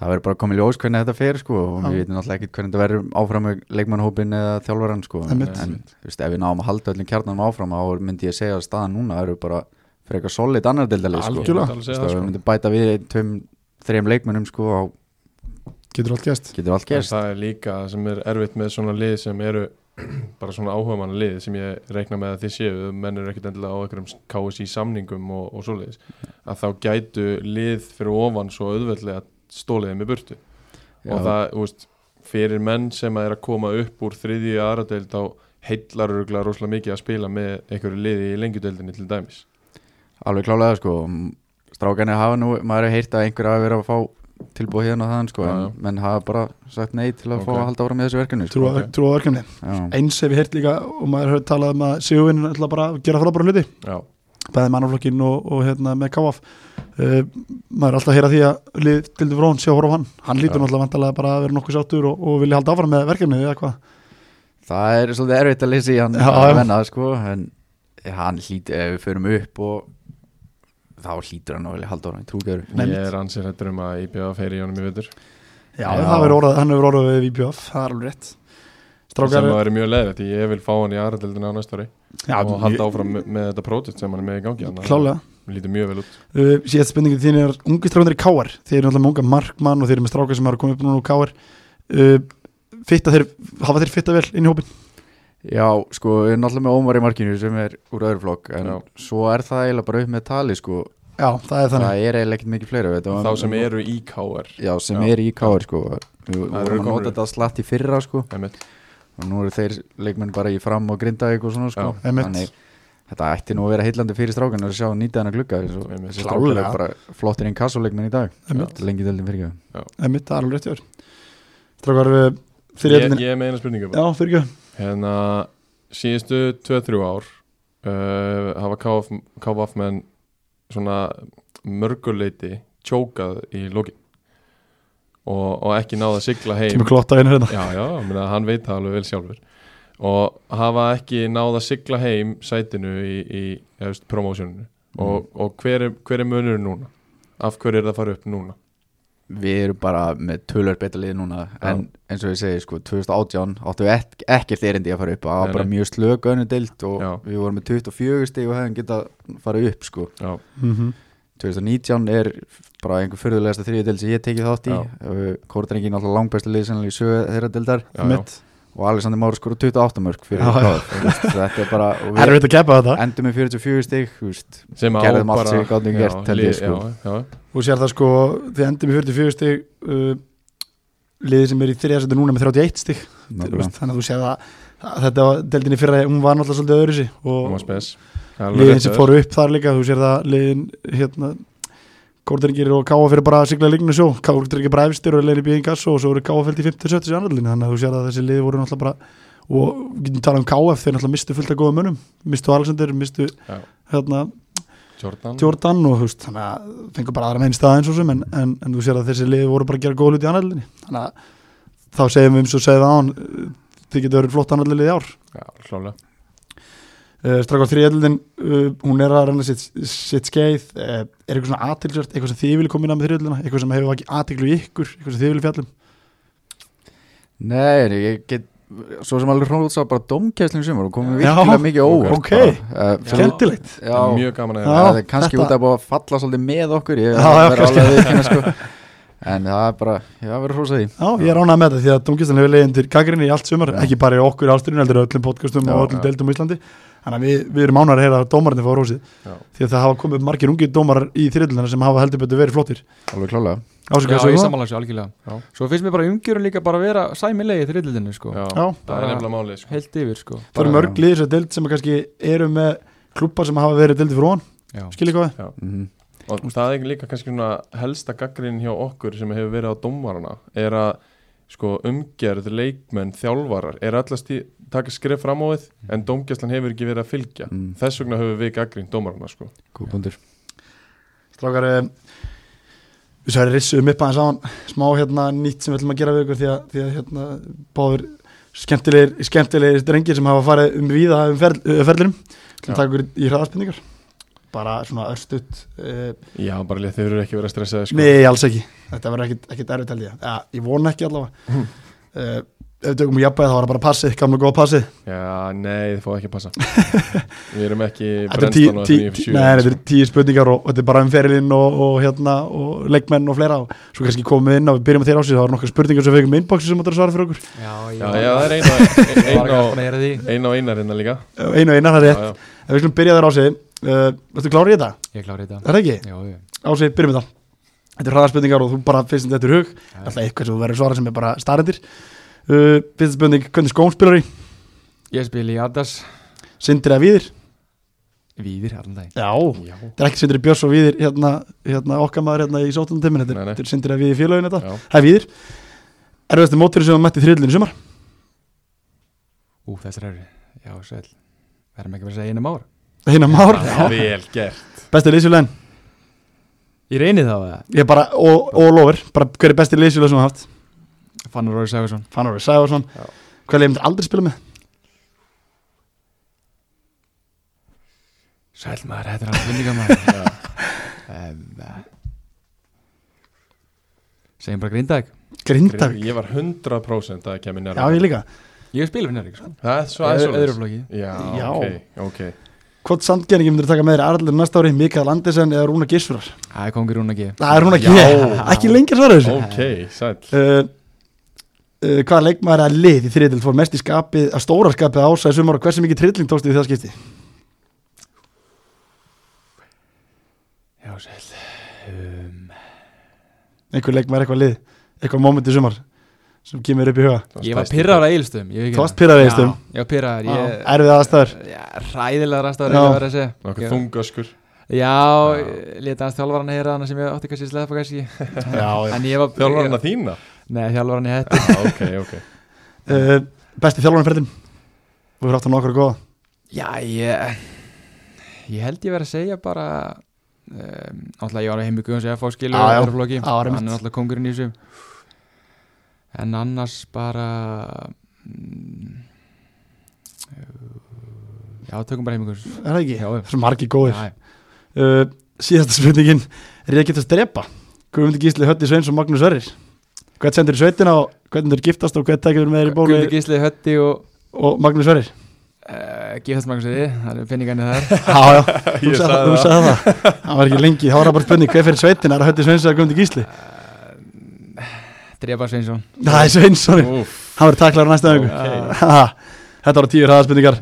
Speaker 5: Það verður bara að koma í ljós hvernig þetta fer sko og
Speaker 1: Já.
Speaker 5: við veitum náttúrulega ekkert hvernig þetta verður áfram með leikmannhópin eða þjálfarann sko en,
Speaker 1: Einmitt.
Speaker 5: en þú veist, ef við náum að halda öllum kjarnanum áfram þá myndi ég segja að staðan núna eru bara fyrir eitthvað solid annar deildalið sko
Speaker 1: Algjörlega.
Speaker 2: Ég myndi alveg
Speaker 5: Þú
Speaker 2: segja það,
Speaker 5: veist, ef við
Speaker 2: sko.
Speaker 5: myndum bæta við ein, tveim, þreim leikmannum sko þá
Speaker 1: getur allt gæst
Speaker 5: getur allt
Speaker 2: En
Speaker 5: gerst
Speaker 2: það er líka það sem er erfitt með svona lið sem eru bara svona áhugamanna lið sem ég reikna með að þið séu menn eru ekkert endilega á einhverjum KSI samningum og, og svoleiðis að þá gætu lið fyrir ofan svo auðveldlega stóliðið með burtu
Speaker 5: Já.
Speaker 2: og það, þú veist, fyrir menn sem að er að koma upp úr þriðju í aðradeild þá heillar öruglega rosalega mikið að spila með einhverju liði í lengjudeildinni til dæmis
Speaker 5: Alveg klálega sko Strákanir hafa nú, maður er heyrt að einhver hafa verið að fá tilbúið hérna og þann sko
Speaker 2: Já,
Speaker 5: en
Speaker 2: já.
Speaker 5: menn hafa bara sagt nei til að fá
Speaker 2: Ok.
Speaker 5: að halda ára með þessu verkefni sko.
Speaker 1: trúa
Speaker 2: Ok.
Speaker 1: trú örkjumni
Speaker 5: Já.
Speaker 1: eins hef ég heyrt líka og maður hefur talað um að Sigurvinn ætla bara að gera frábæra hluti
Speaker 2: Já,
Speaker 1: bæði mannaflokkin og, og hérna með káf uh, maður er alltaf að heyra því að lið til dæmis frá hann sé að horfa á hann hann lítur
Speaker 2: Já.
Speaker 1: náttúrulega vantarlega bara að vera nokkuð sáttur og, og vilja halda áfram með verkefnið eða hvað
Speaker 5: Það er svolítið erfitt að lýsa í hann
Speaker 1: Já, já.
Speaker 5: að menna það sko en hann hlýtur, ef við förum upp og þá hlýtur hann að vilja halda ára í trúgjöru
Speaker 1: Nei,
Speaker 2: ég er ansið hættur um að IPA feri í honum í vetur
Speaker 1: Já,
Speaker 5: Já.
Speaker 1: það verður orðað, hann hefur orðað við VPF, það er alveg rétt Strákar,
Speaker 2: sem að vera mjög leiðið því ég vil fá hann í aðradildinu á næsta ári
Speaker 1: já,
Speaker 2: og halda hérna. áfram með, með þetta prótist sem hann er með í gangi þannig að
Speaker 1: klálega
Speaker 2: það lítur mjög vel út
Speaker 1: uh, Síðast spurningin þín er, ungu strákar í Káar Þeir eru náttúrulega með unga markmann og þeir eru með strákar sem eru komið upp núna úr Káar uh, Fitta þeir, hafa þeir fitta vel inn í hópin?
Speaker 5: Já, sko, við erum náttúrulega með Ómar í markinu sem er úr öðru flokk en
Speaker 2: Já.
Speaker 5: svo er það eiginlega bara upp með tali sko
Speaker 1: Já, það er þannig
Speaker 5: það er eiginlega ekkert mikið fleira
Speaker 2: þá sem eru í KR
Speaker 5: Já, sem
Speaker 2: Já.
Speaker 5: er í káir sko
Speaker 2: Það
Speaker 5: Við vorum
Speaker 2: eru
Speaker 5: að
Speaker 2: komnir
Speaker 5: nota þetta slatt í fyrra sko
Speaker 2: einmitt.
Speaker 5: og nú eru þeir leikmenn bara í fram og grinda eitthvað svona sko
Speaker 1: Já. Einmitt.
Speaker 5: Þannig, Þetta ætti nú að vera heillandi fyrir strákan að sjá nýtaðan að glugga eins og
Speaker 2: Einmitt.
Speaker 5: þessi strákar eru
Speaker 1: Klárlega.
Speaker 5: bara flottir inn kassuleikmenn í dag
Speaker 1: Einmitt.
Speaker 5: lengi deldin fyrir ekki
Speaker 1: Einmitt, það er alveg rétt hjá þér Strákar, eh, fyrir
Speaker 2: ég,
Speaker 1: efnin
Speaker 2: ég er með eina spurningu bara.
Speaker 1: Já, fyrir ekki
Speaker 2: hérna síðustu 2-3 ár uh, hafa KF KF menn svona mörguleiti tjókað í lokin og, og ekki náða að sigla heim
Speaker 1: Kemur klotta inn hérna
Speaker 2: já, já, ég meina, hann veit það alveg vel sjálfur og hafa ekki náð að sigla heim sætinu í, í eða, veist, promósjóninu og,
Speaker 5: Mm.
Speaker 2: og hver, er, hver er munur núna? Af hverju er það að fara upp núna?
Speaker 5: Við erum bara með tölur betra lið núna
Speaker 2: Já.
Speaker 5: en eins og ég segi sko 2018 áttum við ek ekkert erindi að fara upp það
Speaker 2: Nei,
Speaker 5: var bara
Speaker 2: nei.
Speaker 5: mjög slög önnu deild og
Speaker 2: Já.
Speaker 5: við vorum með 24 stig og hefum getað farið upp sko
Speaker 2: Já, Mhm.
Speaker 5: 2019 er bara einhver fyrðulegasta þriðja deild sem ég hef tekið þátt í
Speaker 2: Já.
Speaker 5: Kórdrengin alltaf langbæsta lið sennilega í sögu þeirra deildar
Speaker 2: já,
Speaker 1: Einmitt
Speaker 5: og Alexander Már skor 28 mörg fyrir
Speaker 1: Já, já.
Speaker 5: KF. Þú veist, þetta er bara og
Speaker 1: Það er
Speaker 5: við
Speaker 1: veit að kepa þetta
Speaker 5: endum með 44 stig þú veist,
Speaker 2: já. sem á
Speaker 5: Gerðum allt
Speaker 2: bara-
Speaker 5: sem við gátum
Speaker 2: já,
Speaker 5: gert, held ég,
Speaker 2: lið-
Speaker 5: sko.
Speaker 2: já, já,
Speaker 1: Þú sér það sko, þið endur með 44 stig uh, Liðið sem er í þriðja seti núna með 31 stig Þú
Speaker 5: nákvæmlega.
Speaker 1: veist, Þannig að þú sér það að Þetta var deldinni fyrra, hún var náttúrulega svolítið öðru
Speaker 2: hún var
Speaker 1: og
Speaker 2: spes Það er alveg
Speaker 1: liðin
Speaker 2: rétt
Speaker 1: sem
Speaker 2: hjá
Speaker 1: fóru upp þar líka þú sér það liðin hérna Kórdringir og Káa fyrir bara að sigla líknu sjó Kórdringir bara efstir og leiðin í bíðin kass og svo eru Káa fyrir til 50-70 í annaðlinni þannig að þú sér að þessi liði voru náttúrulega bara og við getum talað um KF, þeir náttúrulega mistu fullt af góða mönnum mistu Alexander, mistu
Speaker 2: Já.
Speaker 1: hérna,
Speaker 2: þér. Jordan
Speaker 1: Jordan og þú veist, þannig að fengur bara aðra meinn staðin svo sem en, en, en þú sér að þessi liði voru bara að gera góða hluti í annaðlinni þannig að þá segjum við um svo segjum við án þið getur verið flott annaðlinni í ár
Speaker 2: já, klálega
Speaker 1: Uh, Strákar þriðjöldin, uh, hún er að reyna sitt, sitt skeið, uh, er eitthvað svona aðtilsvært, eitthvað sem þið vilja koma inn á með þriðjöldina, eitthvað sem hefur vakið aðtiklu í ykkur, eitthvað sem þið um? vilja fjallum.
Speaker 5: Nei, ég get svo sem alveg hrónult sá bara domkæsling sumar og komum
Speaker 1: Já.
Speaker 5: virkilega mikið óvart
Speaker 1: Ok.
Speaker 5: bara. Eh, fyrir-
Speaker 1: Skemmtilegt.
Speaker 5: Já,
Speaker 2: mjög gaman að
Speaker 1: Já.
Speaker 5: það er kannski
Speaker 1: þetta-
Speaker 5: út af að búa að falla svolítið með okkur ég
Speaker 1: Já, já,
Speaker 5: verður alveg að viðkynna sko en það er bara, já, verður hrósa því
Speaker 1: Já, ég er ánægð með þetta því að Dómkistan hefur leiðið undir gaggrinni í allt sumar,
Speaker 5: Já.
Speaker 1: ekki bara í okkur ásturinn, heldur í öllum podcastum
Speaker 5: Já,
Speaker 1: og öllum
Speaker 2: já.
Speaker 1: deildum á Íslandi. Þannig að við, við erum ánægð að heyra að dómarinn fá rósið,
Speaker 2: Já.
Speaker 1: því að það hafa komið upp margir ungir dómarar í þriðjöldina sem hafa heldur betur verið flottir.
Speaker 5: alveg klálega
Speaker 4: Já,
Speaker 1: Ásaka,
Speaker 4: ég
Speaker 1: já,
Speaker 4: samanlega sér algjörlega
Speaker 2: Já.
Speaker 4: Svo finnst mér bara umgjörun líka bara að vera sæmilegi í þriðlutinu sko
Speaker 2: já,
Speaker 1: já,
Speaker 2: það er nefnilega málið sko.
Speaker 4: Heilt yfir sko
Speaker 1: það eru
Speaker 5: bara-
Speaker 1: mörg liðis að deild sem að kannski eru með klubbar sem hafa verið deildi fyrir hon,
Speaker 4: Já,
Speaker 1: skiljið hvað? við?
Speaker 5: Mhm.
Speaker 2: og það er líka kannski svona helsta gaggrin hjá okkur sem hefur verið á dómarana er að sko umgerð, leikmenn, þjálfarar er allast í taka skref fram á við en dómgæslan hefur ekki verið að fylgja
Speaker 5: Mm.
Speaker 2: þess vegna höfum við gaggrind dómarana sko
Speaker 5: Góð bundur
Speaker 1: Strákar, eh, við svo erum rissuðum upp aðeins saman, smá hérna nýtt sem við ætlum að gera við ykkur því að, því að hérna báður skemmtilegir, skemmtilegir drengir sem hafa farið um víða um ferl, uh, ferlinum, ætlum
Speaker 2: Já.
Speaker 1: að taka ykkur í hraðaspendingar, bara svona öllstutt, uh,
Speaker 2: já, bara létt, þau eru ekki verið að stressa þið sko
Speaker 1: nei alls ekki, þetta verður ekkit, ekkit erfitt held ég, ja, ég vona ekki allavega,
Speaker 2: Mhm.
Speaker 1: uh, ef við tökum í jafnbæði þá var það bara passið, gamla góða passið,
Speaker 2: já, nei, þið fá ekki að passa við erum ekki
Speaker 1: Þetta er tíu,
Speaker 2: brennstan og
Speaker 1: tíu,
Speaker 2: þetta er
Speaker 1: tíu,
Speaker 2: nýjum
Speaker 1: nei, þetta
Speaker 2: sjö
Speaker 1: er tíu spurningar og, og þetta er bara um ferilinn og, og, hérna, og leikmenn og fleira og svo kannski komum við inn og við byrjum að þeirra ásins þá eru nokkar spurningar sem við fengum inboxi sem áttur að svara fyrir okkur
Speaker 4: já,
Speaker 2: já, já, það er eina ein,
Speaker 4: Ég var
Speaker 2: ein,
Speaker 4: ekki að
Speaker 2: og-
Speaker 4: meira því
Speaker 2: ein og einar hérna líka
Speaker 1: Eh, einu og einar, það er
Speaker 2: já,
Speaker 1: rétt
Speaker 2: já.
Speaker 1: en við skulum byrja þeirra ásið uh, Þetta klára í þetta,
Speaker 4: Ég klári þetta
Speaker 1: er það ekki?
Speaker 4: Já, já
Speaker 1: Ásið, byrjum við það Þetta er hraðarspurningar og þú bara finnst þetta eftir hug alltaf eitthvað sem þú verður að svara sem er bara starendir uh, Fyrsta spurning, hvernig skóm spilar í?
Speaker 4: Ég spil í Adas
Speaker 1: Sindri að víðir?
Speaker 4: Víðir allan dag
Speaker 1: Já
Speaker 2: Já.
Speaker 1: Þetta er ekki Sindri Björns og víðir hérna, hérna okkar maður hérna í sótlandtimmin
Speaker 2: Nei,
Speaker 1: þetta,
Speaker 2: nei.
Speaker 1: er- þetta er Sindri að víðir félagin þetta
Speaker 2: Já.
Speaker 1: Það er víðir Erfiðasti mótur sem þú mætti þriðlun í sumar
Speaker 4: Ú, þessar eru Já, svol Verðum ekki bara að segja einum ár
Speaker 1: Hina Már
Speaker 2: vel gert
Speaker 1: Besti lýsjulegin
Speaker 4: Ég reyni þá að
Speaker 1: Ég bara, og, og lofur Bara hver er besti lýsjuleg sem þú haft
Speaker 4: Fannar Róri Sæfarsson
Speaker 1: Fannar Sævarsson
Speaker 2: Já.
Speaker 1: Hvað leiðum þetta aldrei spila með?
Speaker 4: Sæl maður, þetta er alveg vinninga maður um, Segjum bara grindag
Speaker 1: Grindavík
Speaker 2: ég var 100% að kemur
Speaker 1: Já,
Speaker 2: nærma
Speaker 1: ég líka
Speaker 4: Ég spil fyrir Nærik sko
Speaker 2: það er svo
Speaker 4: Öðru-
Speaker 2: aðeins
Speaker 4: Öðru flóki
Speaker 2: já,
Speaker 1: Já.
Speaker 2: ok, ok
Speaker 1: Hvort sandgeringi myndir taka með þér Arlir næsta ári Mikael Andersen eða Rúna Gissfurar
Speaker 4: Það er kongur hún að gefa
Speaker 1: Það er hún ekki
Speaker 2: Já.
Speaker 1: Ekki lengi að svara þessu
Speaker 2: Ok, sæll
Speaker 1: uh, uh, Hvaða leikmaður að lið í þriðil Fór mest í skapið, að stóra skapið ása í sumar og Hversu mikið trilling tókstu í það skipti?
Speaker 4: Já, sæl um,
Speaker 1: Einhver leikmaður eitthvað lið Eitthvað moment í sumar sem kemur upp í huga
Speaker 4: Ég var pyrraður að eilstum Ég
Speaker 1: Þú varst pyrraður að Egilsstöðum?
Speaker 4: Ég var pyrraður ég-
Speaker 1: Erfið aðstæður
Speaker 4: Já, Ræðilega rastar
Speaker 1: Já.
Speaker 4: að vera að segja
Speaker 2: Nákvæm
Speaker 4: Já.
Speaker 2: þungaskur
Speaker 4: Já, leta hans þjálfarana heyra hana sem ég átti kannski slepa kannski
Speaker 1: Já,
Speaker 4: En ég var
Speaker 2: Þjálfarna þína?
Speaker 4: Nei, þjálfarana í hættu
Speaker 2: Já, ok, ok
Speaker 1: já uh, Besti þjálfarnarferðin Þú hefur átt hann okkur góða
Speaker 4: Já, ég Ég held ég verið að segja bara um, Náttúrulega ég var að heimbi Guðjóns eða fá skilu
Speaker 1: Já, já.
Speaker 4: og örflóki
Speaker 1: Já, það er
Speaker 4: Hann er
Speaker 1: mitt.
Speaker 4: náttúrulega kongurinn í þessu En annars bara mm, Já, tökum bara heimbi Guðjóns
Speaker 1: Er það ekki?
Speaker 4: Já, já.
Speaker 1: Það er margir góðir
Speaker 4: Já, já.
Speaker 1: uh, Síðasta spurningin Er ég að geta að drepa? Guðmundur Gísli, Hötti Sveins og Magnús Verrir Hvern sendur í sveitina og hvernig þeir giftast og hvern tekið þeir með þeir í bóli
Speaker 4: Guðmundur Gísli, Hötti og
Speaker 1: og Magnús Verrir
Speaker 4: uh, Gíðast Magnúseri Það eru peningarnir þar
Speaker 1: Já, já, þú
Speaker 2: Ég
Speaker 1: sagði það,
Speaker 2: sagði
Speaker 1: þú sagði það Það var ekki lengi, það var bara spurning Hver fyrir sveitina, er það Hötti Sveins eða Guðmundur Gísli?
Speaker 4: Drepa Sveinsson
Speaker 1: Það er Sveins, sorry,
Speaker 2: Úff,
Speaker 1: hann verður taklaður næsta öðingu
Speaker 2: ok.
Speaker 1: Þetta voru tíu hraðaspurningar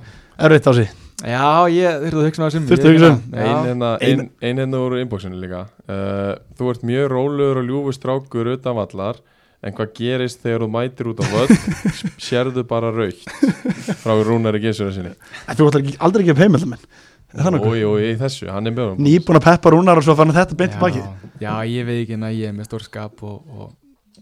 Speaker 1: Erfitt á sig
Speaker 4: Já, ég þurfti að hugsa með þessum
Speaker 1: Þurfti að hugsa um.
Speaker 2: Ein
Speaker 4: Já,
Speaker 2: hérna-
Speaker 1: Ein-
Speaker 2: ein- ein hérna úr inboxinu líka uh, Þú ert mjög rólegur og ljúfur strákur utan vallar En hvað gerist þegar þú mætir út á völl Sérðu bara raukt Frá Rúnari Gessur sinni
Speaker 1: En Þú ætlar ekki- aldrei að gefa heimildamenn Er það nokkuð?
Speaker 2: Ói, ói, í þessu, hann er með honum.
Speaker 1: Nýbúin að peppa rúnar og svo fann þetta beint
Speaker 4: Já,
Speaker 1: í bakið
Speaker 4: Já, ég veit ekki en að ég er með stór skap og, og,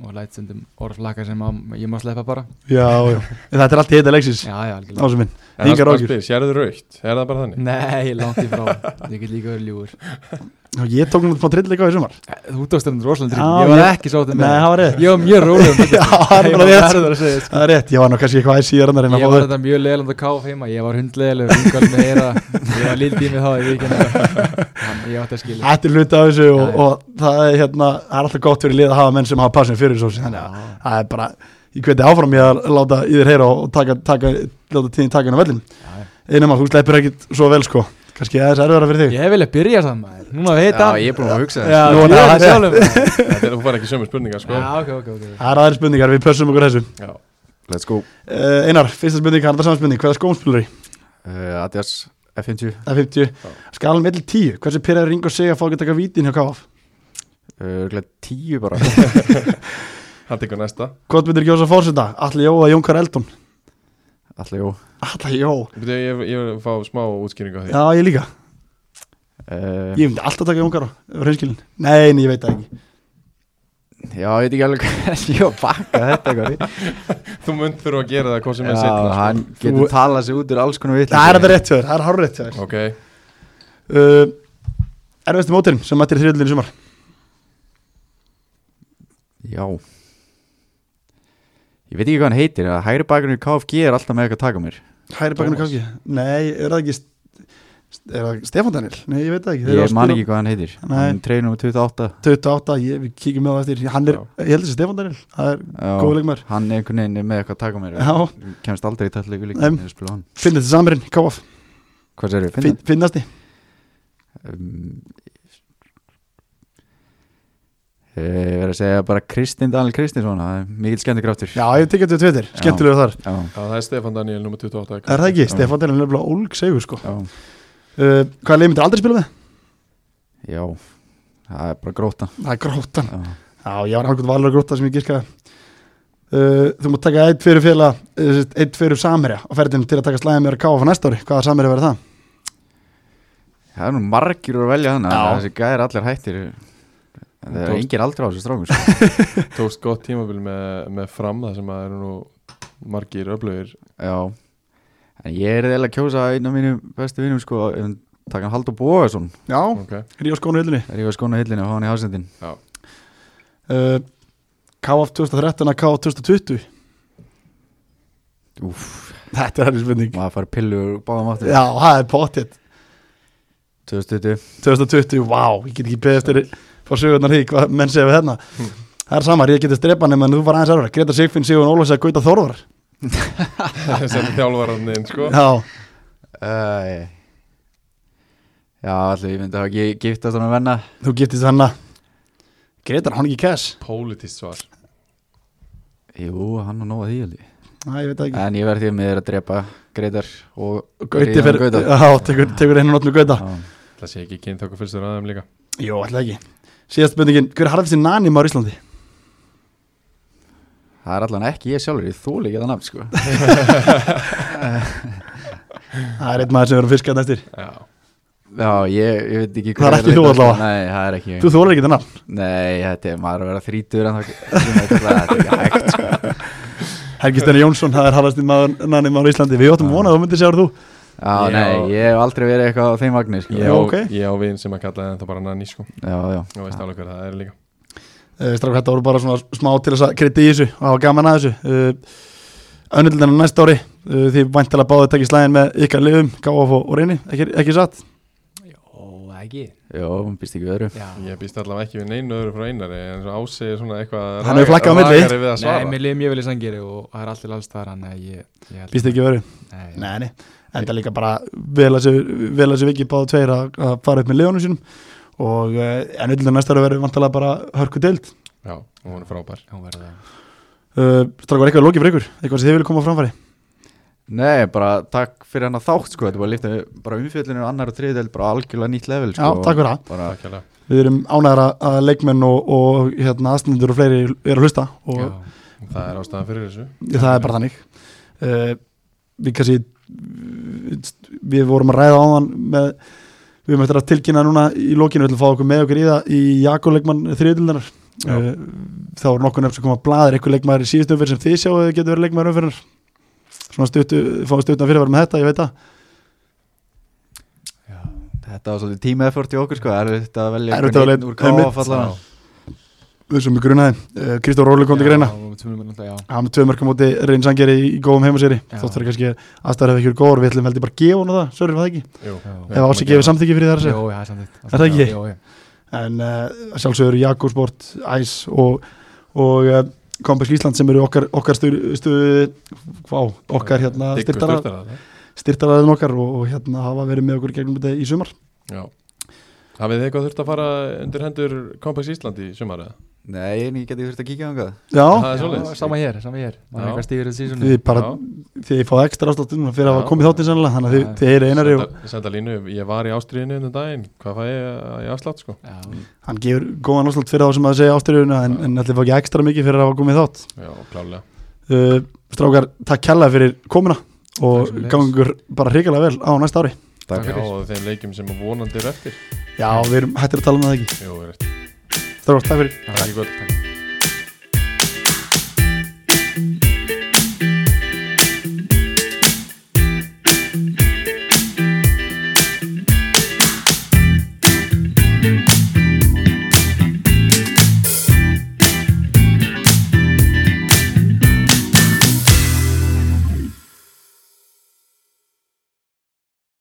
Speaker 4: og lætsendum orðflaka sem að, ég má sleppa bara
Speaker 1: Já, já, En þetta er allt í heita leiksins
Speaker 4: Já, já, algjörlega
Speaker 1: Ásum minn,
Speaker 2: En hann
Speaker 1: engar
Speaker 2: bara
Speaker 1: ágjur
Speaker 2: spyr, sérðu raukt, er það bara þannig?
Speaker 4: Nei, langt í frá, ég get líka verið ljúur
Speaker 1: Ég tók náttúrulega trillleika á í sumar
Speaker 4: Þú tókst þetta rosalega
Speaker 1: Ah, Já,
Speaker 4: drým, ég var
Speaker 1: ég-
Speaker 4: ekki sáttum
Speaker 1: Nei, það var rétt.
Speaker 4: Ég var mjög rólegur með
Speaker 1: Já, það er
Speaker 4: Ég
Speaker 1: bara
Speaker 4: var
Speaker 1: rétt.
Speaker 4: verður að segja þetta.
Speaker 1: Það er rétt, ég var nú kannski eitthvað aðeins síðar en að reyna að
Speaker 4: Ég
Speaker 1: fá
Speaker 4: var
Speaker 1: þau
Speaker 4: þetta mjög leiland að káf heima, ég var hundleiðileg hundkvæl með heyra, ég var lítið með það í vikinu Þannig ég átti að skilja
Speaker 1: Þetta er hluti af þessu og,
Speaker 4: Já, já.
Speaker 1: og það er hérna það er alltaf gott fyrir lið að hafa menn sem hafa passin fyrir svo þannig að
Speaker 4: Já.
Speaker 1: það er bara ég hveti áfram ég að láta í þér heyra og og taka, taka, láta tíðin taka inn á vellin einum að þú sleppir ekkit svo vel sko kannski aðeins erfara fyrir þig
Speaker 4: Ég vilja byrja saman maður, núna veit
Speaker 5: Já,
Speaker 4: hann
Speaker 5: ég er búin að hugsa
Speaker 1: Já,
Speaker 5: þess
Speaker 1: nú er
Speaker 4: ég
Speaker 1: það
Speaker 4: veit
Speaker 1: rétt.
Speaker 4: sjálfur maður.
Speaker 2: Þetta er, hún fær ekki sömu spurningar, sko
Speaker 4: Já, ok, ok, ok
Speaker 1: Það er aðeins spurningar, við pössum okkur þessu
Speaker 2: Já.
Speaker 5: Let's go
Speaker 1: uh, Einar, fyrsta spurning, hann er það saman spurning Hvaða skóm spilur í?
Speaker 5: uh, Adidas F50 uh,
Speaker 1: Það er 50 Skalum 1 til 10 Hversu pyrraður ring og segja að fá ekki að taka vítin hjá KF?
Speaker 5: Örgulega eh, tíu bara
Speaker 2: Hann tekur næsta
Speaker 1: Hvort myndir kjósa fórseta? Alli Jó eða Jónkar Eldon?
Speaker 5: Alltaf jó
Speaker 1: Alli Jó
Speaker 2: Bíddu, Ég, ég vil fá smá útskýringu á því
Speaker 1: Já, ég líka
Speaker 5: uh,
Speaker 1: Ég myndi alltaf taka Jónkar á reynskilin Nei, nei, ég veit það ekki
Speaker 5: Já, ég veit ekki alveg hvernig ég var að bakka þetta eitthvað
Speaker 2: Þú munt þurfa að gera það hvað sem er sko.
Speaker 5: Já,
Speaker 2: setna
Speaker 5: hann getur
Speaker 1: Þú-
Speaker 5: talað sér út úr alls konar vitt
Speaker 1: Það er þetta rétt hjá þér, það er hár rétt hjá þér
Speaker 2: Ok,
Speaker 1: uh, Erfiðasti mótirinn sem mættir þriðlunni sumar
Speaker 5: Já Ég veit ekki hvað hann heitir að Hægri bakurinn í KFG er alltaf með eitthvað að taka mér
Speaker 1: Hæri bakkanu
Speaker 2: Thomas.
Speaker 1: kannski Nei, er það ekki St- Er það Stefán Daniel? Nei, ég veit það ekki Þeir eru að
Speaker 5: Ég man
Speaker 1: spila-
Speaker 5: ekki hvað hann heitir
Speaker 1: Nei.
Speaker 5: Hann treinum 28
Speaker 1: 28, ég, við kíkjum með það eftir Hann er, ég held þessi Stefán Daniel Það er góð
Speaker 5: Já,
Speaker 1: leikmar
Speaker 5: Hann einhvern veginn er með eitthvað að taka mér
Speaker 1: Já,
Speaker 5: Kemst aldrei í tættlegu líka
Speaker 1: Nei.
Speaker 5: þegar ég spila hann
Speaker 1: finnast samirinn, KF
Speaker 5: Hvað sér við?
Speaker 1: Fin- Finnasti
Speaker 5: um, Ég verð að segja bara Kristinn Daniel Kristinsson það er Mikill skemmtikraftur
Speaker 1: Já, ég tekja þetta tveitir,
Speaker 5: Já.
Speaker 1: skemmtilega þar
Speaker 5: já,
Speaker 2: Já, það er Stefán Daniel, nummer 28
Speaker 1: Er það ekki?
Speaker 5: Já.
Speaker 1: Stefán Daniel er nefnilega ólg segur sko
Speaker 5: já,
Speaker 1: uh, Hvaða leið myndir aldrei spila með?
Speaker 5: já Það er bara gróta
Speaker 1: Það er grótan
Speaker 5: já.
Speaker 1: Já, ég var nákvæmt valur að gróta sem ég girkaði uh, Þú mátt taka eitt fyrir félag uh, eitt fyrir samherja á ferðinu til að taka slæðið mér að káfa næsta ári Hvaða samherja verður það?
Speaker 5: Það er nú margir að velja þannig
Speaker 1: Já.
Speaker 5: Þessi gæðir allir hættir En Það er
Speaker 2: Tókst.
Speaker 5: engir aldrei á þessu strákum sko.
Speaker 2: Tókst gott tímabil með, með fram það sem að eru nú margir öflugir
Speaker 5: Já En ég er eða að kjósa einn af mínum bestu vinnum sko ef hann- Taka hann Haldur Bóðarsson
Speaker 1: Já,
Speaker 2: okay.
Speaker 1: er ég á skónu yllunni
Speaker 5: Er ég að skona hillinu og hafa hann í hásendin
Speaker 1: uh, KF 2013 að KF 2020
Speaker 5: Úff,
Speaker 1: Þetta er alveg spurning
Speaker 5: maður farið pillu úr báðum áttum
Speaker 1: Já, það er pottet
Speaker 5: 2020
Speaker 1: 2020, vá, ég get ekki beðið eftir fá sögurnar því hvað menn segja við hérna Það er sama, ég geti strepa nema en þú var aðeins erfara Greta Sigfinn, Sigur Ólafs að Gauta Þorvar
Speaker 2: sem þjálfararnin sko
Speaker 1: Já,
Speaker 5: Æ. Já, allir, ég myndi að hafa gi- giftast hann að venna
Speaker 1: þú getist hann að Gretar, hann ekki cash
Speaker 2: Politist svar
Speaker 5: Jú, hann á nóga því alveg
Speaker 1: Næ, ég veit það
Speaker 5: En ég verð því með þér að drepa Greitar og
Speaker 1: ekki Gauti
Speaker 5: Ríðan
Speaker 1: fer, já, tekur, tekur einu nótnu Gauta
Speaker 5: Já.
Speaker 2: Það sé ekki kynnt okkur fyrstur aðeim líka
Speaker 1: Jó, alltaf ekki Síðast spurningin, hver er harfið sér nanim á Íslandi?
Speaker 5: það er allan ekki ég sjálfur, ég þóli ekki það nafn sko.
Speaker 1: það er einn maður sem verður að fiska næstir
Speaker 2: já,
Speaker 5: Já, ég, ég veit ekki
Speaker 1: Það er
Speaker 5: hver
Speaker 1: ekki þú
Speaker 5: leita-
Speaker 1: allavega.
Speaker 5: Nei, það er ekki ég.
Speaker 1: þú þólar ekki þetta nafn
Speaker 5: Nei, þetta er maður er að vera þrítur en það það er ekki hægt sko.
Speaker 1: Helgi Stenni Jónsson, það er harðast í mannum á Íslandi við óttum vonað að þú myndir segja þú
Speaker 5: Já,
Speaker 2: Já.
Speaker 5: nei, ég hef aldrei verið eitthvað á þeim vagnir sko.
Speaker 2: ég
Speaker 1: Já,
Speaker 2: á,
Speaker 1: ok.
Speaker 2: ég á vin sem að kalla þetta bara nanni sko
Speaker 5: já, já.
Speaker 2: og veist alveg hver það er líka
Speaker 1: uh, strák þetta voru bara svona smá til þess að krydda í þessu og hafa gaman að þessu uh, önnildina næsta ári uh, því væntalega báðu takk í slæðin með ykkar liðum Gáf og, og reyni, ekki, ekki satt
Speaker 4: Ó, ekki
Speaker 5: Jó, hún býst ekki við öðru
Speaker 4: Já.
Speaker 2: ég býst allavega ekki við neinu öðru frá einari en svo ási er svona eitthvað
Speaker 1: Hann hefur flaggað á milli.
Speaker 2: rakari við að svara.
Speaker 4: Nei, mér liðum ég vel í sangeri og það er allir alls þar hann að ég, ég held-
Speaker 1: býst ekki verið,
Speaker 4: Nei,
Speaker 1: nei, nei enda líka bara vel að þessu vel að þessu viki báðu tveir að, að fara upp með liðunum sínum og uh, önnildina næsta ári verður væntalega bara hörku deild
Speaker 2: já, og hún er frábær
Speaker 4: hún verður það
Speaker 1: uh, strák var eitthvað lokið fyrir ykkur, eitthvað sem þið vilja koma á framfæri
Speaker 5: Nei, bara takk fyrir hann að þátt sko. Þetta var lífta, bara umfjöllinu annar og þriðdel bara algjörlega nýtt level
Speaker 1: já,
Speaker 5: sko.
Speaker 1: takk fyrir það
Speaker 5: Bara,
Speaker 2: Takk hérlega.
Speaker 1: Við erum ánæðar að leikmenn og, og hérna, aðstendur og fleiri eru að hlusta og
Speaker 4: Já,
Speaker 2: það er ástæðan fyrir þessu
Speaker 1: það er bara þannig. Uh, við kannski, við vorum að ræða áðan með, við erum eftir að tilkynna núna í lokinu, við ætlum að fá okkur með okkur í það í Jakoleikmann þriðdildanar.
Speaker 2: Já.
Speaker 1: Uh, þá voru nokkur nefn sem koma að blaðir, eitthvað leikmaður í síðustu umferð sem þið sjáu að getur verið leikmaður umferðar. Svona stuttu, fáið stutna fyrirvara með þetta, ég veit það.
Speaker 5: Þetta var svolítið tíma effort í okkur sko. Erfitt að velja
Speaker 1: Erfitt
Speaker 5: einhvern
Speaker 1: að velja-
Speaker 5: einn úr
Speaker 1: einmitt.
Speaker 5: KF allan
Speaker 1: Við sem við grunaði, uh, Kristóf Róli kom til greina.
Speaker 4: Já, og tölum við náttúrulega, já.
Speaker 1: Já, með tvö mörgum móti reyn sangeri í góðum heimaseri
Speaker 4: Já.
Speaker 1: þóttur er kannski aðstæður hefur ekki verið góður við ætlum heldur bara að gefa hún það, sörjum það ekki
Speaker 2: Jú,
Speaker 4: Já.
Speaker 1: ef
Speaker 2: við ætlum
Speaker 1: ási
Speaker 2: að
Speaker 1: gefið
Speaker 2: gera-
Speaker 1: samþyggi fyrir það að segja
Speaker 4: Jó, já, það er samþykkt.
Speaker 1: Er það ekki?
Speaker 4: Jó, já.
Speaker 1: en uh, sjálfsögur Jakobsport, Æs og, og uh, Kompaks Ísland sem eru okkar, okkar stu, stu, vá, okkar hérna
Speaker 2: Diggur
Speaker 1: styrtara,
Speaker 2: styrktara,
Speaker 1: styrtaraðin okkar og, og hérna hafa verið með okkur í gegnum þetta í sumar
Speaker 2: já. hafið þið eitthvað þurft að fara undir hendur Kompaks Ísland í sumar eða?
Speaker 5: Nei, en ég geti þurft að kíkja á hann
Speaker 1: Já,
Speaker 2: það er
Speaker 4: Já,
Speaker 2: svolítið
Speaker 4: sama hér, sama hér
Speaker 2: Já.
Speaker 4: Man er eitthvað stífur þessi sísunni
Speaker 1: þið bara,
Speaker 2: Já.
Speaker 1: þið fá ekstra ástáttu núna fyrir að hafa
Speaker 2: Já.
Speaker 1: komið þáttinn sannlega þannig að þið,
Speaker 4: Já.
Speaker 1: þið eru einari og
Speaker 2: Senda- Senda línu, ég var í ástriðinu undan daginn, hvað fæ ég að- í afslátt sko?
Speaker 4: Já,
Speaker 1: hann gefur góðan ástátt fyrir þá sem að segja ástriðuna en, en allir fá ekki ekstra mikið fyrir að hafa komið þátt
Speaker 2: Já, klálega.
Speaker 1: uh, strákar, takk kærlega fyrir komuna og
Speaker 4: Takk sömuleiðis.
Speaker 1: gangur bara hrikalega vel á næsta ári
Speaker 2: Takk
Speaker 4: fyrir.
Speaker 2: Já, og þeim leikjum sem að vonandi er eftir.
Speaker 1: já, við erum hættir að tala um það ekki
Speaker 2: Jú, er eftir.
Speaker 1: strákar, takk fyrir
Speaker 4: það er ekki gott